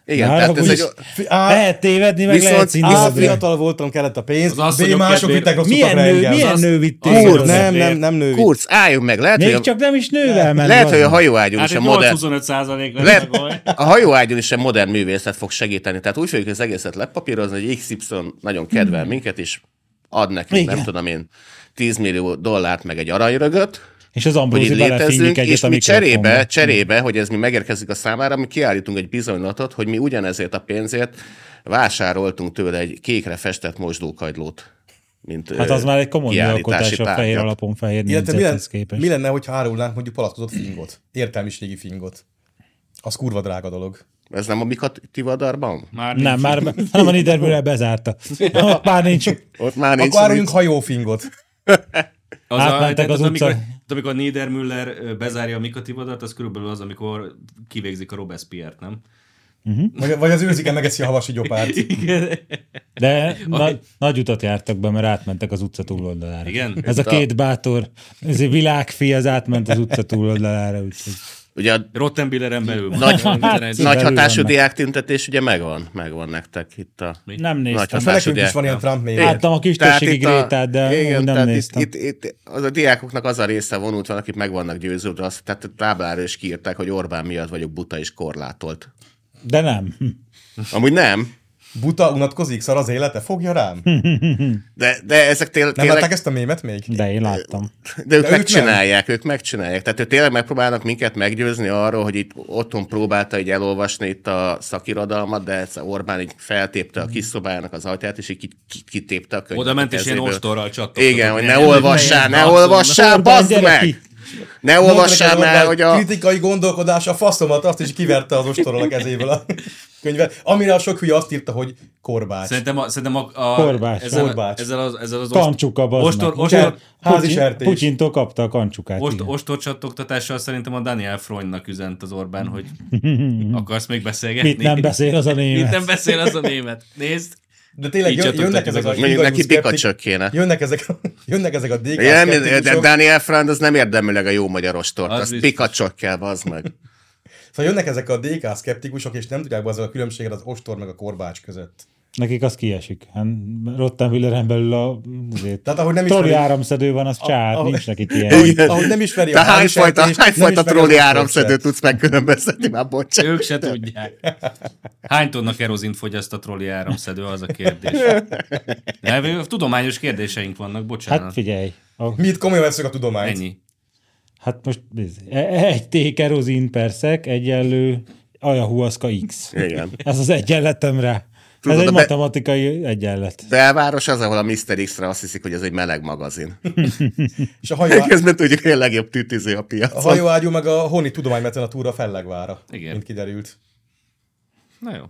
S4: Igen,
S2: Már
S4: tehát ez
S2: amúgy-
S4: egy,
S1: Fi- Á,
S2: Lehet tévedni, meg
S4: viszont-
S2: lehet
S1: á,
S2: színdarabra.
S1: fiatal voltam, kellett a pénz,
S3: Az
S1: B,
S3: asszonyok
S1: mások
S3: kedvére.
S1: vittek rossz
S2: Milyen
S1: utakra
S2: nő,
S1: engem.
S2: milyen
S1: Az-
S2: nő vitt
S3: az-
S2: téged
S3: Kurz,
S2: oda?
S1: nem, nem, nem nő vitt.
S4: Kurz, álljunk meg, lehet,
S2: Még
S4: hogy a,
S2: csak nem is nővel ment.
S4: lehet, hogy a
S2: haza.
S4: hajóágyon
S3: Hát
S4: is a
S3: egy
S4: modern...
S3: 8-25 százalék lesz a
S4: Le,
S3: gól.
S4: a hajóágyon is egy modern művészet fog segíteni. Tehát úgy fogjuk az egészet lepapírozni, hogy XY nagyon
S1: Hmm.
S4: kedvel minket, és ad nekünk,
S2: Igen.
S4: nem tudom én, 10 millió dollárt, meg egy aranyörögöt,
S2: És az
S4: hogy
S2: Ambrózi
S4: itt létezzünk,
S2: belefényik egyet
S4: és
S2: a
S4: mi cserébe,
S2: mikrofonba.
S4: cserébe, hogy ez mi megérkezik a számára, mi kiállítunk egy bizonylatot, hogy mi ugyanezért a pénzért vásároltunk tőle egy kékre festett mosdókagylót. Mint,
S2: Hát
S4: ö,
S2: az már egy komoly
S4: kiállítási
S2: alkotás a fehér
S4: tárgyat.
S2: alapon fehér
S1: Illetve mi, len,
S2: négyzethez képest.
S1: mi lenne, hogyha árulnánk mondjuk palackozott fingot? Értelmiségi fingot. Az kurva drága dolog.
S4: Ez nem a Mikativadarban?
S3: Már
S2: Nem, már hanem a Niedermüller bezárta. Ott már nincs.
S4: Ott már nincs.
S1: Akkor áruljunk hajófingot.
S3: Az
S2: Átmentek
S3: a,
S2: az
S3: az amikor,
S2: utcán.
S3: tehát amikor Niedermüller ö, bezárja a Mikativadat, az körülbelül az, amikor kivégzik a Robespierre-t, nem?
S1: Vagy, vagy az őrzike megeszi a havasi gyopárt.
S3: Igen.
S2: De nagy, nagy utat jártak be, mert átmentek az utca túloldalára.
S3: Igen?
S2: Ez a két bátor, ez egy világfi, az átment az utca túloldalára. Úgyhogy.
S4: Ugye a
S3: Rottenbilleren belül.
S4: Nagy-
S3: Nagy,
S4: nagy hatású
S2: vannak.
S4: diák tüntetés ugye megvan, megvan nektek itt a...
S2: Nem néztem.
S1: Most
S4: Nagy
S1: már nekünk is van ilyen Trump mély.
S2: Láttam a kis
S4: Tehát
S2: térségi
S4: itt a-
S2: Grétát, de
S4: igen,
S2: igen, nem
S4: tehát
S2: néztem.
S4: Itt, itt, itt, az a diákoknak az a része vonult van, akik meg vannak győződve, azt, tehát táblára is kiírták, hogy Orbán miatt vagyok buta és korlátolt.
S2: De nem.
S4: Amúgy nem,
S1: Buta, unatkozik, szar az élete, fogja rám.
S2: Hm.
S1: Nem
S4: de, de ezek tél,
S1: látták
S4: tényleg,
S1: ezt a mémet még?
S2: De én láttam.
S4: de ők
S1: de ők
S4: megcsinálják, ők megcsinálják. Tehát ők tényleg megpróbálnak minket meggyőzni arról, hogy itt otthon próbálta így elolvasni itt a szakirodalmat, de ez Orbán így feltépte a kis szobájának az ajtaját, és így ki- ki- kitépte a könyvet.
S3: Oda ment
S4: a
S3: és ilyen
S4: kezéből.
S3: ostorral csattant.
S4: Igen, hogy ne olvassál, ne olvassál,
S2: Orbán,
S4: bazd
S2: gyere
S4: meg!
S2: ki!
S4: Ne olvassál már, hogy a...
S1: Kritikai gondolkodás a faszomat, azt is kiverte az ostorról a kezéből a könyvet. Amire a sok hülye azt írta, hogy korbács.
S3: Szerintem a, szerintem a, a
S2: Korbács,
S3: ezzel,
S1: korbács.
S3: ezzel, az, ezzel az
S2: Kancsuka, bazd
S3: ostor,
S2: meg.
S3: ostor,
S1: Házi
S2: Putyin-
S1: sertés.
S2: Putyintól kapta a kancsukát.
S3: Ost,
S2: igen.
S3: ostorcsattogtatással szerintem a Daniel Freundnak üzent az Orbán, hogy akarsz még beszélgetni?
S2: Mit nem beszél az a
S3: Mit nem
S2: német?
S3: beszél az a német? Nézd!
S1: De tényleg
S3: Így
S1: jön,
S3: csatottak
S1: jönnek ezek
S3: ezek
S1: a
S3: a-
S4: Mondjuk neki
S1: igazú
S4: pikacsök
S1: szkeptik-
S4: kéne.
S1: Jönnek ezek, a- jönnek ezek a DK
S4: Ja, nem, de- de
S1: szkeptikusok.
S4: Daniel Frand az nem érdemleg a jó magyar ostort,
S3: Az
S4: az, az
S3: biztos.
S4: pikacsok kell, az meg.
S1: Szóval jönnek ezek a DK szkeptikusok, és nem tudják az a különbséget az ostor meg a korbács között.
S2: Nekik az kiesik. Hát Rottenmülleren belül a azért,
S1: Tehát ahogy nem
S2: trolli
S1: ismerik-
S2: áramszedő van, az csát,
S1: ahogy-
S2: nincs nekik ilyen.
S1: ahogy nem ismeri
S4: De
S1: a házi
S4: hányfajta,
S1: sertést,
S4: hányfajta
S1: nem ismeri
S4: trolli
S1: az
S4: áramszedőt
S1: ostort
S4: tudsz megkülönböztetni, már bocs.
S3: Ők se tudják. Hány tonna kerozint fogyaszt a trolli áramszedő, az a kérdés. De, tudományos kérdéseink vannak, bocsánat.
S2: Hát figyelj, a,
S1: sem. Mi itt komolyan veszük a tudományt.
S3: Ennyi.
S2: hát most nézd, e- egy T kerozin per szek egyenlő ajahuaszka X.
S4: Igen.
S2: Ez az egyenletem rá. Ez egy
S4: a be-
S2: matematikai egyenlet.
S4: belváros az, ahol a Mr. X-re azt hiszik, hogy ez egy meleg magazin.
S1: És a hajó,
S4: Közben tudjuk, hogy a legjobb tűtűző a
S1: a
S4: piacon.
S1: hajóágyú meg a honi tudománymecen a fellegvára,
S3: Igen.
S1: mint kiderült.
S3: Na jó.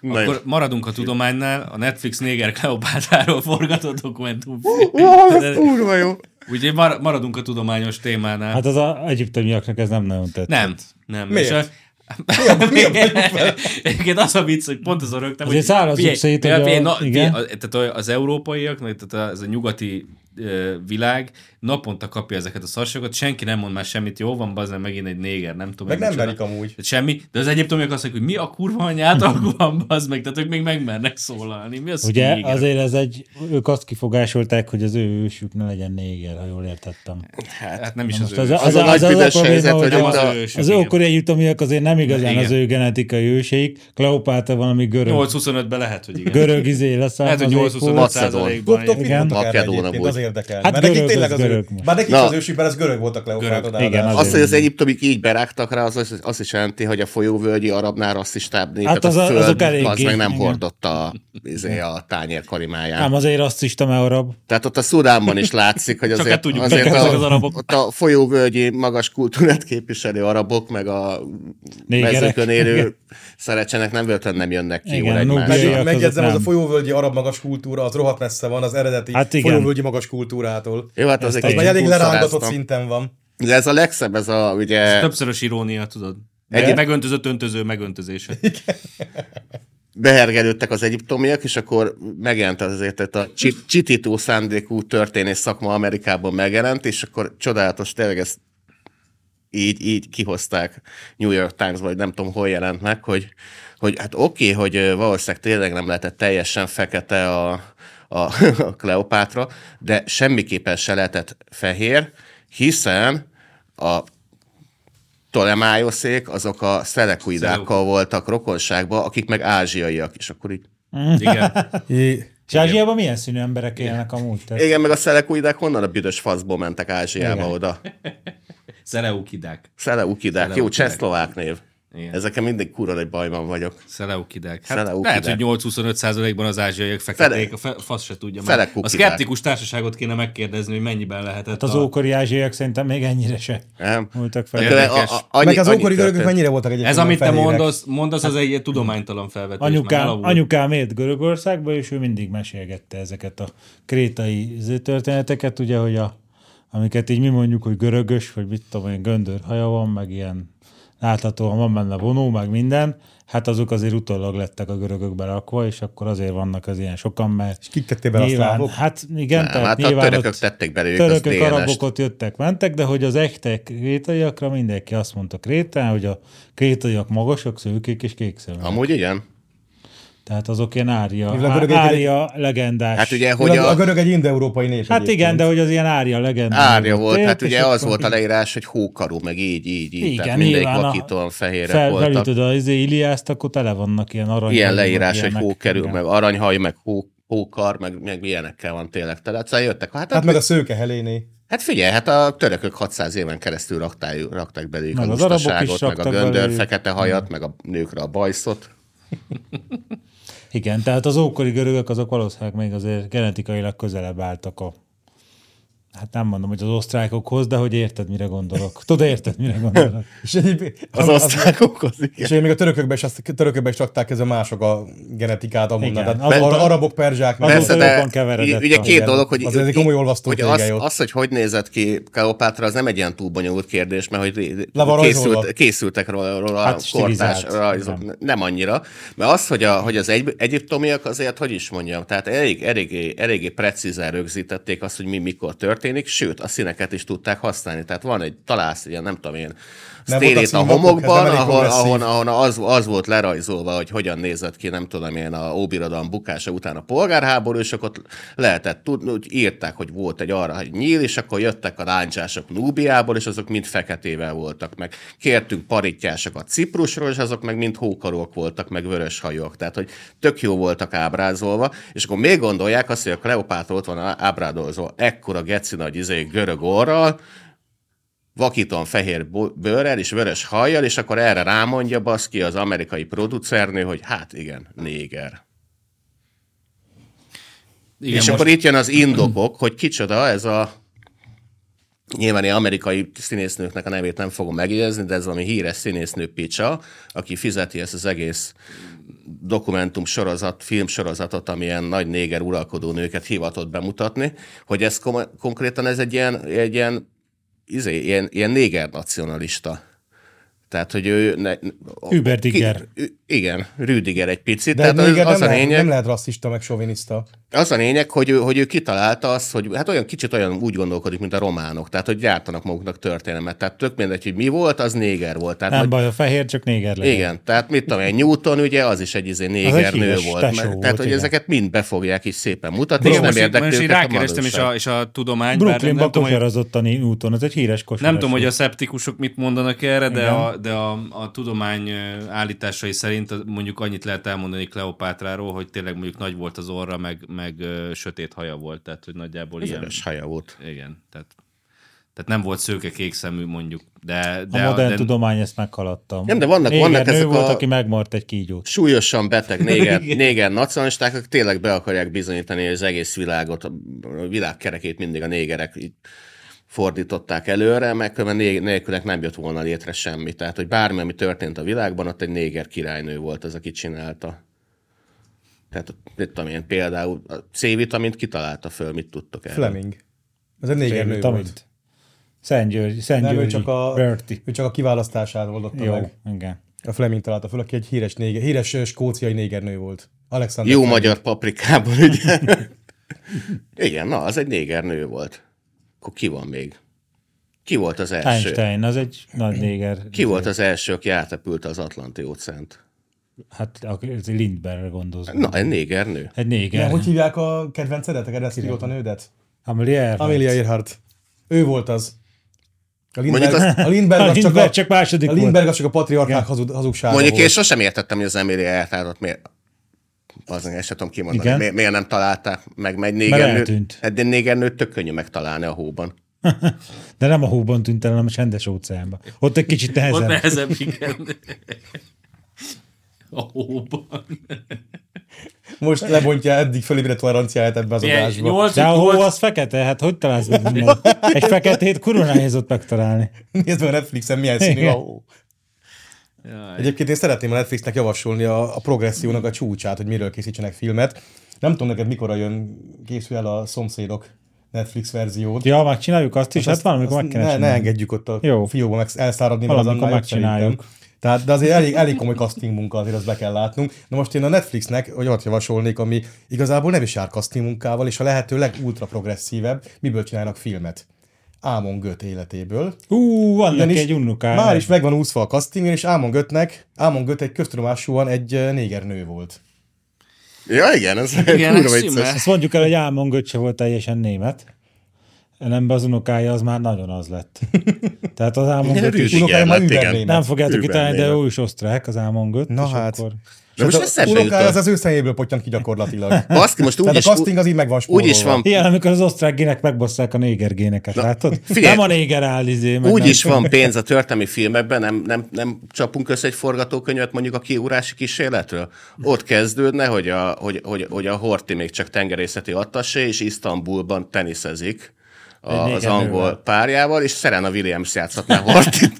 S4: Na jó.
S3: Akkor maradunk a tudománynál, a Netflix néger Kleopátráról forgatott dokumentum.
S4: Ó, ez kurva jó.
S3: Úgyhogy mar- maradunk a tudományos témánál.
S2: Hát az a egyiptomiaknak ez nem nagyon tett.
S3: nem, Hát, nem.
S1: Miért?
S3: És a... Egyébként az a vicc, hogy pont az a rögtem,
S2: Azért szárazzuk szét, hogy a- igen.
S3: tehát a- az európaiak, meg tehát az a nyugati ö, világ naponta kapja ezeket a szarságokat, senki nem mond már semmit, jó van, bazen megint egy néger, nem tudom.
S1: Meg
S3: én
S1: nem
S3: micsoda.
S1: verik amúgy.
S3: Tehát semmi, de az egyiptomiak azt mondják, hogy mi a kurva anyátok van, az meg, tehát ők még megmernek szólalni. Mi az
S2: Ugye
S3: néger?
S2: azért ez egy, ők azt kifogásolták, hogy az ő ősük ne legyen néger, ha jól értettem.
S3: Hát nem is
S2: Na
S3: az,
S2: most
S3: ő.
S2: az, az, az,
S4: Az a
S2: az, az,
S4: nagy
S2: az,
S4: büdös
S2: a
S4: helyzet,
S2: probléma, hogy a,
S4: hogy ott
S3: az
S4: a-
S3: ősük,
S2: az
S3: igen.
S2: ókori egyiptomiak azért nem igazán
S3: Igen.
S2: az ő genetikai őseik. Kleopáta valami görög,
S3: 8-25-ben lehet, hogy igen.
S2: görög izé lesz.
S3: Lehet, hogy 8-25 százalékban.
S1: Koptok mit
S2: igen.
S1: mondtak erre
S4: Makedóna
S1: egyébként,
S4: volt.
S1: az érdekel.
S2: Hát
S1: Hát nekik
S2: görög
S1: tényleg
S2: az
S1: az, ő,
S2: görög.
S1: már nekik
S4: Na.
S1: az ősükben, az görög voltak leopárdod.
S3: Görög.
S2: Igen,
S4: Azt, hogy az egyiptomik így berágtak rá, az, az, az is jelenti, hogy a folyóvölgyi arabnál rasszistább népet
S2: Hát
S4: hát
S2: az
S4: az,
S2: a-
S4: a föld,
S2: azok
S4: az,
S2: eléggé,
S4: meg nem
S2: igen.
S4: hordotta a, izé, a tányér karimáját.
S2: Ám azért azt is te arab.
S4: Tehát ott a Szudánban is látszik, hogy
S3: hát
S4: azért,
S3: tudjuk,
S4: azért
S3: ezek
S4: a,
S3: az arabok.
S4: ott a folyóvölgyi magas kultúrát képviselő arabok, meg a
S2: Négerek.
S4: mezőkön
S2: Igen.
S4: élő szerecsenek nem börtön nem jönnek ki
S2: Igen,
S4: jól
S2: nubiai. Azok
S4: egymásra.
S1: Hát Meg, megjegyzem, az a
S2: Hát nem.
S1: folyóvölgyi arab magas kultúra, az rohadt messze van az eredeti
S2: Hát igen.
S1: folyóvölgyi magas kultúrától.
S4: Jó, hát azért
S2: Ezt
S1: Az
S2: Én
S1: már elég lerángatott
S4: szint.
S1: szinten van.
S4: De ez a legszebb, ez a ugye...
S3: Többszörös irónia, tudod. Egy
S4: E, Egyéb-
S3: megöntözött öntöző megöntözése.
S4: behergelődtek az egyiptomiak, és akkor megjelent az azért tehát a csi- csitító szándékú történész szakma Amerikában megjelent, és akkor csodálatos, tényleg ezt így, így kihozták New York Times, vagy nem tudom, hol jelent meg, hogy, hogy hát oké, hogy ö, valószínűleg tényleg nem lehetett teljesen fekete a, a, a Kleopátra, de semmiképpen se lehetett fehér, hiszen a Tolemájoszék, azok a szelekuidákkal voltak rokonságban, akik meg ázsiaiak, és akkor így
S3: Igen.
S1: É,
S2: És Ázsiában milyen színű emberek élnek amúgy? Tehát
S4: Igen, meg a szelekuidák honnan a büdös faszból mentek Ázsiába
S2: Igen.
S4: Igen. oda?
S3: Szeleukidák.
S4: Szeleukidák, jó,
S3: Szeleukidák.
S4: csehszlovák név.
S3: Igen.
S4: Igen. Ezeken mindig kurva nagy bajban vagyok.
S3: Szeleukidák. Hát
S4: Szeleukidák.
S3: lehet, hogy 8-25%-ban az ázsiaiak feketék, a fe, fasz se tudja. már. A
S4: Szelekukidák.
S3: szkeptikus társaságot kéne megkérdezni, hogy mennyiben lehetett
S2: az
S3: a-
S2: ókori ázsiak szerintem még ennyire se
S4: Nem?
S2: voltak
S4: De
S2: fel.
S3: Igen.
S4: a,
S3: Érdekes.
S4: a, annyi,
S1: meg az
S4: annyi
S1: ókori görögök
S4: történt.
S1: mennyire voltak egyébként
S3: Ez, amit te
S1: fehérek?
S3: mondasz, mondasz, az egy tudománytalan felvetés. már
S2: Anyukám,
S3: elavult.
S2: anyukám élt Görögországba, és ő mindig mesélgette ezeket a krétai izé történeteket, ugye, hogy a, amiket így mi mondjuk, hogy görögös, vagy mit tudom én, göndör haja van, meg ilyen láthatóan van benne vonó, meg minden, hát azok azért utólag lettek a görögök berakva, és akkor azért vannak az ilyen sokan, mert
S1: Kik tették bele a
S2: nyilván,
S1: szlávok?
S2: hát igen,
S4: Nem,
S2: tehát
S4: hát a
S2: nyilván
S4: törökök
S2: ott
S4: tették belőlük
S2: törökök,
S4: az DNS-t.
S2: arabokot jöttek, mentek, de hogy az echte krétaiakra mindenki azt mondta krétán, hogy a krétaiak magasok, szőkék és kékszeműek.
S4: Amúgy igen?
S2: Tehát azok ilyen ária,
S1: Mivel a görög
S2: á-
S1: egy-
S2: ária legendás.
S4: Hát ugye, hogy
S1: Hogy a,
S4: a,
S1: a görög egy indeurópai nép
S2: hát igen, de hogy az ilyen ária legendás.
S4: árja volt,
S2: Élt,
S4: hát
S2: és
S4: ugye
S2: akkor
S4: az volt a leírás, hogy hókarú, meg így, így, így.
S2: Igen,
S4: tehát mindegyik
S2: nyilván a-
S4: vakítóan fehérek
S2: fel,
S4: voltak.
S2: Felütöd az izé Iliászt, akkor tele vannak ilyen arany.
S4: Ilyen
S2: vagy
S4: leírás, hogy
S2: ilyenek.
S4: hó kerül,
S2: Igen.
S4: meg aranyhaj, meg hó, hókar, meg, meg ilyenekkel van tényleg tele. Szóval jöttek. Hát,
S1: Hát
S4: hát,
S1: meg a szőke heléné.
S4: Hát figyelj, hát a törökök 600 éven keresztül rakták, rakták belőlük
S2: Meg
S4: a
S2: az arabok is
S4: lustaságot, meg a
S2: raktak
S4: göndör
S2: belőlük.
S4: fekete hajat, meg a nőkre a bajszot.
S2: Igen, tehát az ókori görögök azok valószínűleg még azért genetikailag közelebb álltak a hát nem mondom, hogy az osztrákokhoz, de hogy érted, mire gondolok. Tudod, érted, mire gondolok.
S1: És, egy,
S4: Az osztrákokhoz, igen.
S1: és még a törökökben is, azt, törökökben is rakták ezzel mások a genetikát,
S2: Igen,
S1: amúgy. Tehát
S2: az-
S1: az ar- arabok, perzsák. meg-
S2: Persze, de- jobban
S4: í-
S2: keveredett
S4: ugye
S2: a-
S4: két
S2: igen,
S4: dolog, hogy,
S1: az egy komoly olvasztó
S4: hogy az,
S1: tégely ott.
S4: az, hogy hogy nézett ki Kleopátra, az nem egy ilyen túl bonyolult kérdés, mert hogy ré-
S1: Le van rajzolva.
S4: készült, készültek róla, róla
S2: Hát
S4: hát, kortás
S2: stilizált.
S4: rajzok.
S2: Igen.
S4: Nem. annyira. Mert az, hogy, a, hogy az egy, egyiptomiak azért, hogy is mondjam, tehát elég, eléggé, eléggé precízen rögzítették azt, hogy mi mikor történik, sőt, a színeket is tudták használni. Tehát van egy, találsz ilyen, nem tudom én,
S1: Nem
S4: stélét
S1: voltak
S4: a
S1: színvapok, ez
S4: homokban,
S1: nem elég
S4: ahol,
S1: progresszív.
S4: ahol, ahol az, az volt lerajzolva, hogy hogyan nézett ki, nem tudom én, a óbirodalom bukása után a polgárháború, és akkor ott lehetett tudni, úgy írták, hogy volt egy arra, hogy nyíl, és akkor jöttek a láncsások Núbiából, és azok mind feketével voltak, meg kértünk paritjásokat Ciprusról, és azok meg mind hókarok voltak, meg vörös hajók, tehát hogy tök jó voltak ábrázolva, és akkor még gondolják azt, hogy a Kleopátra ott van ábrázolva, ekkora geci nagy izé görög orral, vakíton fehér bo- bőrrel és vörös hajjal, és akkor erre rámondja baszki az amerikai producernő, hogy hát igen, néger.
S3: Igen,
S4: Igen, és
S3: most
S4: akkor itt jön az indokok, hogy kicsoda ez a Nyilván ilyen amerikai színésznőknek a nevét nem fogom megjegyezni, de ez valami híres színésznő Picsa, aki fizeti ezt az egész dokumentum sorozat, filmsorozatot, amilyen nagy néger uralkodó nőket hivatott bemutatni, hogy ez kom- konkrétan ez egy ilyen, egy ilyen, izé, ilyen, ilyen néger nacionalista. Tehát, hogy ő... Ne,
S2: Überdiger.
S4: Ki, igen, Rüdiger egy picit.
S1: De
S4: tehát
S1: egy
S4: az,
S1: néger
S4: az
S1: nem,
S4: a
S1: lehet,
S4: lényeg,
S1: nem lehet rasszista, meg sovinista.
S4: az a lényeg, hogy ő, hogy ő kitalálta azt, hogy hát olyan kicsit olyan úgy gondolkodik, mint a románok, tehát hogy gyártanak maguknak történelmet. Tehát tök mindegy, hogy mi volt, az néger volt. Tehát,
S2: Nem
S4: hogy,
S2: baj, a fehér csak néger legyen.
S4: igen, tehát mit tudom én, Newton ugye, az is egy izé néger nő
S2: híres
S4: volt.
S2: tesó
S4: Mert,
S2: volt,
S4: tehát, hogy
S2: igen.
S4: ezeket mind befogják is szépen mutatni,
S3: Igen,
S4: és nem
S3: most, így-
S4: érdekli
S3: most így
S4: őket a
S3: rákerestem, és a,
S4: manóság.
S3: és a tudomány, bár nem, nem,
S2: Brooklynban
S3: tudom, hogy,
S2: kosarazott a Newton, ez egy híres kosaras.
S3: nem tudom, hogy
S2: volt.
S3: a szeptikusok mit mondanak erre, de, a, de a, a tudomány ö, állításai szerint az- mondjuk annyit lehet elmondani Kleopátráról, hogy tényleg mondjuk nagy volt az orra, meg, meg ö, sötét haja volt, tehát hogy nagyjából ilyen.
S4: Vörös haja volt.
S3: Igen, tehát, tehát nem volt szőke kék szemű mondjuk, de,
S2: A
S3: de,
S2: modern
S3: de
S2: tudomány ezt meghaladta.
S4: Nem, de vannak-
S2: Néger
S4: vannak
S2: nő
S4: ezek
S2: volt,
S4: a-
S2: aki megmart egy kígyót.
S4: súlyosan beteg néger, néger nacionalisták, akik tényleg be akarják bizonyítani hogy az egész világot, a világkerekét mindig a négerek így fordították előre, mert különben né- nélkülek nem jött volna létre semmi. Tehát, hogy bármi, ami történt a világban, ott egy néger királynő volt az, aki csinálta. Tehát, mit tudom én, például a C-vitamint kitalálta föl, mit tudtok erről?
S1: Fleming. Ez egy néger nő volt.
S2: Tamint. Szent György, Szent
S1: Nem, ő
S2: Györgyi,
S1: csak, a,
S2: Berti.
S1: ő csak a kiválasztását oldotta
S2: Jó,
S1: meg.
S2: igen.
S1: A Fleming találta föl, aki egy híres, néger, híres ö, skóciai négernő volt. Alexander
S4: Jó
S1: Fleming.
S4: magyar paprikában, ugye? Igen, na, az egy néger nő volt. Akkor ki van még? Ki volt az első?
S2: Einstein, az egy nagy néger.
S4: Ki volt az első, aki átrepülte az Atlanti óceánt?
S2: Hát a- ez egy Lindbergre gondozom.
S4: Na, egy négernő.
S2: Egy
S1: Nem,
S2: néger.
S1: hogy hívják a kedvencedet, a kedvenc pilóta nődet?
S2: Amelia Earhart.
S1: Amelia Earhart. Ő volt az. A Lindberg,
S4: Mondjuk azt-
S1: a Lindberg,
S2: A
S1: az csak, a,
S2: Lindbergh csak második
S1: a
S2: volt.
S1: Lindberg az csak a patriarkák hazug, hazugsága
S4: Mondjuk
S1: volt.
S4: én sosem értettem, hogy az Emilia eltárat miért az én sem tudom kimondani,
S2: Igen.
S4: mi- miért nem találták meg, meg
S2: Mert
S4: négernő,
S2: eltűnt.
S4: Hát egy négernőt tök könnyű megtalálni a hóban.
S2: De nem a hóban tűnt el, hanem a csendes óceánban. Ott egy kicsit
S3: Ott
S2: nehezebb.
S3: nehezebb, igen. A hóban.
S1: Most lebontja eddig fölébredt toleranciáját ebbe az adásba.
S3: 8,
S2: De a hó az fekete, hát hogy találsz meg mindent? Egy feketét kurva nehéz ott megtalálni.
S1: Nézd meg a Netflixen milyen színű a
S2: Igen.
S1: hó. Egyébként én szeretném a Netflixnek javasolni a, a progressziónak a csúcsát, hogy miről készítsenek filmet. Nem tudom neked mikorra jön, készül el a szomszédok Netflix verziót.
S2: Ja, megcsináljuk azt is, hát valamikor
S1: Azt
S2: meg kell
S1: ne, ne
S2: csinálni.
S1: engedjük ott a Jó.
S2: Jó.
S1: fióba meg elszáradni, mert az
S2: Valamikor
S1: annál jobb
S2: megcsináljuk.
S1: szerintem. Tehát, de azért elég, elég komoly casting munka, azért azt be kell látnunk. Na most én a Netflixnek olyat javasolnék, ami igazából nem is jár casting munkával, és a lehető legultra progresszívebb, miből csinálnak filmet. Ámon Göt életéből.
S2: Ú, van neki
S1: Ugyanis
S2: egy unukája.
S1: Már is megvan úszva a castingén, és Ámon Götnek, Ámon Göt egy köztudomásúan egy ö, néger nő volt.
S4: Ja, igen, ez
S3: Igen,
S4: kurva
S3: ez
S4: vicces.
S3: simán.
S2: Azt mondjuk el, hogy Álmon Göcse volt teljesen német. Nem az unokája, az már nagyon az lett. Tehát az Álmon
S4: Igen,
S2: Göcse is-
S4: Rüdiger
S1: Unokája már
S4: lett, igen.
S1: übernémet.
S2: Nem fogjátok
S4: Ő
S2: kitalálni, de
S4: benne
S2: ő is osztrák, az Álmon Göt.
S1: Na
S2: és
S1: hát.
S2: Akkor...
S4: De most
S1: Tehát a
S4: eszembe
S1: unokája
S4: jutott.
S1: az az ő szemjéből potyan ki gyakorlatilag.
S4: Baszki, most úgy
S1: Tehát
S4: is,
S1: a casting az így meg van
S4: úgy is
S1: spórolva.
S4: van
S2: Ilyen, amikor az osztrák gének megbosszák a néger géneket, látod?
S4: figyelj!
S2: nem a néger áll, izé, meg
S4: Úgy
S2: nem.
S4: is van pénz a történelmi filmekben, nem, nem, nem csapunk össze egy forgatókönyvet mondjuk a kiúrási kísérletről. Ott kezdődne, hogy a, hogy, hogy, hogy a Horti még csak tengerészeti attasé, és Isztambulban teniszezik a,
S2: Egy
S4: az
S2: néger
S4: angol
S2: nővel.
S4: párjával, és Serena Williams játszhatná Hortit.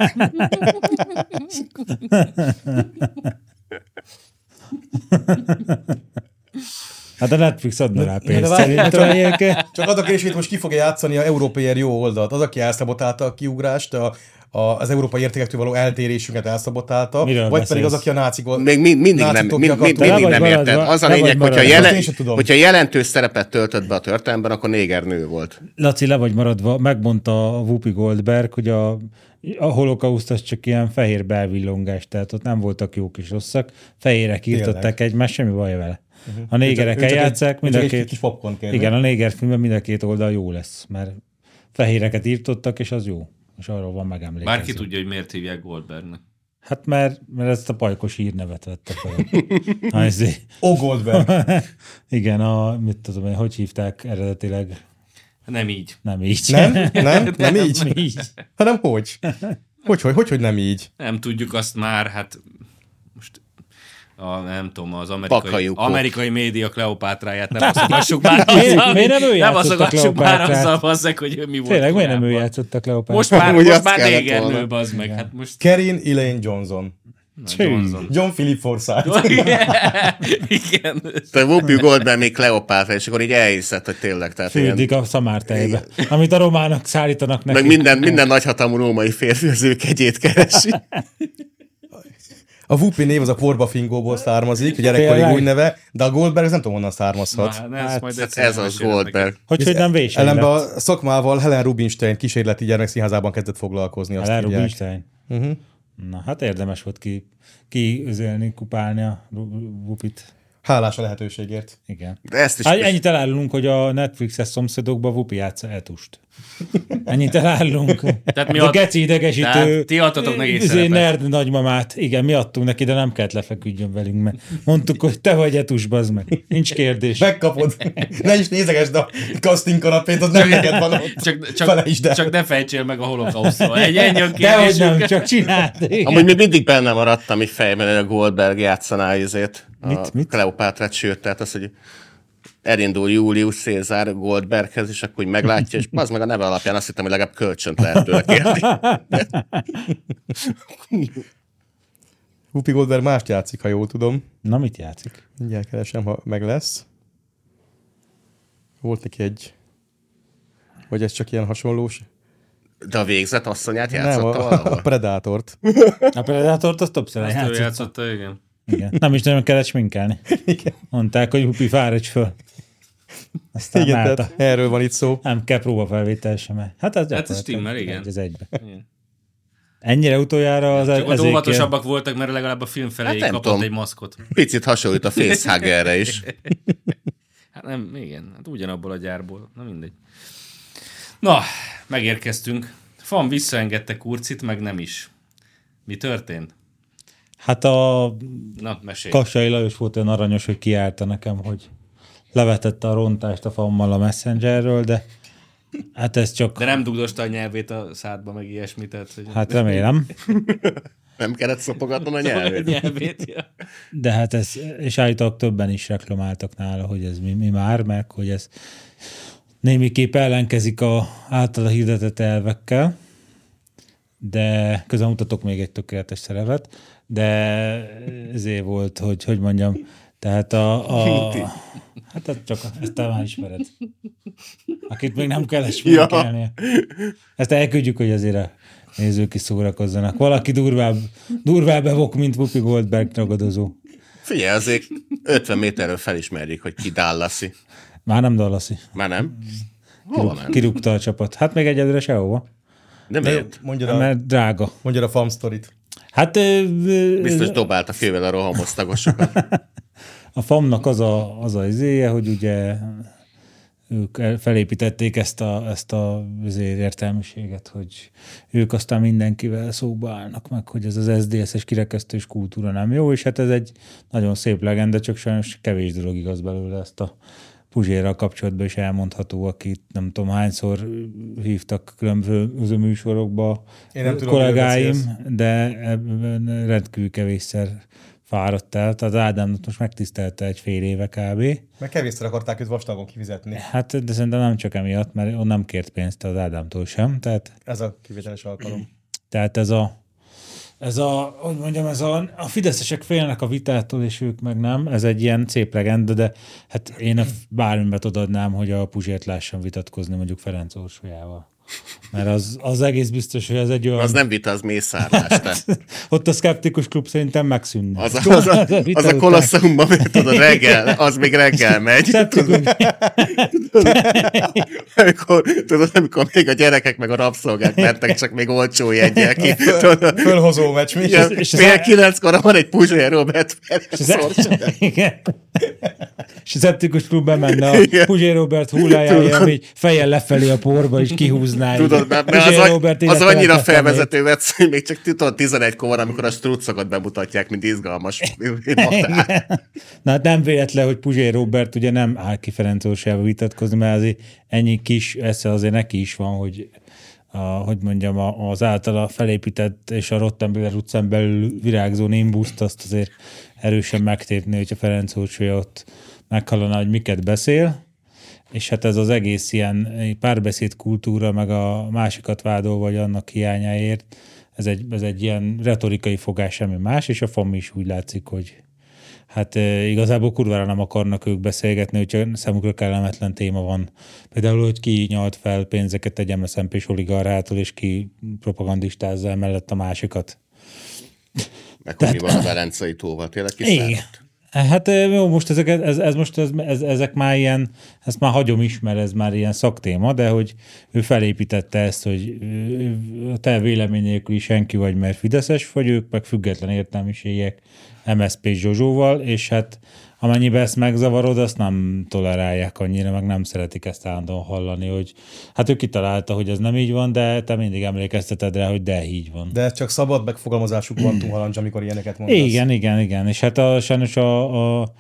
S2: Hát a Netflix adna rá
S1: de
S2: pénzt.
S1: várj,
S2: Szerintem
S1: csak-
S2: egyébként.
S1: Csak az a kérdés, hogy itt most ki fogja játszani a európai jó oldalt. Az, aki elszabotálta a kiugrást, a, a, az európai értékektől való eltérésünket elszabotálta,
S2: Miről
S1: vagy pedig az,
S2: beszélsz?
S1: aki a náci gol...
S4: Még mind, mindig
S1: náci
S4: nem, mind,
S1: tokja
S4: mind,
S1: akarta-
S4: mindig
S2: vagy
S4: nem
S2: maradva,
S4: érted. Az
S2: le
S4: a
S2: vagy
S4: lényeg, hogyha,
S2: maradva.
S4: jelen,
S1: Azt én sem tudom.
S4: hogyha jelentős szerepet töltött be a történelemben, akkor néger nő volt.
S2: Laci, le vagy maradva, megmondta a Whoopi Goldberg, hogy a, a holokauszt az csak ilyen fehér belvillongás, tehát ott nem voltak jók és rosszak, fehérek írtották egymást, semmi baj vele. A
S1: Uh-huh. Ő
S2: négerek
S1: csak egy-
S2: játszák, mind
S1: csak
S2: a
S1: egy
S2: két...
S1: kis popcorn kérdés.
S2: Igen, a néger filmben mind a két oldal jó lesz, mert fehéreket írtottak, és az jó. És arról van megemlékezve.
S3: Bárki tudja, hogy miért hívják Goldbergnek.
S2: Hát mert, mert ezt a pajkos hírnevet vette fel. Ha ezért-
S1: O Goldberg.
S2: Igen, a, mit tudom én, hogy hívták eredetileg?
S3: Nem így.
S2: Nem így.
S1: Nem? Nem? Nem
S2: Nem
S1: így?
S2: így.
S1: Hanem hogy? Hogy, hogy, hogy, hogy nem így?
S3: Nem tudjuk azt már, hát most a, nem tudom, az amerikai,
S4: Pakajukó.
S3: amerikai média Kleopátráját nem azogassuk már
S2: Miért-
S3: azzal,
S2: miért nem ő
S3: nem
S2: játszott a
S3: azogassuk már
S2: Kleopátrát?
S3: azzal, bazzek, hogy ő mi volt.
S2: Tényleg, miért nem ő
S3: korábban.
S2: játszott a Kleopátrát?
S3: Most már,
S4: Amúgy
S3: most
S4: azt
S3: már
S4: kellett
S3: négernő,
S4: volna.
S3: bazd meg. Hát most
S1: Kerin Elaine Johnson.
S3: na,
S2: Cső.
S3: Johnson.
S1: John Philip Forsyth.
S3: Igen.
S4: Tehát Whoopi Goldberg még Kleopátra, és akkor így elhiszed, hogy tényleg. Tehát ilyen,
S2: Fürdik a szamártejbe, amit a románok szállítanak neki.
S4: meg minden, minden nagyhatalmú római férfi az ő kegyét keresi.
S1: A Whoopi név az a korbafingóból származik, a gyerekkori
S2: Tényleg?
S1: új neve, de a Goldberg ez nem tudom honnan származhat.
S3: Na, ez,
S2: Hát,
S3: majd egyszer
S4: Ez az
S3: mesélem neked.
S4: Goldberg.
S2: Hogy, hogy nem vésem
S1: Ellenben
S2: lett.
S1: a szakmával Helen Rubinstein kísérleti gyermekszínházában kezdett foglalkozni. Azt
S2: Helen
S1: Helen hívják.
S2: Rubinstein.
S1: Mhm.
S2: Uh-huh. Na, hát érdemes volt ki, ki üzélni, kupálni a Ru- Wupit.
S1: Hálás a lehetőségért.
S2: Igen.
S4: De ezt is
S2: Hát ennyit elárulunk, hogy a Netflixes szomszédokban Wupi játsza etust. Ennyit elárulunk.
S3: Tehát mi
S2: Ez a
S3: ad-
S2: geci idegesítő.
S3: Tehát ti adtatok neki egy
S2: izé,
S3: szerepet.
S2: nerd nagymamát. Igen, mi adtunk neki, de nem kellett lefeküdjön velünk, mert mondtuk, hogy te vagy etus, bazd meg. Nincs kérdés.
S1: Megkapod. ne is nézegesd a casting kanapét, az nem neked van ott.
S3: Csak,
S1: Fele is, de...
S3: csak, csak ne fejtsél meg a holokausztról. Szóval Egy ennyi a
S2: Dehogy
S3: kérdésünk.
S2: nem, csak csináld. Igen.
S4: Amúgy még mindig benne maradtam így fejben, hogy a Goldberg játszaná ezért a
S2: Mit? Mit?
S4: Kleopátrát, sőt, tehát az, hogy elindul Július Cézár Goldberghez, és akkor úgy meglátja, és az meg a neve alapján azt hittem, hogy legalább kölcsönt lehet tőle kérni.
S1: Whoopi Goldberg mást játszik, ha jól tudom.
S2: Na, mit játszik?
S1: Mindjárt keresem, ha meg lesz. Volt neki egy... Vagy ez csak ilyen hasonlós?
S4: De a végzett asszonyát
S1: nem,
S4: játszotta
S1: a, a
S4: valahol.
S1: Predátort.
S2: A Predatort azt többször
S3: Azt ő
S2: eljátszott.
S3: játszotta, igen.
S2: Igen. Nem is nagyon kellett sminkelni. Igen. Mondták, hogy Hupi, fáradj föl.
S3: Hát
S2: Aztán Igen,
S1: Igen,
S2: állta.
S1: tehát erről van itt szó.
S2: Nem kell próbafelvétel sem. mert- Hát ez,
S3: ez
S2: gyakorlatilag
S3: stimmel, igen.
S2: Egy az egybe.
S3: Igen. hát
S2: Ennyire utoljára az
S3: Csak ott
S2: ezékiel-
S3: óvatosabbak voltak, mert legalább a film
S4: Hát
S3: felé
S4: nem
S3: kapott
S4: tudom.
S3: egy maszkot.
S4: Picit hasonlít a Facehuggerre is.
S3: Hát nem, igen, hát ugyanabból a gyárból. Na mindegy. Na, megérkeztünk. Fan visszaengedte Kurcit, meg nem is. Mi történt?
S2: Hát a
S3: Na, mesélj.
S2: Kassai Lajos volt olyan aranyos, hogy kiállta nekem, hogy levetette a rontást a fammal a messengerről, de hát ez csak,
S3: De nem dugdosta a nyelvét a szádba, meg ilyesmit. Tehát, hogy
S2: hát remélem.
S4: Nem kellett szopogatnom a
S3: a
S4: nyelvét.
S3: nyelvét. Ja.
S2: De hát ez, és állítólag többen is reklamáltak nála, hogy ez mi, mi már, meg hogy ez némiképp ellenkezik a általa hirdetett elvekkel, de közben mutatok még egy tökéletes szerepet, de ezért volt, hogy hogy mondjam, tehát a... a hát ez csak, ezt te már ismered. Akit még nem kell ismerkelnie. Ezt elküldjük, hogy azért a nézők is szórakozzanak. Valaki durvább, durvább evok, mint Whoopi Goldberg ragadozó.
S4: Figyelj, azért 50 méterről felismerjük, hogy ki Dallasi.
S2: Már nem Dallasi.
S4: Már nem? Hova ment?
S2: Kirúgta a csapat. Hát még egyelőre sehova,
S4: De miért?
S1: Mondjad a,
S2: mert drága.
S1: mondjad a fam sztorit.
S2: Hát ö, ö,
S4: Biztos dobált a fővel a rohamosztagosokat.
S2: a famnak az a, az a izéje, hogy ugye ők el- felépítették ezt a, ezt a azért értelmiséget, hogy ők aztán mindenkivel szóba állnak meg, hogy ez az SZDSZ-es kirekesztős kultúra nem jó, és hát ez egy nagyon szép legenda, csak sajnos kevés dolog igaz belőle ezt a Puzsérral kapcsolatban is elmondható, akit nem tudom hányszor hívtak különböző műsorokba
S1: Én nem tudom, miről
S2: kollégáim, de ebben rendkívül kevésszer fáradt el. Tehát Ádámot most megtisztelte egy fél éve kb.
S1: Mert kevésszer akarták őt vastagon kifizetni.
S2: Hát, de szerintem nem csak emiatt, mert on nem kért pénzt az Ádámtól sem. Tehát,
S1: Ez a kivételes alkalom.
S2: tehát ez a, ez a, hogy mondjam, ez a, a fideszesek félnek a vitától, és ők meg nem. Ez egy ilyen szép legenda, de hát én a bármibet odaadnám, hogy a Puzsért lássam vitatkozni mondjuk Ferenc Orsolyával. Mert az, az egész biztos, hogy ez egy olyan...
S4: Az nem vita, az mészárlás. te.
S2: Ott a szkeptikus klub szerintem megszűnne.
S4: Az a, az a,
S2: vita
S4: az a
S2: után.
S4: kolosszeumban, mert tudod, reggel, az még reggel megy.
S2: Szkeptikus,
S4: Amikor, tudod, amikor még a gyerekek meg a rabszolgák mentek, csak még olcsó jegyel ki. Tudod,
S1: Fölhozó meccs, mi?
S4: ilyen
S2: és az-
S4: fél kilenckor van egy Puzsé Robert Perez szorcsa.
S2: e- Igen. És az eptikus klubban menne a Puzsé Robert hullájára, ami így fejjel lefelé a porba, és kihúz húzná.
S4: Tudod,
S2: így.
S4: mert, mert az,
S2: Izé,
S4: az,
S2: Robert ide
S4: az annyira
S2: telepettem még.
S4: felvezető vesz, hogy még csak tudod, 11-kor, amikor a struccokat bemutatják, mint izgalmas matát.
S2: Na hát nem véletlen, hogy Puzsé Robert ugye nem áll ki Ferenc Orsába vitatkozni, mert azért ennyi kis esze azért neki is van, hogy a, hogy mondjam, a- az általa felépített és a Rottenbiller utcán belül virágzó nimbuszt azt azért erősen megtépni, hogyha Ferenc Orsolya ott meghallaná, hogy miket beszél, és hát ez az egész ilyen párbeszéd kultúra, meg a másikat vádol, vagy annak hiányáért, ez egy, ez egy ilyen retorikai fogás, semmi más, és a FAM is úgy látszik, hogy hát eh, igazából kurvára nem akarnak ők beszélgetni, hogyha számukra kellemetlen téma van. Például, hogy ki nyalt fel pénzeket egy MSZMP-s oligarchától, és ki propagandistázza emellett a másikat.
S4: Meg hogy mi van a Velencei tóval, tényleg
S2: Igen.
S4: kiszáradt.
S2: Hát eh, jó, most ezek, ez, ez most ez, ez, ezek már ilyen, ezt már hagyom is, mert ez már ilyen szaktéma, de hogy ő felépítette ezt, hogy ö, a te vélemény nélkül is senki vagy, mert Fideszes vagy, ők meg független értelmiségiek MSZP Zsozsóval, és hát amennyiben ezt megzavarod, azt nem tolerálják annyira, meg nem szeretik ezt állandóan hallani, hogy hát ő kitalálta, hogy ez nem így van, de te mindig emlékezteted rá, hogy de így van.
S1: De ez csak szabad megfogalmazásuk van túlhalancs, amikor ilyeneket mondasz.
S2: Igen, igen, igen. És hát a, sajnos a, a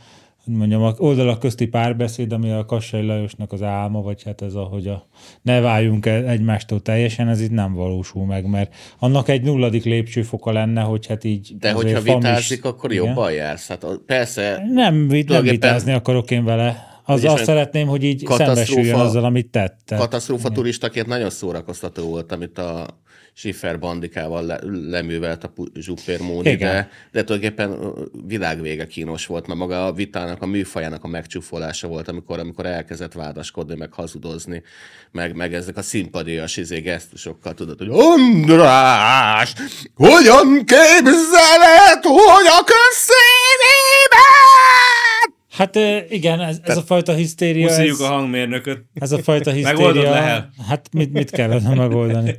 S2: hogy mondjam, a oldalak közti párbeszéd, ami a Kassai Lajosnak az álma, vagy hát ez a, hogy a, ne váljunk el egymástól teljesen, ez itt nem valósul meg, mert annak egy nulladik lépcsőfoka lenne, hogy hát így...
S4: De
S2: azért
S4: hogyha
S2: fam is-
S4: vitázik, akkor
S2: Igen.
S4: jobban jársz. Hát a- persze,
S2: Nem, vit, nem
S4: Tulajdonképpen-
S2: vitázni akarok én vele. Az,
S4: Vagyis
S2: azt
S4: egy
S2: szeretném, hogy így
S4: katasztrófa-
S2: szembesüljön azzal, amit tett. Tehát-
S4: katasztrófa turistaként nagyon szórakoztató volt, amit a Schiffer bandikával le, leművelt a Pu- Zsupér Móni,
S2: Igen.
S4: de, de tulajdonképpen ö, világvége kínos volt, mert maga a vitának, a műfajának a megcsúfolása volt, amikor, amikor elkezdett vádaskodni, meg hazudozni, meg, meg ezek a szimpadias izé gesztusokkal, tudod, hogy András, hogyan képzeled, hogy a közszínében?
S2: Hát ö, igen, ez, ez a fajta hisztéria... ez-
S3: Puszíjuk a hangmérnököt.
S2: Ez a fajta
S3: Megoldod,
S2: hisztéria...
S3: Lehel?
S2: Hát mit, mit kellene megoldani?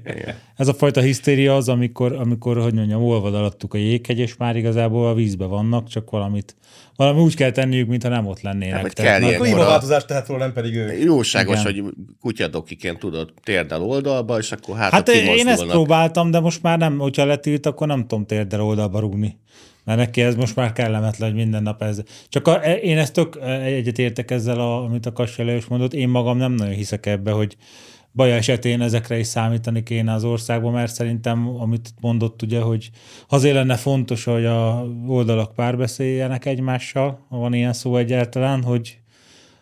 S2: Ez a fajta hisztéria az, amikor, amikor hogy mondjam, olvad alattuk a jéghegy, és már igazából a vízbe vannak, csak valamit, valami úgy kell tenniük, mintha nem ott lennének.
S4: Hát, vagy
S2: Tehát
S4: kell
S2: na-
S1: Akkor
S4: ilyenkor a-
S1: klímaváltozást tehet róla, nem pedig ő.
S4: Jóságos,
S2: Igen.
S4: hogy kutyadokiként tudod térdel oldalba, és akkor hát,
S2: Hát
S4: a
S2: én ezt
S4: kimozdulnak.
S2: próbáltam, de most már nem, hogyha letilt, akkor nem tudom térdel oldalba rúgni. Mert neki ez most már kellemetlen, hogy minden nap ez. Csak a, e, én ezt tök egyet értek ezzel, a, amit a Kassi Lajos mondott, én magam nem nagyon hiszek ebbe, hogy baj esetén ezekre is számítani kéne az országban, mert szerintem, amit mondott ugye, hogy azért lenne fontos, hogy a oldalak párbeszéljenek egymással, ha van ilyen szó egyáltalán, hogy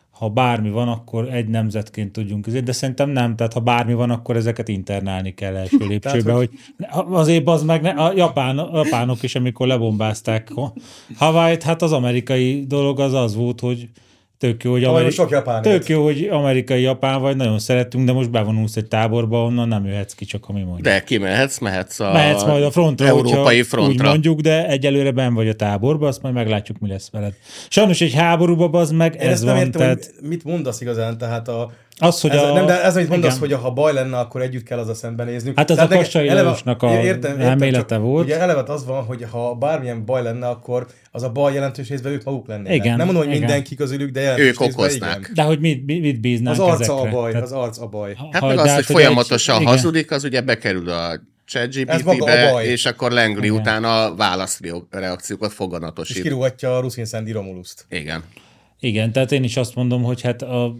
S2: ha bármi van, akkor egy nemzetként tudjunk ezért, de szerintem nem, tehát ha bármi van, akkor ezeket internálni kell első lépcsőbe, hogy ne- azért az meg ne, a japán, a japánok is, amikor lebombázták Ha- Hawaii-t, hát az amerikai dolog az az volt, hogy tök jó, hogy,
S1: Tavaly sok japán
S2: tök
S1: élt.
S2: jó, hogy amerikai japán vagy, nagyon szeretünk, de most bevonulsz egy táborba, onnan nem jöhetsz ki, csak ami mondjuk.
S4: De kimehetsz, mehetsz a
S2: Mehetsz majd a frontra,
S4: európai
S2: hogyha
S4: frontra.
S2: Úgy mondjuk, de egyelőre ben vagy a táborba, azt majd meglátjuk, mi lesz veled. Sajnos egy háborúba az meg
S1: Én
S2: ez,
S1: ezt
S2: van,
S1: nem értem,
S2: tehát...
S1: hogy mit mondasz igazán, tehát a...
S2: Az, hogy
S1: ez,
S2: a-
S1: Nem, de ez, amit mondasz,
S2: igen.
S1: hogy ha baj lenne, akkor együtt kell azzal szembenéznünk.
S2: Hát az
S1: Tehát
S2: a
S1: nekem-
S2: Kassai
S1: eleve-
S2: Lajosnak a
S1: Értem, értem, csak
S2: elmélete volt.
S1: Ugye elevet az van, hogy ha bármilyen baj lenne, akkor az a baj jelentős részben ők maguk lennének.
S2: Igen,
S1: nem mondom, hogy
S2: igen.
S1: mindenki közülük, de jelentős
S4: Ők
S1: részben
S4: okoznák.
S1: igen.
S2: De hogy mit, mit bíznánk
S1: Az arca
S2: ezekre?
S1: a baj,
S2: Tehát,
S1: az arc a baj.
S4: Hát meg
S2: de
S4: az,
S2: hát,
S4: hogy
S2: egy-
S4: folyamatosan
S2: igen.
S4: hazudik, az ugye bekerül a
S1: Ez maga a
S4: ChatGPT-be,
S1: baj.
S4: és akkor lengri utána a válaszreakciókat
S1: És
S4: foganatosít.
S1: kirúgatja a Ruszin Szendi Romuluszt.
S4: Igen.
S2: Igen, tehát én is azt mondom, hogy hát a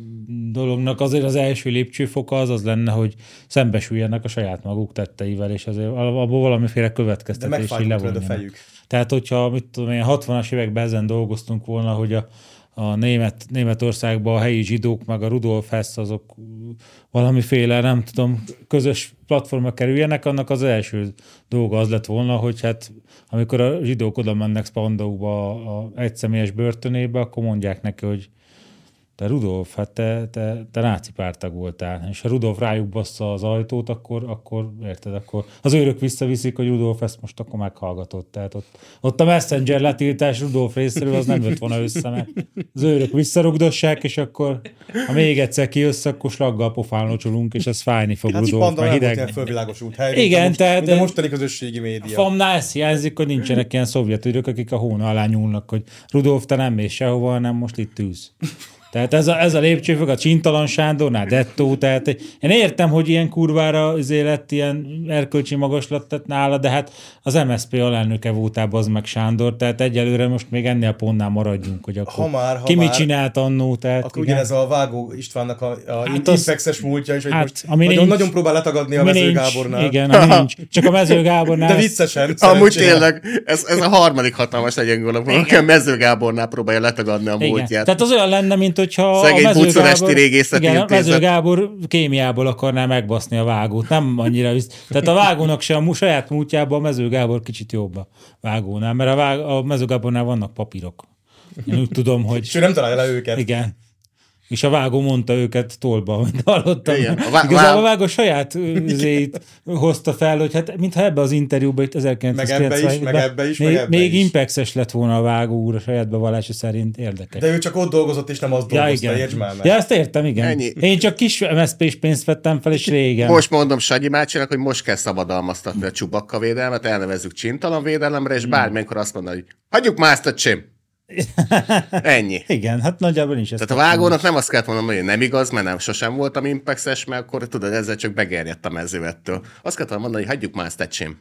S2: dolognak azért az első lépcsőfoka az az lenne, hogy szembesüljenek a saját maguk tetteivel, és azért abból valamiféle
S1: De
S2: következtetési
S1: megfájdult tőled a
S2: levonjanak.
S1: fejük.
S2: Tehát, hogyha mit tudom én, 60-as években ezen dolgoztunk volna, hogy a, a német, Németországban a helyi zsidók, meg a Rudolf Hess, azok valamiféle, nem tudom, közös platforma kerüljenek, annak az első dolga az lett volna, hogy hát amikor a zsidók oda mennek Spandauba, a, a egyszemélyes börtönébe, akkor mondják neki, hogy te Rudolf, hát te, te, te náci pártag voltál, és ha Rudolf rájuk bassza az ajtót, akkor, akkor érted, akkor az őrök visszaviszik, hogy Rudolf ezt most akkor meghallgatott. Tehát ott, ott a messenger letiltás Rudolf részéről az nem jött volna össze, mert az őrök visszarugdossák, és akkor ha még egyszer kijössz, akkor slaggal pofán locsolunk, és ez fájni fog
S1: Hát
S2: Rudolf,
S1: Spandau
S2: mert
S1: nem volt ilyen
S2: hideg.
S1: fölvilágos út hely,
S2: Igen, tehát-
S1: a mostani közösségi média.
S2: Famnál ez hiányzik, hogy nincsenek ilyen szovjet őrök, akik a hóna alá nyúlnak, hogy Rudolf, te nem mész sehova, hanem most itt tűz. Tehát ez a, ez a lépcsőfok a Csintalan Sándornál, Dettó, tehát én értem, hogy ilyen kurvára az élet, ilyen erkölcsi magaslat tett nála, de hát az MSZP alelnöke voltában az meg Sándor, tehát egyelőre most még ennél a pontnál maradjunk, hogy akkor
S1: Ha már, ha
S2: ki mit
S1: már.
S2: csinált annó, tehát
S1: Akkor
S2: Hát igen.
S1: ugyanez a Vágó Istvánnak a, a
S2: Hát
S1: hát
S2: az-
S1: infexes múltja is, hogy
S2: hát,
S1: most
S2: ami
S1: nagyon,
S2: nincs-
S1: nagyon próbál letagadni a
S2: Ami
S1: Mező
S2: nincs,
S1: Gábornál.
S2: Igen, ami nincs. Csak a Mező Gábornál.
S1: De
S2: ez-
S1: viccesen.
S4: Amúgy
S1: szerencsére.
S4: tényleg, ez, ez a harmadik hatalmas legyen gondolom, aki a Mező Gábornál próbálja letagadni a
S2: Igen.
S4: múltját.
S2: Tehát az olyan lenne, mint hogyha
S4: Szegény
S2: a Mező
S4: Bucuresti
S2: Gábor,
S4: Régészeti
S2: igen, a
S4: Intézet.
S2: Mező Gábor kémiából akarná megbaszni a vágót. Nem annyira visz. Tehát a vágónak se a mu- saját múltjában a Mező Gábor kicsit jobb a vágónál, mert a, vág, a Mező Gábornál vannak papírok. Én úgy tudom,
S1: És
S2: hogy
S1: ő nem találja le őket.
S2: igen. És a vágó mondta őket tolba, amit hallottam.
S4: Igen. A
S2: Igen.
S4: vá-
S2: Igazából a
S4: vá-
S2: vágó saját üzét hozta fel, hogy hát mintha ebbe az interjúba itt 1990
S1: Meg ebbe is, meg ebbe is,
S2: még,
S1: meg ebbe
S2: még
S1: is.
S2: impexes lett volna a vágó úr a saját bevallása szerint érdekes.
S1: De ő csak ott dolgozott, és nem azt dolgozta, értsd már meg.
S2: Ja, ezt értem, igen.
S4: Ennyi.
S2: Én csak kis MSZP-s pénzt vettem fel, és régen.
S4: Most mondom Sanyi Mácsinak, hogy most kell szabadalmaztatni a csubakka védelmet, elnevezzük csintalan védelemre, és bármilyenkor azt mondod, hogy hagyjuk már ezt a csim. Ennyi.
S2: Igen, hát nagyjából nincs ez.
S4: Tehát a vágónak nem azt kellett mondom, hogy nem igaz, mert nem sosem voltam impexes, mert akkor tudod, ezzel csak begerjedt a mező ettől. Azt kellett volna mondani, hogy hagyjuk már ezt a csim.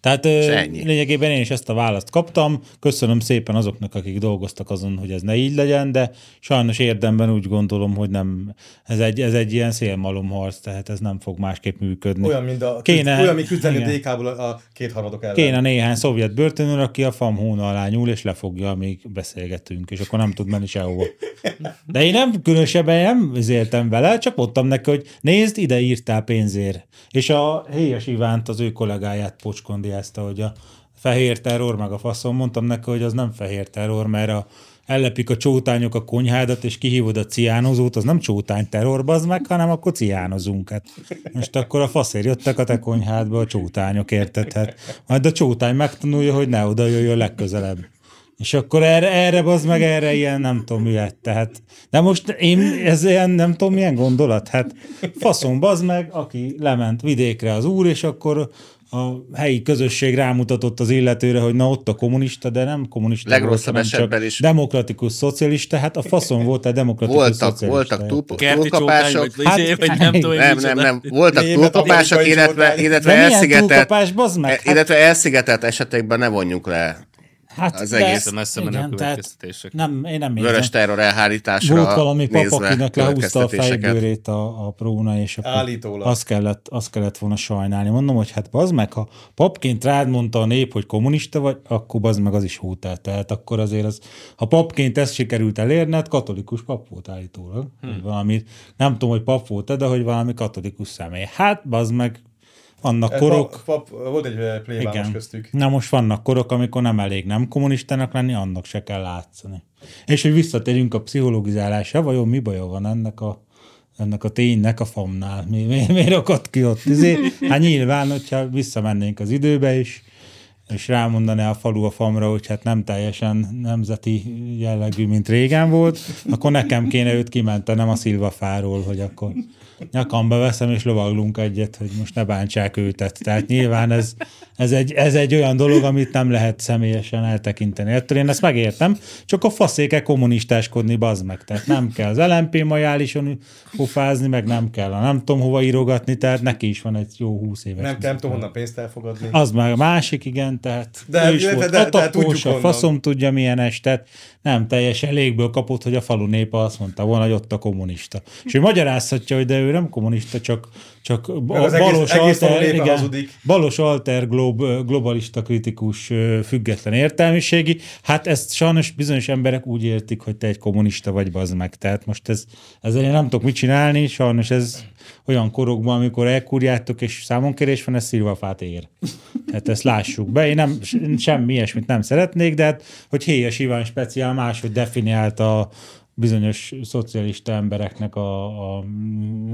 S2: Tehát ö,
S4: ennyi.
S2: lényegében én is ezt a választ kaptam. Köszönöm szépen azoknak, akik dolgoztak azon, hogy ez ne így legyen, de sajnos érdemben úgy gondolom, hogy nem. Ez egy, ez egy ilyen szélmalomharc, tehát ez nem fog másképp működni.
S1: Olyan, mint a,
S2: Kéne-
S1: Kéne. olyan, mint küzdeni a
S2: igen.
S1: DK-ból a, a kétharmadok ellen.
S2: Kéne néhány szovjet börtönőr, aki a fam hóna alá nyúl, és lefogja, amíg beszélgetünk, és akkor nem tud menni sehova. De én nem különösebben nem éltem vele, csak mondtam neki, hogy nézd, ide írtál pénzért. És a Héjas Ivánt, az ő kollégáját pocskondiázta, hogy a fehér terror meg a faszom, mondtam neki, hogy az nem fehér terror, mert a ellepik a csótányok a konyhádat, és kihívod a ciánozót, az nem csótány terror, bazd meg, hanem akkor ciánozunk. Hát most akkor a faszért jöttek a te konyhádba a csótányok, érted? Hát majd a csótány megtanulja, hogy ne oda jöjjön legközelebb. És akkor erre, erre bazd meg, erre ilyen nem tudom mi lett. Tehát, de most én, ez ilyen nem tudom milyen gondolat. Hát faszom bazd meg, aki lement vidékre az úr, és akkor a helyi közösség rámutatott az illetőre, hogy na ott a kommunista, de nem kommunista. volt,
S4: Legrosszabb
S2: hanem csak
S4: esetben is.
S2: Demokratikus szocialista, hát a faszom volt a demokratikus
S4: Voltak,
S2: szocialista.
S4: voltak túl,
S3: Kerti csókány,
S4: túlkapások,
S3: vagy,
S2: Hát,
S3: vagy, vagy nem tudom, hogy
S4: nem, nem,
S3: micsoda.
S4: nem, voltak
S1: Német
S4: túlkapások,
S1: amerikai
S4: illetve,
S1: csótány.
S4: illetve,
S2: De milyen
S4: elszigetelt,
S2: túlkapás, bazd meg?
S4: e- illetve elszigetelt esetekben ne vonjunk le
S2: Hát
S4: az
S2: de-
S4: egész
S3: messze menő
S2: igen, tehát
S3: következtetések.
S2: nem, én nem
S4: vörös
S2: érzem.
S4: terror elhárításra
S2: Volt valami pap,
S4: nézve
S2: akinek lehúzta a
S4: következtetéseket.
S2: fejbőrét a, a próna, és akkor
S1: Állítólag.
S2: Azt, kellett, azt kellett volna sajnálni. Mondom, hogy hát bazd meg, ha papként rád mondta a nép, hogy kommunista vagy, akkor bazd meg az is hótál. Tehát akkor azért az, ha papként ezt sikerült elérned, katolikus pap volt állítólag. Hmm. Valami, nem tudom, hogy pap volt de hogy valami katolikus személy. Hát bazd meg, annak
S1: Eh,
S2: korok.
S1: Pap, pap, volt egy eh, plébános köztük.
S2: Na most vannak korok, amikor nem elég nem kommunistának lenni, annak se kell látszani. És hogy visszatérjünk a pszichológizálásra, vajon mi baja van ennek a ennek a ténynek a famnál. Mi, mi, miért akadt ki ott? Izé, hát nyilván, hogyha visszamennénk az időbe is, és rámondaná a falu a famra, hogy hát nem teljesen nemzeti jellegű, mint régen volt, akkor nekem kéne őt kimentenem a szilvafáról, hogy akkor nyakamba veszem, és lovaglunk egyet, hogy most ne bántsák őtet. Tehát nyilván ez, ez, egy, ez egy olyan dolog, amit nem lehet személyesen eltekinteni. Ettől én ezt megértem, csak a faszéke kommunistáskodni, bazd meg. Tehát nem kell az LMP majálison pofázni, meg nem kell a nem tudom hova írogatni, tehát neki is van egy jó húsz éves.
S1: Nem, nem tudom honnan pénzt elfogadni.
S2: Az már a másik, igen, tehát de,
S1: De-
S2: ő is
S1: de- de-
S2: volt
S1: de
S2: atakós,
S1: tudjuk
S2: a
S1: onnan.
S2: faszom tudja milyen estet, nem teljesen légből kapott, hogy a falu népe azt mondta volna, hogy ott a kommunista. És ő magyarázhatja, hogy de ő nem kommunista, csak, csak a
S1: az egész-
S2: balos,
S1: egész falu
S2: alter,
S1: népe
S2: igen,
S1: hazudik.
S2: balos alter glob, globalista kritikus ö, független értelmiségi, hát ezt sajnos bizonyos emberek úgy értik, hogy te egy kommunista vagy, bazd meg. Tehát most ez, ezzel én nem tudok mit csinálni, sajnos ez olyan korokban, amikor elkurjátok és számonkérés van, ez szilvafát ér. Tehát ezt lássuk be. Én nem, én semmi ilyesmit nem szeretnék, de hát, hogy Héjas Iván speciál máshogy definiálta a bizonyos szocialista embereknek a, a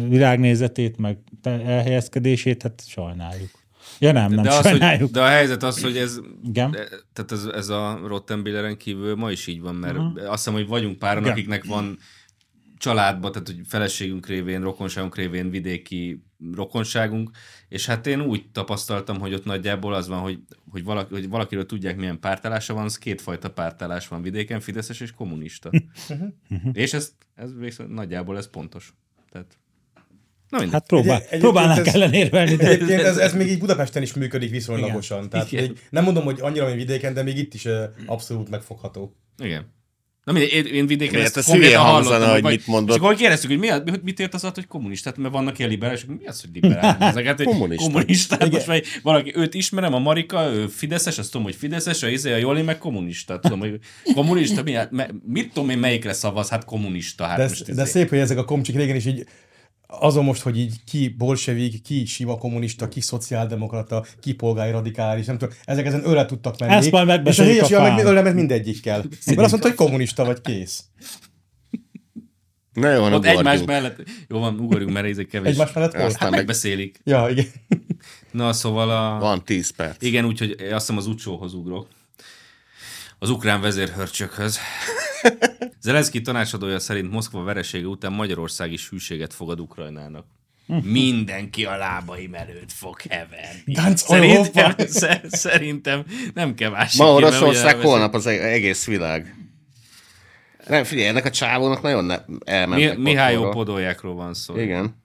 S2: világnézetét, meg te- elhelyezkedését, hát sajnáljuk. Ja nem, nem
S3: de, az, hogy,
S2: sajnáljuk.
S3: de a helyzet az, hogy ez,
S2: Igen.
S3: de- tehát ez, ez a Rottenbilleren kívül ma is így van, mert uh-huh. azt hiszem, hogy vagyunk páran,
S2: Igen.
S3: akiknek van családban, tehát hogy feleségünk révén, rokonságunk révén vidéki rokonságunk, és hát én úgy tapasztaltam, hogy ott nagyjából az van, hogy, hogy, valaki, hogy valakiről tudják, milyen pártállása van, az kétfajta pártállás van vidéken, fideszes és kommunista.
S2: Mhm.
S3: és ez, ez viszont nagyjából ez pontos. Tehát, na mindegy.
S2: Hát próbál,
S1: Egy- egyébként
S2: próbálnak
S1: ez-
S2: ellen érvelni, de
S1: Egyébként ez, ez még így Budapesten is működik viszonylagosan. Igen. Tehát
S3: Igen.
S1: Még, nem mondom, hogy annyira, mint vidéken, de még itt is ö, abszolút megfogható.
S3: Igen. Na mindegy, én, én vidéken
S4: Miért
S3: ezt
S4: ez
S3: konkrétan
S4: hülyén
S3: hallottam,
S4: hangzana, hogy
S3: vagy-
S4: mit mondott?
S3: És akkor kérdeztük, hogy mi, a- hogy mit ért az alatt, hogy kommunista, Hát, mert vannak ilyen liberális, mi az, hogy liberális? Ezek, hát, hogy
S4: Kommunista.
S3: kommunista. Hát most vagy valaki, őt ismerem, a Marika, ő fideszes, azt tudom, hogy fideszes, a Izé, a Joli, meg kommunista. Tudom, hogy kommunista, mi, hát, me- mit tudom én, melyikre szavaz, hát kommunista. Hát
S1: De,
S3: most
S1: ez, de
S3: izé.
S1: szép, hogy ezek a komcsik régen is így azon most, hogy így ki bolsevik, ki sima kommunista, ki szociáldemokrata, ki polgári radikális, nem tudom, ezek ezen öle tudtak menni.
S2: Ezt majd
S1: és a
S2: megbeszéljük
S1: híres
S2: a
S1: jaj, meg
S2: fán.
S1: öle ment mindegyikkel. Mert azt mondta, hogy kommunista vagy kész.
S4: Na jó, na
S3: Ott egymás
S4: ugorjunk.
S3: mellett, jó van, ugorjunk, mert ezek kevés. Hát
S1: Egymás mellett volt.
S4: Aztán meg
S3: Megbeszélik.
S1: Ja, igen.
S3: Na, szóval a...
S4: van 10 perc.
S3: Igen, úgyhogy azt hiszem az Ucsóhoz ugrok. Az ukrán vezérhörcsökhöz. Zelenszky tanácsadója szerint Moszkva veresége után Magyarország is hűséget fogad Ukrajnának. Mindenki a lábaim előtt fog heverni.
S1: Tánc
S3: Szerintem,
S1: Európa.
S3: sze- szerintem nem kell másik.
S4: Ma
S3: éve
S4: Oroszország,
S3: ugyanelveszni.
S4: holnap az eg- egész világ. Nem, figyelj, ennek a csávónak nagyon ne- elmentek
S3: Mi, Mihály
S4: otthonról.
S3: Podoljákról van szó.
S4: Igen.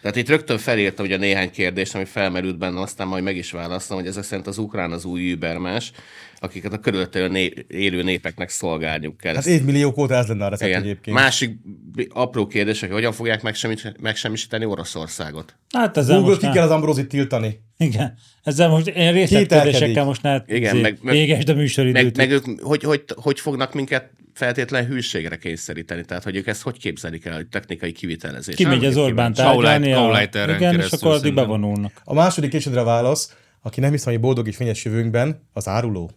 S4: Tehát itt rögtön felírtam ugye néhány kérdést, ami felmerült benne, aztán majd meg is választom, hogy ezek szerint az ukrán az új übermás, akiket a körülöttől né- élő népeknek szolgálniuk kell.
S1: Hát évmilliók óta ez lenne a recept
S4: Igen.
S1: egyébként.
S4: Másik b- apró kérdés, hogy hogyan fogják megsemmis- megsemmisíteni Oroszországot.
S2: hát ezzel
S1: Google
S2: most
S1: ki
S2: már,
S1: kell az Ambrózit tiltani.
S2: igen, ezzel most én
S1: Kételkedik.
S2: részletkérdésekkel most már
S4: Igen,
S2: izé,
S4: meg- meg-
S2: végesd a
S4: Meg,
S2: műsoridőt.
S4: meg ők hogy, hogy, hogy fognak minket feltétlen hűségre kényszeríteni? Tehát, hogy ők ezt hogy képzelik el, hogy technikai kivitelezés?
S2: Kimegy az Orbán
S3: Saulite-
S2: tárgyalni, a-
S3: Sauliterren
S2: igen, és
S3: keresztül
S2: akkor addig
S3: szerintem.
S2: bevonulnak.
S1: A második késedre válasz, aki nem hisz, hogy boldog és fényes jövőnkben, az áruló.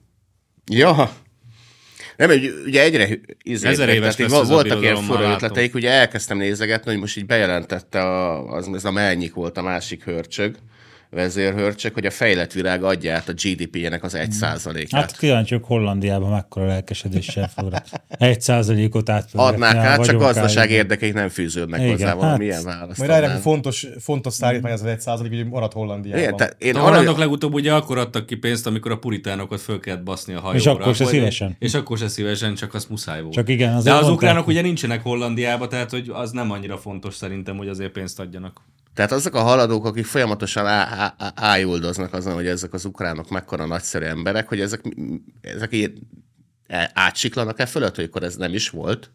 S4: Ja. Nem, ugye- ugye egyre izé,
S3: Ezer éves
S4: tehát így
S3: lesz ez a
S4: voltak ilyen
S3: birodalom, már
S4: fura
S3: látom.
S4: ötleteik, ugye elkezdtem nézegetni, hogy most így bejelentette, a, az, ez a melnyik volt a másik hörcsög, vezérhörcsög, hogy a fejlett világ adja át a GDP-jének az
S3: Hmm.
S4: 1%-át.
S2: Hát
S4: Hát,
S2: kíváncsiak Hollandiában mekkora lelkesedéssel fogra. Egy százalékot átpörgetni.
S4: Adnák
S2: a
S4: át, csak
S2: vagyonkáig.
S4: gazdaság érdekeik nem fűződnek
S2: Igen,
S4: hozzá
S2: hát-
S4: valamilyen választ.
S1: Majd rájön, hogy fontos, fontos szállítmány az az egy százalék, hogy marad Hollandiában.
S4: Igen, tehát én
S3: Na,
S4: arra-
S3: hollandok legutóbb ugye akkor adtak ki pénzt, amikor a puritánokat föl kellett baszni a hajóra.
S2: És akkor se szívesen.
S3: És akkor se szívesen, csak az muszáj volt.
S2: Csak igen,
S3: az
S2: azért
S3: De az
S2: mondtam.
S3: ukránok ugye nincsenek Hollandiába, tehát hogy az nem annyira fontos szerintem, hogy azért pénzt adjanak.
S4: Tehát azok a haladók, akik folyamatosan á- á- á- ájuldoznak azon, hogy ezek az ukránok mekkora nagyszerű emberek, hogy ezek, ezek így e- átsiklanak-e fölött, hogy akkor ez nem is volt?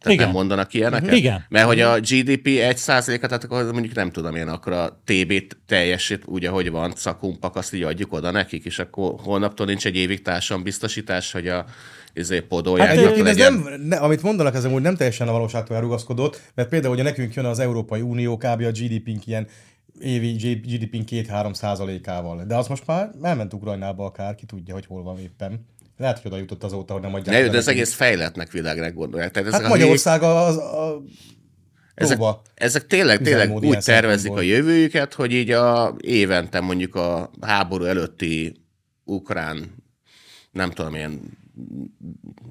S4: Tehát
S2: Igen.
S4: nem mondanak
S1: Mhm.
S4: ilyeneket?
S2: Igen.
S4: Mert hogy a GDP 1%-a, tehát hát akkor mondjuk nem tudom én, akkor a TB-t teljesít úgy, ahogy van, szakumpak, azt így adjuk oda nekik, és akkor holnaptól nincs egy évig társam biztosítás, hogy a izé, podolják.
S1: Hát egyébként ez nem, ne, amit mondanak, ez amúgy nem teljesen a valóságtól elrugaszkodott, mert például, hogy nekünk jön az Európai Unió kb. a GDP-nk ilyen évi GDP-nk 2-3 százalékával. De az most már elment Ukrajnába akár, ki tudja, hogy hol van éppen. Lehet, hogy oda jutott azóta, hogy nem adják.
S4: Ne,
S1: oda
S4: de az
S1: nekünk.
S4: egész fejletnek világnak gondolják. Tehát ezek
S1: Hát
S4: a hülyék-
S1: Magyarország az a...
S4: Ezek,
S1: Próba.
S4: ezek tényleg, tényleg
S1: Üzemmód
S4: úgy
S1: ilyen
S4: tervezik a
S1: szempontból.
S4: jövőjüket, hogy így a évente mondjuk a háború előtti ukrán, nem tudom, ilyen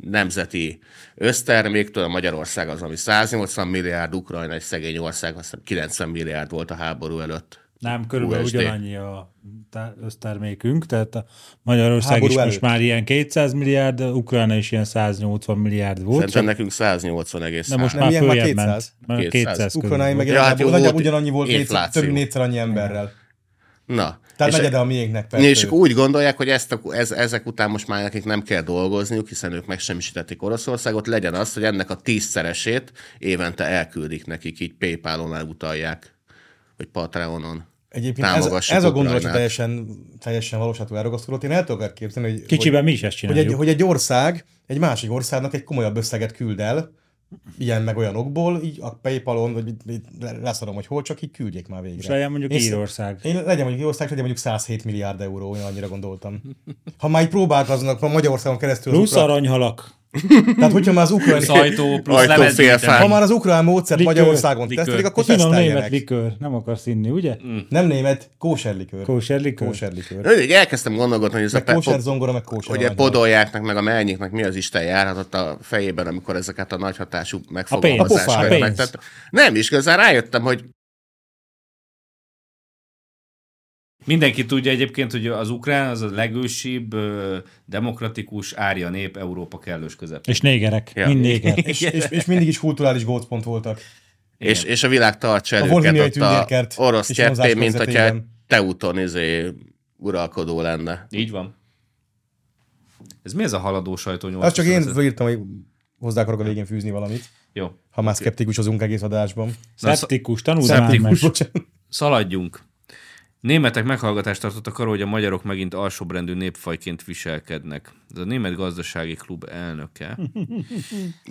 S4: nemzeti összterméktől a Magyarország az, ami 180 milliárd, Ukrajna egy szegény ország, azt hiszem 90 milliárd volt a háború előtt.
S2: Nem, körülbelül
S4: USD.
S2: ugyanannyi a tá- össztermékünk, tehát a Magyarország
S1: Háború
S2: is
S1: előtt.
S2: most már ilyen 200 milliárd, a Ukrajna is ilyen 180 milliárd volt.
S4: Szerintem
S2: Csak,
S4: nekünk 180 egész.
S2: de most
S1: nem,
S2: már
S1: ilyen már
S2: följebb
S1: 200.
S2: ment. Már 200,
S4: 200
S2: körül
S1: Ukrajnai
S2: volt.
S1: meg
S4: Ja, hát
S1: ja,
S4: jó,
S1: nagyjább
S4: volt
S1: ugyanannyi volt, négyszer,
S4: infláció.
S1: több mint négyszer annyi emberrel.
S4: Na.
S1: Tehát
S4: és-
S1: negyede a miénknek.
S4: Persze.
S1: per
S4: És
S1: fő.
S4: akkor úgy gondolják, hogy ezt a, ez, ezek után most már nekik nem kell dolgozniuk, hiszen ők megsemmisítették Oroszországot, legyen az, hogy ennek a tízszeresét évente elküldik nekik, így Paypalon elutalják, vagy Patreonon.
S1: Egyébként ez,
S4: Támogassuk
S1: ez a gondolat sem
S4: Ukrajnát.
S1: teljesen, teljesen valóságtól elragaszkodott. Én el tudok akár képzelni, hogy...
S2: Kicsiben mi is ezt
S1: hogy egy,
S2: csináljuk.
S1: hogy egy ország egy másik országnak egy komolyabb összeget küld el, ilyen meg olyanokból, így a Paypalon, vagy mit- mit- le- leszarom, hogy hol, csak így küldjék már végre.
S2: És legyen mondjuk
S1: Én-
S2: Írország.
S1: Én legyen mondjuk Írország, legyen mondjuk 107 milliárd euró, én annyira gondoltam. Ha már így próbálkoznak a Magyarországon keresztül, az
S2: Plusz
S1: ukra...
S2: aranyhalak.
S1: tehát hogyha már az ukrán,
S3: Plusz ajtó, plusz
S4: Ajtó,
S3: lemezgyűjtem.
S4: félfák.
S1: ha már az ukrán módszert
S2: Likőr,
S1: Magyarországon
S3: likőr.
S1: tesztelik, akkor
S2: Egy Finom német
S1: teszteljenek.
S2: likőr. Nem akarsz inni, ugye?
S3: Mm.
S1: Nem német, kóserlikőr.
S2: Kóserlikőr?
S1: Kóserlikőr.
S4: Na, Így elkezdtem gondolkodni, hogy ez
S1: Meg
S4: a pe-
S1: kóser zongora, meg kóser
S4: hogy a
S1: aranyhalak.
S4: podoljáknak, meg a melnyiknek mi az Isten járhatott a fejében, amikor ezeket a nagyhatású
S2: A pénz.
S1: A pofára.
S4: megfogalmazásokat
S2: A pénz.
S4: megtett. Nem is, igazán rájöttem, hogy
S3: Mindenki tudja egyébként, hogy az ukrán az a legősibb, ö, demokratikus, árja nép Európa kellős közepén.
S2: És négerek,
S4: Ja.
S2: ja. mind néger.
S1: És, és, és mindig is kulturális gócpont voltak.
S4: És, és a világ tartsa
S1: A
S4: előket
S1: Volhyniai
S4: ott a
S1: tündérkert
S4: orosz
S1: és vonzás
S4: cseppé, mint hogyha
S1: körzetében.
S4: Teuton izé uralkodó lenne.
S3: Így van. Ez mi ez a haladó sajtó 8
S1: Azt csak én írtam, hogy hozzá akarok a végén fűzni valamit,
S3: Jó.
S1: ha már szkeptikusozunk egész adásban.
S3: Na,
S2: Szeptikus,
S3: Szeptikus.
S2: tanulmányos.
S1: Bocsánat.
S3: Szaladjunk. Németek meghallgatást tartottak arról, hogy a magyarok megint alsóbrendű népfajként viselkednek. Ez a Német Gazdasági Klub elnöke.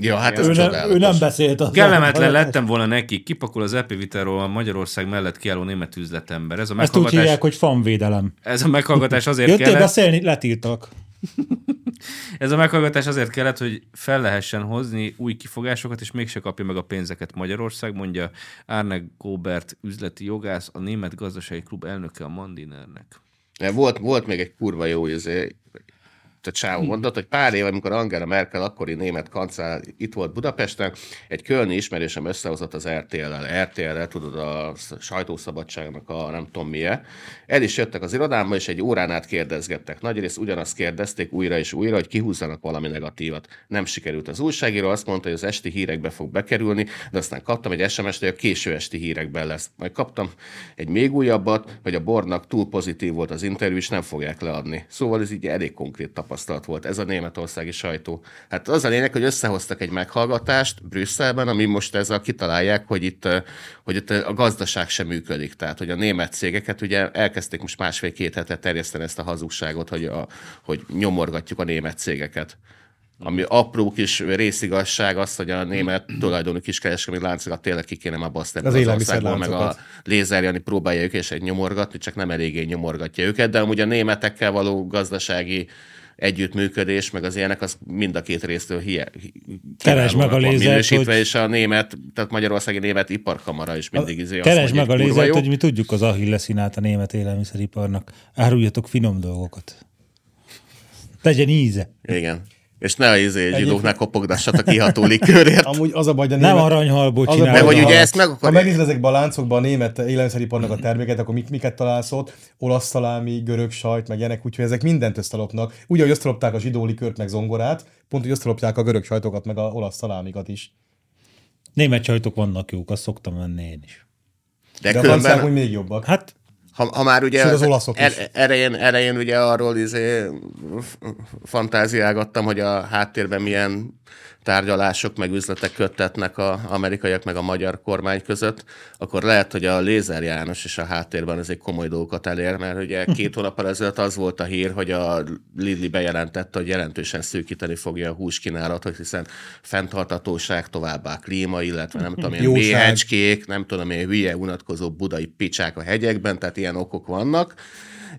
S4: Ja, hát ez
S2: Ő nem, ő
S4: csodálatos.
S2: nem beszélt az
S3: Kellemetlen lettem volna neki, kipakol az Epivitelról a Magyarország mellett kiálló német üzletember. Ez
S2: Ezt
S3: a
S2: úgy
S3: meghallgatás,
S2: hívják, hogy fanvédelem.
S3: ez a meghallgatás azért
S2: Jöttél
S3: kellett,
S2: beszélni, letiltak.
S3: ez a meghallgatás azért kellett, hogy fel lehessen hozni új kifogásokat, és mégse kapja meg a pénzeket Magyarország, mondja Arne Gobert üzleti jogász, a Német Gazdasági Klub elnöke a Mandinernek.
S4: Volt, volt még egy kurva jó izé, a csávó mondott, hogy pár éve, amikor Angela Merkel, akkori német kancellár itt volt Budapesten, egy kölni ismerősem összehozott az RTL-el. RTL-el, tudod, a sz- sajtószabadságnak a nem tudom milyen. El is jöttek az irodámba, és egy órán át kérdezgettek. Nagyrészt ugyanazt kérdezték újra és újra, hogy kihúzzanak valami negatívat. Nem sikerült. Az újságíró azt mondta, hogy az esti hírekbe fog bekerülni, de aztán kaptam egy SMS-t, hogy a késő esti hírekben lesz. Majd kaptam egy még újabbat, hogy a bornak túl pozitív volt az interjú, és nem fogják leadni. Szóval ez így elég konkrét tapasztalat volt, ez a németországi sajtó. Hát az a lényeg, hogy összehoztak egy meghallgatást Brüsszelben, ami most ezzel kitalálják, hogy itt, ö, hogy itt a gazdaság sem működik. Tehát, hogy a német cégeket ugye elkezdték most másfél-két hete terjeszteni ezt a hazugságot, hogy, a, hogy nyomorgatjuk a német cégeket ami apró kis részigazság az, hogy a német tulajdonú kiskereskedelmi láncokat tényleg ki kéne már baszni ebből országból, meg a
S1: élelmiszerláncokat.
S4: lézerjani próbálja ők és egy nyomorgatni, csak nem eléggé nyomorgatja őket, de amúgy a németekkel való gazdasági együttműködés, meg az ilyenek, az mind a két résztől hie, hi-
S2: Keresd meg
S4: kiválónak
S2: a
S4: van
S2: lézert,
S4: minősítve,
S2: hogy-
S4: és a német, tehát Magyarországi Német Iparkamara is mindig izé azt
S2: Keresd
S4: mondja,
S2: meg a
S4: hogy kurva
S2: lézert,
S4: jó.
S2: hogy mi tudjuk az ahilleszínát a német élelmiszeriparnak. Áruljatok finom dolgokat. Legyen íze.
S4: Igen. És ne a izé zsidóknál kopogdassatok kiható likőrért.
S1: Amúgy az a baj, hogy a
S2: Nem
S1: német-
S2: aranyhalból
S1: az a baj,
S2: csinálod.
S4: De hogy
S1: a-
S4: ugye ezt meg akar-
S1: Ha megnézed ezekben a láncokban a német élelmiszeriparnak a terméket, akkor mik, miket találsz ott? Olasz szalámi, görög sajt, meg ilyenek, úgyhogy ezek mindent összelopnak. Úgy, ahogy összelopták a zsidó likört, meg zongorát, pont úgy összelopták a görög sajtokat, meg a olasz szalámikat is.
S2: Német sajtok vannak jók, azt szoktam venni én is.
S4: De,
S1: De a
S4: különben,
S1: franciák úgy még jobbak.
S2: Hát
S4: ha, ha már ugye
S1: Sőt, az olaszok is.
S4: erején, erején ugye arról izé f- fantáziálgattam, hogy a háttérben milyen tárgyalások meg üzletek köttetnek az amerikaiak meg a magyar kormány között, akkor lehet, hogy a Lézer János is a háttérben azért komoly dolgokat elér, mert ugye két hónappal ezelőtt az volt a hír, hogy a Lidl bejelentette, hogy jelentősen szűkíteni fogja a húskínálatot, hiszen fenntartatóság továbbá a klíma, illetve nem tudom én,
S1: Jóság.
S4: BHG kék, nem tudom én, hülye, unatkozó budai picsák a hegyekben, tehát ilyen okok vannak.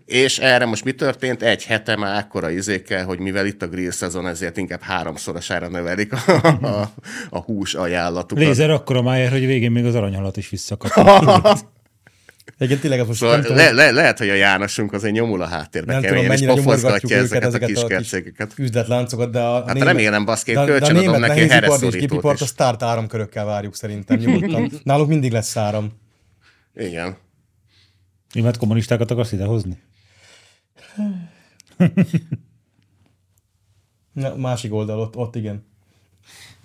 S4: És erre most mi történt? Egy hete már akkora izékkel, hogy mivel itt a grill szezon, ezért inkább háromszorosára növelik a, a, a hús ajánlatukat.
S2: lézer akkora májár, hogy végén még az aranyhalat is visszakap.
S1: Egyébként tényleg ez most
S4: Szóval
S1: nem tudom,
S4: le, le, lehet, hogy a Jánosunk azért nyomul a háttérbe
S1: nem tudom
S4: keményen, és
S1: mennyire nyomorgatjuk
S4: pofozgatja
S1: őket,
S4: ezeket, a
S1: kis
S4: kiskercégeket. Hát
S1: üzletláncokat, de a, a
S4: remélem, baszki,
S1: de- de a
S4: kölcsönadom
S1: német
S4: neki
S1: nehéz
S4: a
S1: ipart és
S4: hereszorítót
S1: gépipart
S4: is.
S1: a sztárt áramkörökkel várjuk szerintem nyugodtan. Náluk mindig lesz áram.
S4: Igen.
S2: Német kommunistákat akarsz idehozni?
S1: Na, másik oldal, ott, ott igen.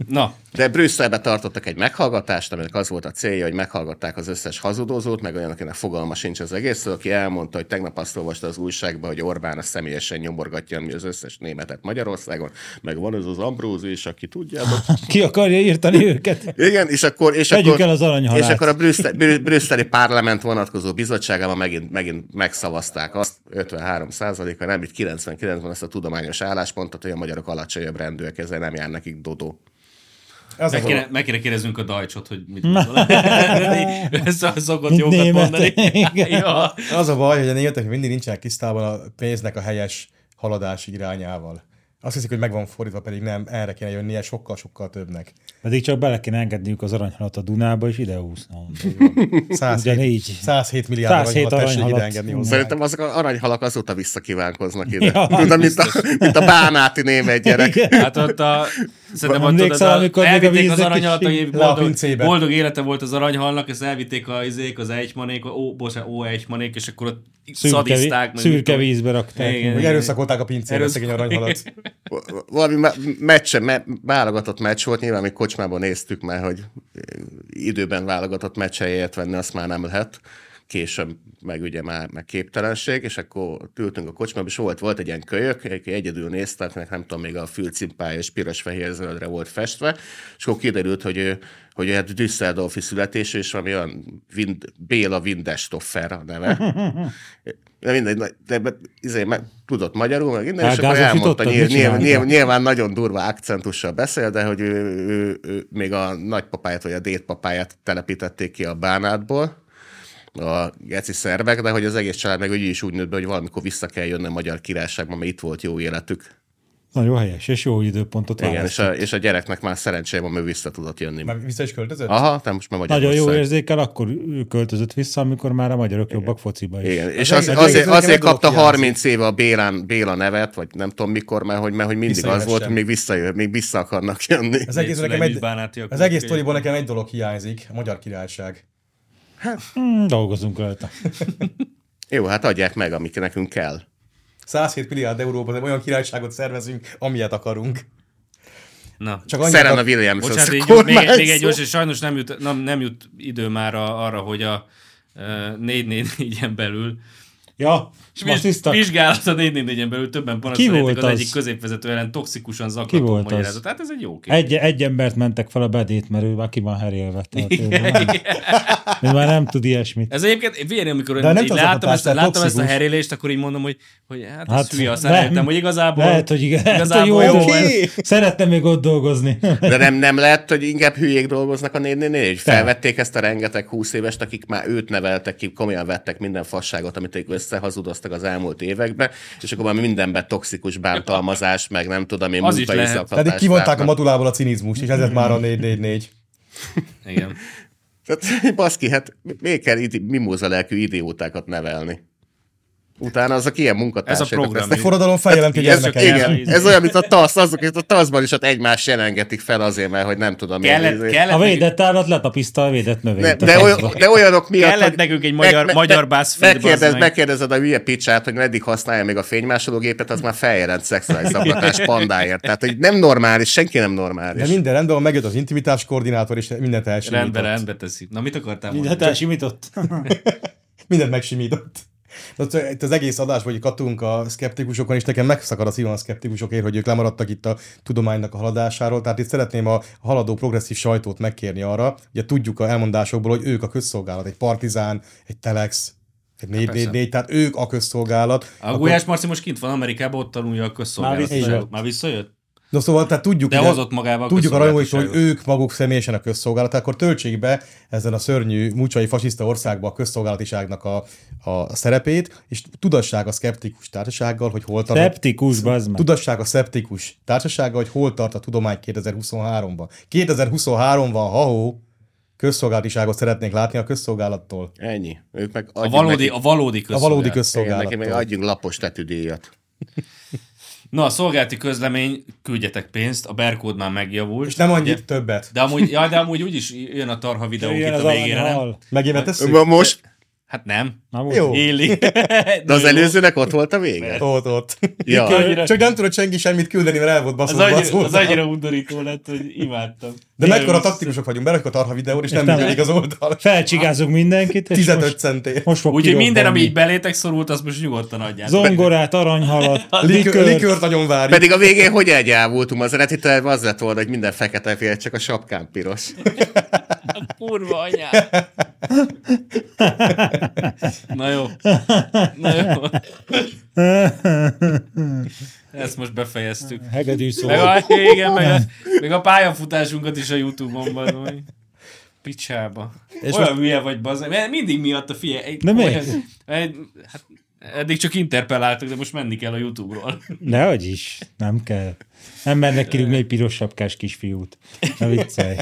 S3: Na,
S4: De Brüsszelbe tartottak egy meghallgatást, aminek az volt a célja, hogy meghallgatták az összes hazudozót, meg olyan, akinek fogalma sincs az egészről, aki elmondta, hogy tegnap azt olvasta az újságban, hogy Orbán a személyesen nyomorgatja ami az összes németet Magyarországon, meg van ez az Ambrózi is, aki tudjátok.
S2: Ki akarja írtani őket?
S4: Igen, és akkor... És
S2: Vegyük
S4: akkor,
S2: el az aranyhalált.
S4: És akkor a brüsszeli, brü- brüsszeli parlament vonatkozó bizottságában megint, megint megszavazták azt, 53 a nem, itt 99 ban ezt a tudományos álláspontot, hogy a magyarok alacsonyabb rendőrök, ezzel nem jár nekik dodó.
S1: Ez
S3: meg
S1: az
S3: kéne, meg kéne kérdeznünk a Dajcsot, hogy mit gondol. Ezt a szokott jókat
S2: német.
S3: mondani.
S2: Igen.
S3: ja.
S1: Az a baj, hogy a németek mindig nincsenek tisztában a pénznek a helyes haladás irányával. Azt hiszik, hogy meg van fordítva, pedig nem, erre kéne jönnie sokkal-sokkal többnek.
S2: Pedig csak bele kéne engedniük az aranyhalat a Dunába, és ide húszna.
S1: 107,
S2: Ugyanígy.
S1: 107 milliárd
S2: 107
S1: aranyhalat tessék
S2: aranyhalat.
S1: ide engedni hozzá.
S4: Szerintem azok az aranyhalak azóta visszakívánkoznak ide.
S2: Ja,
S4: Tudom, mint a, mint a bánáti német gyerek.
S2: Igen.
S3: Hát ott a
S6: Szerintem ott tudod,
S2: Emlékszel,
S6: a,
S2: amikor még a
S6: elvitték az
S2: víznek
S6: aranyhalat,
S2: is
S6: hogy
S1: le a
S6: boldog,
S1: pincébe.
S6: boldog, élete volt az aranyhalnak, ezt elvitték a, izék, az egymanék, ó, bocsánat, ó, egymanék, és akkor ott
S2: Szürke, vi-
S6: szadiszták. meg mit
S2: szürke
S6: tudom.
S2: vízbe rakták.
S6: Igen.
S1: Hogy erőszakolták a pincébe
S6: Erőszak-
S1: szegény aranyhalat.
S4: Valami me- meccse, me- válogatott meccs volt, nyilván mi kocsmában néztük már, hogy eh, időben válogatott meccs helyet venni, azt már nem lehet. Később meg ugye már meg képtelenség, és akkor ott ültünk a kocsmába, és volt, volt egy ilyen kölyök, aki egyedül nézte, akinek nem tudom, még a fülcimpája és piros-fehér-zöldre volt festve, és akkor kiderült, hogy ő, hogy ő hát Düsseldorfi születésű, és valami olyan Wind, Béla Windestoffer a neve. De mindegy, na- de, de izé, meg, tudott magyarul, meg minden, és akkor
S2: Elgázosítottad?
S4: elmondta,
S2: Mit
S4: nyilv, nyilv,
S2: csináltad?
S4: nyilv, nyilván nagyon durva akcentussal beszél, de hogy ő, ő, ő, még a nagypapáját vagy a dédpapáját telepítették ki a bánátból, a geci szervek, de hogy az egész család meg úgy is úgy nőtt be, hogy valamikor vissza kell jönni a magyar királyságba, mert itt volt jó életük.
S2: Nagyon helyes, és jó időpontot
S4: Igen, és
S2: választ.
S4: a, és a gyereknek már szerencsére van, ő vissza tudott jönni.
S1: Már vissza is költözött?
S4: Aha, nem most már
S2: Nagyon
S4: Magyarország.
S2: jó érzékel, akkor ő költözött vissza, amikor már a magyarok jobbak fociba is.
S4: Igen, és
S1: az
S4: az,
S1: egész-
S4: azért,
S1: nekem egy
S4: azért
S1: dolog
S4: kapta
S1: hiányzik.
S4: 30 éve a Bélán, Béla nevet, vagy nem tudom mikor, mert hogy, mert hogy mindig az
S1: Visszajöhessen.
S4: volt, hogy még visszajön, még vissza akarnak jönni.
S1: Az egész, nekem
S6: szüleim
S1: egy,
S6: is bánátiak
S1: az egész
S6: voltak egyébként.
S1: sztoriból nekem egy dolog hiányzik, a magyar királyság.
S2: Hmm, dolgozunk rajta.
S4: Jó, hát adják meg, amik nekünk kell.
S1: 107 milliárd euróban nem olyan királyságot szervezünk, amilyet akarunk.
S6: Na,
S1: Csak annyit
S4: Szerena
S1: a...
S4: Williams az
S6: Bocsánat,
S4: a
S6: így gyors, még,
S4: kormány
S6: még egy
S4: szó.
S6: gyors, és sajnos nem jut, nem, nem jut idő már a, arra, hogy a ö, 444-en belül
S2: Ja, és most
S6: Viz-
S2: tiszta.
S6: Vizsgálat a 444-en belül többen
S2: Ki
S6: panaszolják
S2: volt
S6: az,
S2: az?
S6: egyik középvezető ellen toxikusan
S2: Ki
S6: zaklató
S2: volt az?
S6: magyarázat. Hát ez egy jó kép.
S2: Egy, egy embert mentek fel a bedét, mert ő már ki van herélve. Tehát ő, már nem, ő már nem tud ilyesmit.
S6: Ez egyébként, figyelj, amikor
S1: De
S6: én
S1: nem
S6: így
S1: az
S6: láttam,
S1: zaklatás,
S6: ezt,
S1: tehát
S6: láttam ezt a
S1: toxikus.
S6: herélést, akkor így mondom, hogy, hogy hát, hát
S2: Hát,
S6: ez hülye, aztán
S2: lehet-
S6: rájöttem, hogy igazából,
S2: Lehet, hogy igen, igazából
S6: igazából
S2: hát, jó,
S6: jó,
S2: jó
S6: ez.
S2: ez. Szerettem még ott dolgozni.
S4: De nem, nem lehet, hogy inkább hülyék dolgoznak a 444 hogy felvették ezt a rengeteg 20 évest, akik már őt neveltek ki, komolyan vettek minden fasságot, amit ők összehazudoztak az elmúlt években, és akkor már mindenben toxikus bántalmazás, meg nem tudom én,
S6: Az is
S4: munkai
S6: lehet.
S4: zaklatás.
S1: Pedig kivonták a
S4: látnak.
S1: madulából a cinizmust, és ezért már a 444.
S6: Igen.
S4: Tehát, baszki, hát miért kell idi, mimóza lelkű idiótákat nevelni? Utána azok ilyen munkatársak. hát
S6: program.
S1: Meg forradalom feljelenti a
S4: ez,
S1: gyermeket.
S4: igen, ez olyan, mint a TASZ, azok, mint a TASZ-ban is hát egymást jelengetik fel azért, mert hogy nem tudom. én-
S6: Kellett,
S2: A
S6: kellett, nekünk,
S2: védett állat letapiszta a védett
S4: De,
S2: növényt.
S4: de, olyan, de olyanok miatt,
S6: Kellett
S4: hogy
S6: nekünk egy magyar- magyar buzzfeed, bazd
S4: megkérdez,
S6: meg.
S4: megkérdezed a hülye picsát, hogy meddig használja még a fénymásológépet, az már feljelent szexuális zaklatás pandáért. Tehát, hogy nem normális, senki nem
S1: De
S4: normális.
S1: minden rendben van, megjött az intimitás koordinátor, és mindent elsimított.
S6: rendbe, rendbe teszik. Na, mit akartál mondani?
S2: Hát elsimított.
S1: Mindent megsimított. De ott- Itt az egész adás, hogy kattunk a szkeptikusokon, és nekem megszakad a szívem a szkeptikusokért, hogy ők lemaradtak itt a tudománynak a haladásáról. Tehát itt szeretném a haladó progresszív sajtót megkérni arra, ugye tudjuk a elmondásokból, hogy ők a közszolgálat, egy partizán, egy telex, egy 444, tehát ők a közszolgálat.
S6: A Gulyás Marci most kint van Amerikában, ott tanulja a
S2: Már
S6: közszolgálatot.
S2: visszajött.
S6: Már visszajött?
S1: No szóval, tehát tudjuk,
S6: De
S1: ugye-
S6: hozott magával
S1: tudjuk a rajongóit, hogy
S6: közszolgálatiságot.
S1: ők maguk személyesen a közszolgálat, akkor töltsék be ezen a szörnyű, mucsai fasiszta országba a közszolgálatiságnak a, a szerepét, és tudassák a szkeptikus társasággal, hogy hol tart.
S2: Szeptikus, bazd meg.
S1: Tudassák a szeptikus társasággal, hogy hol tart a tudomány 2023-ban. 2023-ban, ha-hó, közszolgálatiságot szeretnénk látni a közszolgálattól.
S4: Ennyi. Ők meg
S6: A valódi, a valódi
S1: A
S6: közszolgálat.
S1: valódi
S4: igen, neki meg
S1: közszolgálattól.
S4: adjunk lapos tetűdíjat.
S6: Na, a szolgálati közlemény, küldjetek pénzt, a berkód már megjavult.
S1: És nem
S6: Ugye?
S1: annyit többet.
S6: De amúgy, ja, de amúgy úgyis jön a tarha videónk itt
S2: Jöjjön az
S6: a végére, nem?
S2: aranyhal.
S1: Megint tesszük?
S4: Ma Most,
S6: Hát nem.
S2: Na, most.
S1: Jó,
S6: Éli.
S4: de az előzőnek ott volt a vége?
S1: ott, ott.
S4: Ja.
S6: Annyira-
S1: Csak nem tudott senki semmit küldeni, mert el volt
S6: Az
S1: baszva.
S6: annyira, az annyira undorító lett, hogy imádtam.
S1: De
S6: Tényleg
S1: mekkora
S6: most-
S1: taktikusok vagyunk, berakjuk a tarha videót, és nem
S2: nem-
S1: működik az oldal.
S2: Felcsigázunk mindenkit, és
S1: 15
S2: most,
S1: centért.
S2: most fog
S6: Úgyhogy minden, ami
S2: kirobbanni.
S6: így belétek szorult, azt most nyugodtan adjátok.
S2: Zongorát, aranyhalat,
S1: Likör,
S2: likört,
S1: likört nagyon várjuk.
S4: Pedig a végén hogy elgyávultunk? Az eredeti terv az lett volna, hogy minden fekete fél, csak a sapkán piros.
S6: Kurva anyád. Na jó. Na jó. Ezt most befejeztük.
S2: hegedű szó.
S6: Meg a, igen, meg a, meg a pályafutásunkat is a Youtube-on van, hogy picsába. És
S2: És
S6: olyan hülye vagy, bazd, mert mindig miatt a fie. Egy,
S2: De
S6: olyan,
S2: miért?
S6: egy, hát, Eddig csak interpelláltak, de most menni kell a YouTube-ról.
S2: Nehogy is, nem kell. Nem mernek kirúgni egy piros sapkás kisfiút. Na viccelj.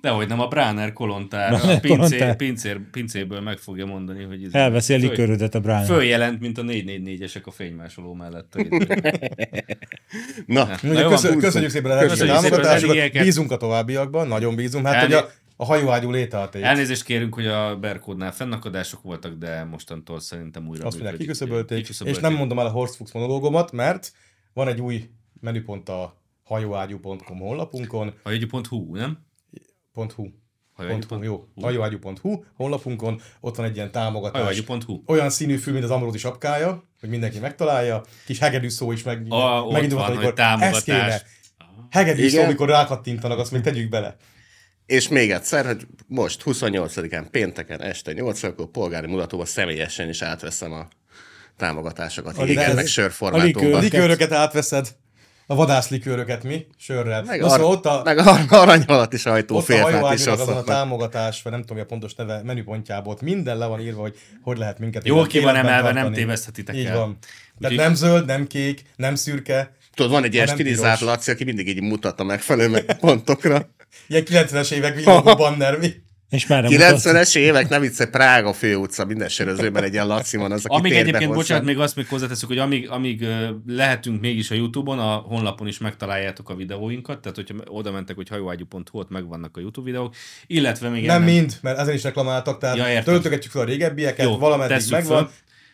S6: Dehogy nem, a Bráner kolontára,
S2: Bráner
S6: a pincér,
S2: kolontár.
S6: pincér, pincérből meg fogja mondani, hogy
S1: Hát.
S6: ez
S2: Elveszi a
S6: föl-
S2: likörödet a brányra.
S6: Följelent, mint a 444-esek a fénymásoló mellett.
S4: Na,
S1: Ugye,
S6: Hát, jó,
S1: köszön,
S6: van,
S1: köszönjük szépen a
S6: Köszönjük
S1: lehetőséget,
S6: szépen a
S1: támogatásokat,
S6: segélyeket.
S1: bízunk a továbbiakban, nagyon bízunk, hát
S6: Elné-
S1: hogy a, a hajóágyú létálték.
S6: Elnézést kérünk, hogy a Berkódnál fennakadások voltak, de mostantól szerintem újra
S1: Azt mondják,
S6: működik.
S1: kiküszöbölték, és
S6: Kiküszöbölték.
S1: nem mondom el a Horst Fuchs monológomat, mert van egy új menüpont a hajóágyú.com honlapunkon,
S6: Hajógyi.hu, nem?
S1: .hu,
S6: Hajógyi
S1: .hu, jó, hajóágyú.hu honlapunkon, ott van egy ilyen támogatás.
S6: Hajógyi.hu.
S1: Olyan színű fül, mint az Amarózi sapkája, hogy mindenki megtalálja, kis hegedű szó is meg,
S6: A, ott
S1: megindulhat,
S6: van,
S1: amikor
S6: hogy támogatás.
S1: ezt kéne. Hegedű szó,
S4: Igen.
S1: amikor rákattintanak, azt még tegyük bele.
S4: és még egyszer, hogy most 28-án pénteken este 8 akkor polgári mutatóba személyesen is átveszem a támogatásokat.
S2: A
S4: Igen,
S1: likőr-
S4: meg
S1: A
S4: sörformátumban.
S2: likőr-
S1: likőröket átveszed, a vadászlikőröket mi, sörrel.
S4: Meg,
S1: Na,
S4: ar-
S1: szóval ott a,
S4: meg a aranyhalat is ajtó
S1: ott a
S4: félfát is
S1: hajóágyúnak azon a
S4: osztottak.
S1: támogatás, vagy nem tudom, mi a pontos neve menüpontjából, ott minden le van írva, hogy hogy lehet minket
S6: Jól ki van
S1: életben
S6: emelve, nem
S1: tartani.
S6: téveszthetitek
S1: Így
S6: el.
S1: van. Tehát
S6: Úgyhogy-
S1: nem zöld, nem kék, nem szürke,
S4: Tudod, van egy ilyen
S1: Ha nem
S4: stilizált
S1: piros.
S4: Laci, aki mindig így mutat a megfelelő pontokra.
S1: ilyen 90-es évek villogó banner, mi?
S2: És már nem mutat.
S4: 90-es évek, nem vicce, Prága főutca, minden sörözőben egy ilyen Laci van az, aki
S6: Amíg
S4: térbe
S6: egyébként,
S4: hozzá.
S6: bocsánat, még azt még hozzáteszek, hogy amíg, amíg ö, lehetünk mégis a YouTube-on, a honlapon is megtaláljátok a videóinkat, tehát hogyha oda mentek, hogy hajóágyú.hu, ott megvannak a YouTube videók, illetve még
S1: Nem
S6: ennek-
S1: mind, mert ezen is reklamáltak, tehát
S6: Ja,
S1: ja,
S6: értem.
S1: töltögetjük fel a régebbieket,
S6: Jó,
S1: Jó, valameddig
S6: tesszük
S1: megvan,
S6: föl.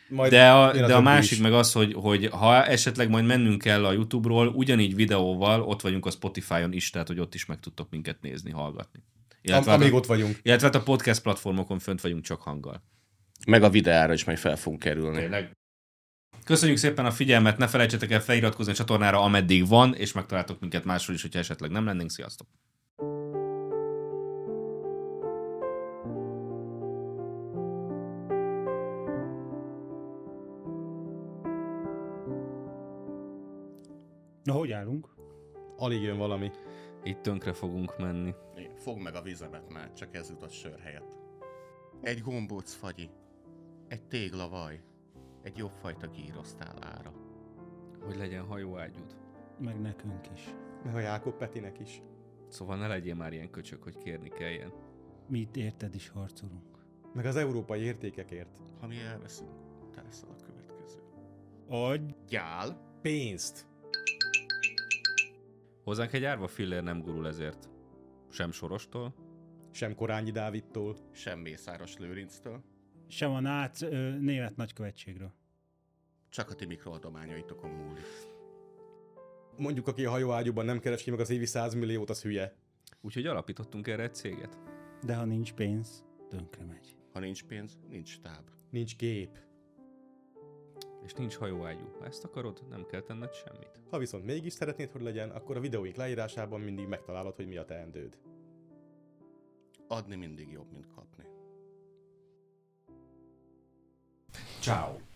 S1: majd
S6: De a,
S1: jön
S6: de a
S1: többi
S6: másik
S1: is.
S6: meg az, hogy, hogy ha esetleg majd mennünk kell a YouTube-ról, ugyanígy videóval ott vagyunk a Spotify-on is, tehát hogy ott is meg tudtok minket nézni, hallgatni.
S1: Am-
S6: Illetve,
S1: amíg
S6: a,
S1: ott vagyunk.
S6: illetve hát a podcast platformokon fönt vagyunk csak hanggal.
S4: Meg a videára is majd fel fogunk kerülni.
S6: Tényleg. Köszönjük szépen a figyelmet, ne felejtsetek el feliratkozni a csatornára, ameddig van, és megtaláltok minket máshol is, hogyha esetleg nem lennénk. Sziasztok!
S2: Na, hogy állunk?
S1: Alig jön valami.
S6: Itt tönkre fogunk menni.
S4: Fogd meg a vizemet már, csak ez jutott sör helyett. Egy gombóc fagyi, egy téglavaj, egy jobb fajta gírosztál ára.
S6: Hogy legyen hajóágyúd.
S2: Meg nekünk is.
S1: Meg a Jákob Petinek is.
S6: Szóval ne legyél már ilyen köcsök, hogy kérni kelljen.
S2: Mi itt érted is harcolunk.
S1: Meg az európai értékekért.
S4: Ha mi elveszünk, te leszel a következő.
S2: Adj!
S4: Gyál,
S1: Pénzt.
S6: Hozzánk egy árva fillér nem gurul ezért. Sem sorostól,
S1: Sem Korányi Dávidtól.
S4: sem Mészáros Lőrinctől,
S2: Sem a nác, ö, német nagykövetségről.
S4: csak a ti mikroadományaitokon múlik.
S1: Mondjuk, aki a hajóágyúban nem keres ki meg az évi 100 milliót, az hülye.
S6: úgyhogy alapítottunk erre egy céget.
S2: De ha nincs pénz, tönkre megy.
S4: Ha nincs pénz, nincs táb.
S1: Nincs gép.
S6: És nincs hajóágyú. Ha ezt akarod, nem kell tenned semmit.
S1: Ha viszont mégis szeretnéd, hogy legyen, akkor a videóink leírásában mindig megtalálod, hogy mi a teendőd.
S4: Adni mindig jobb, mint kapni.
S6: Ciao.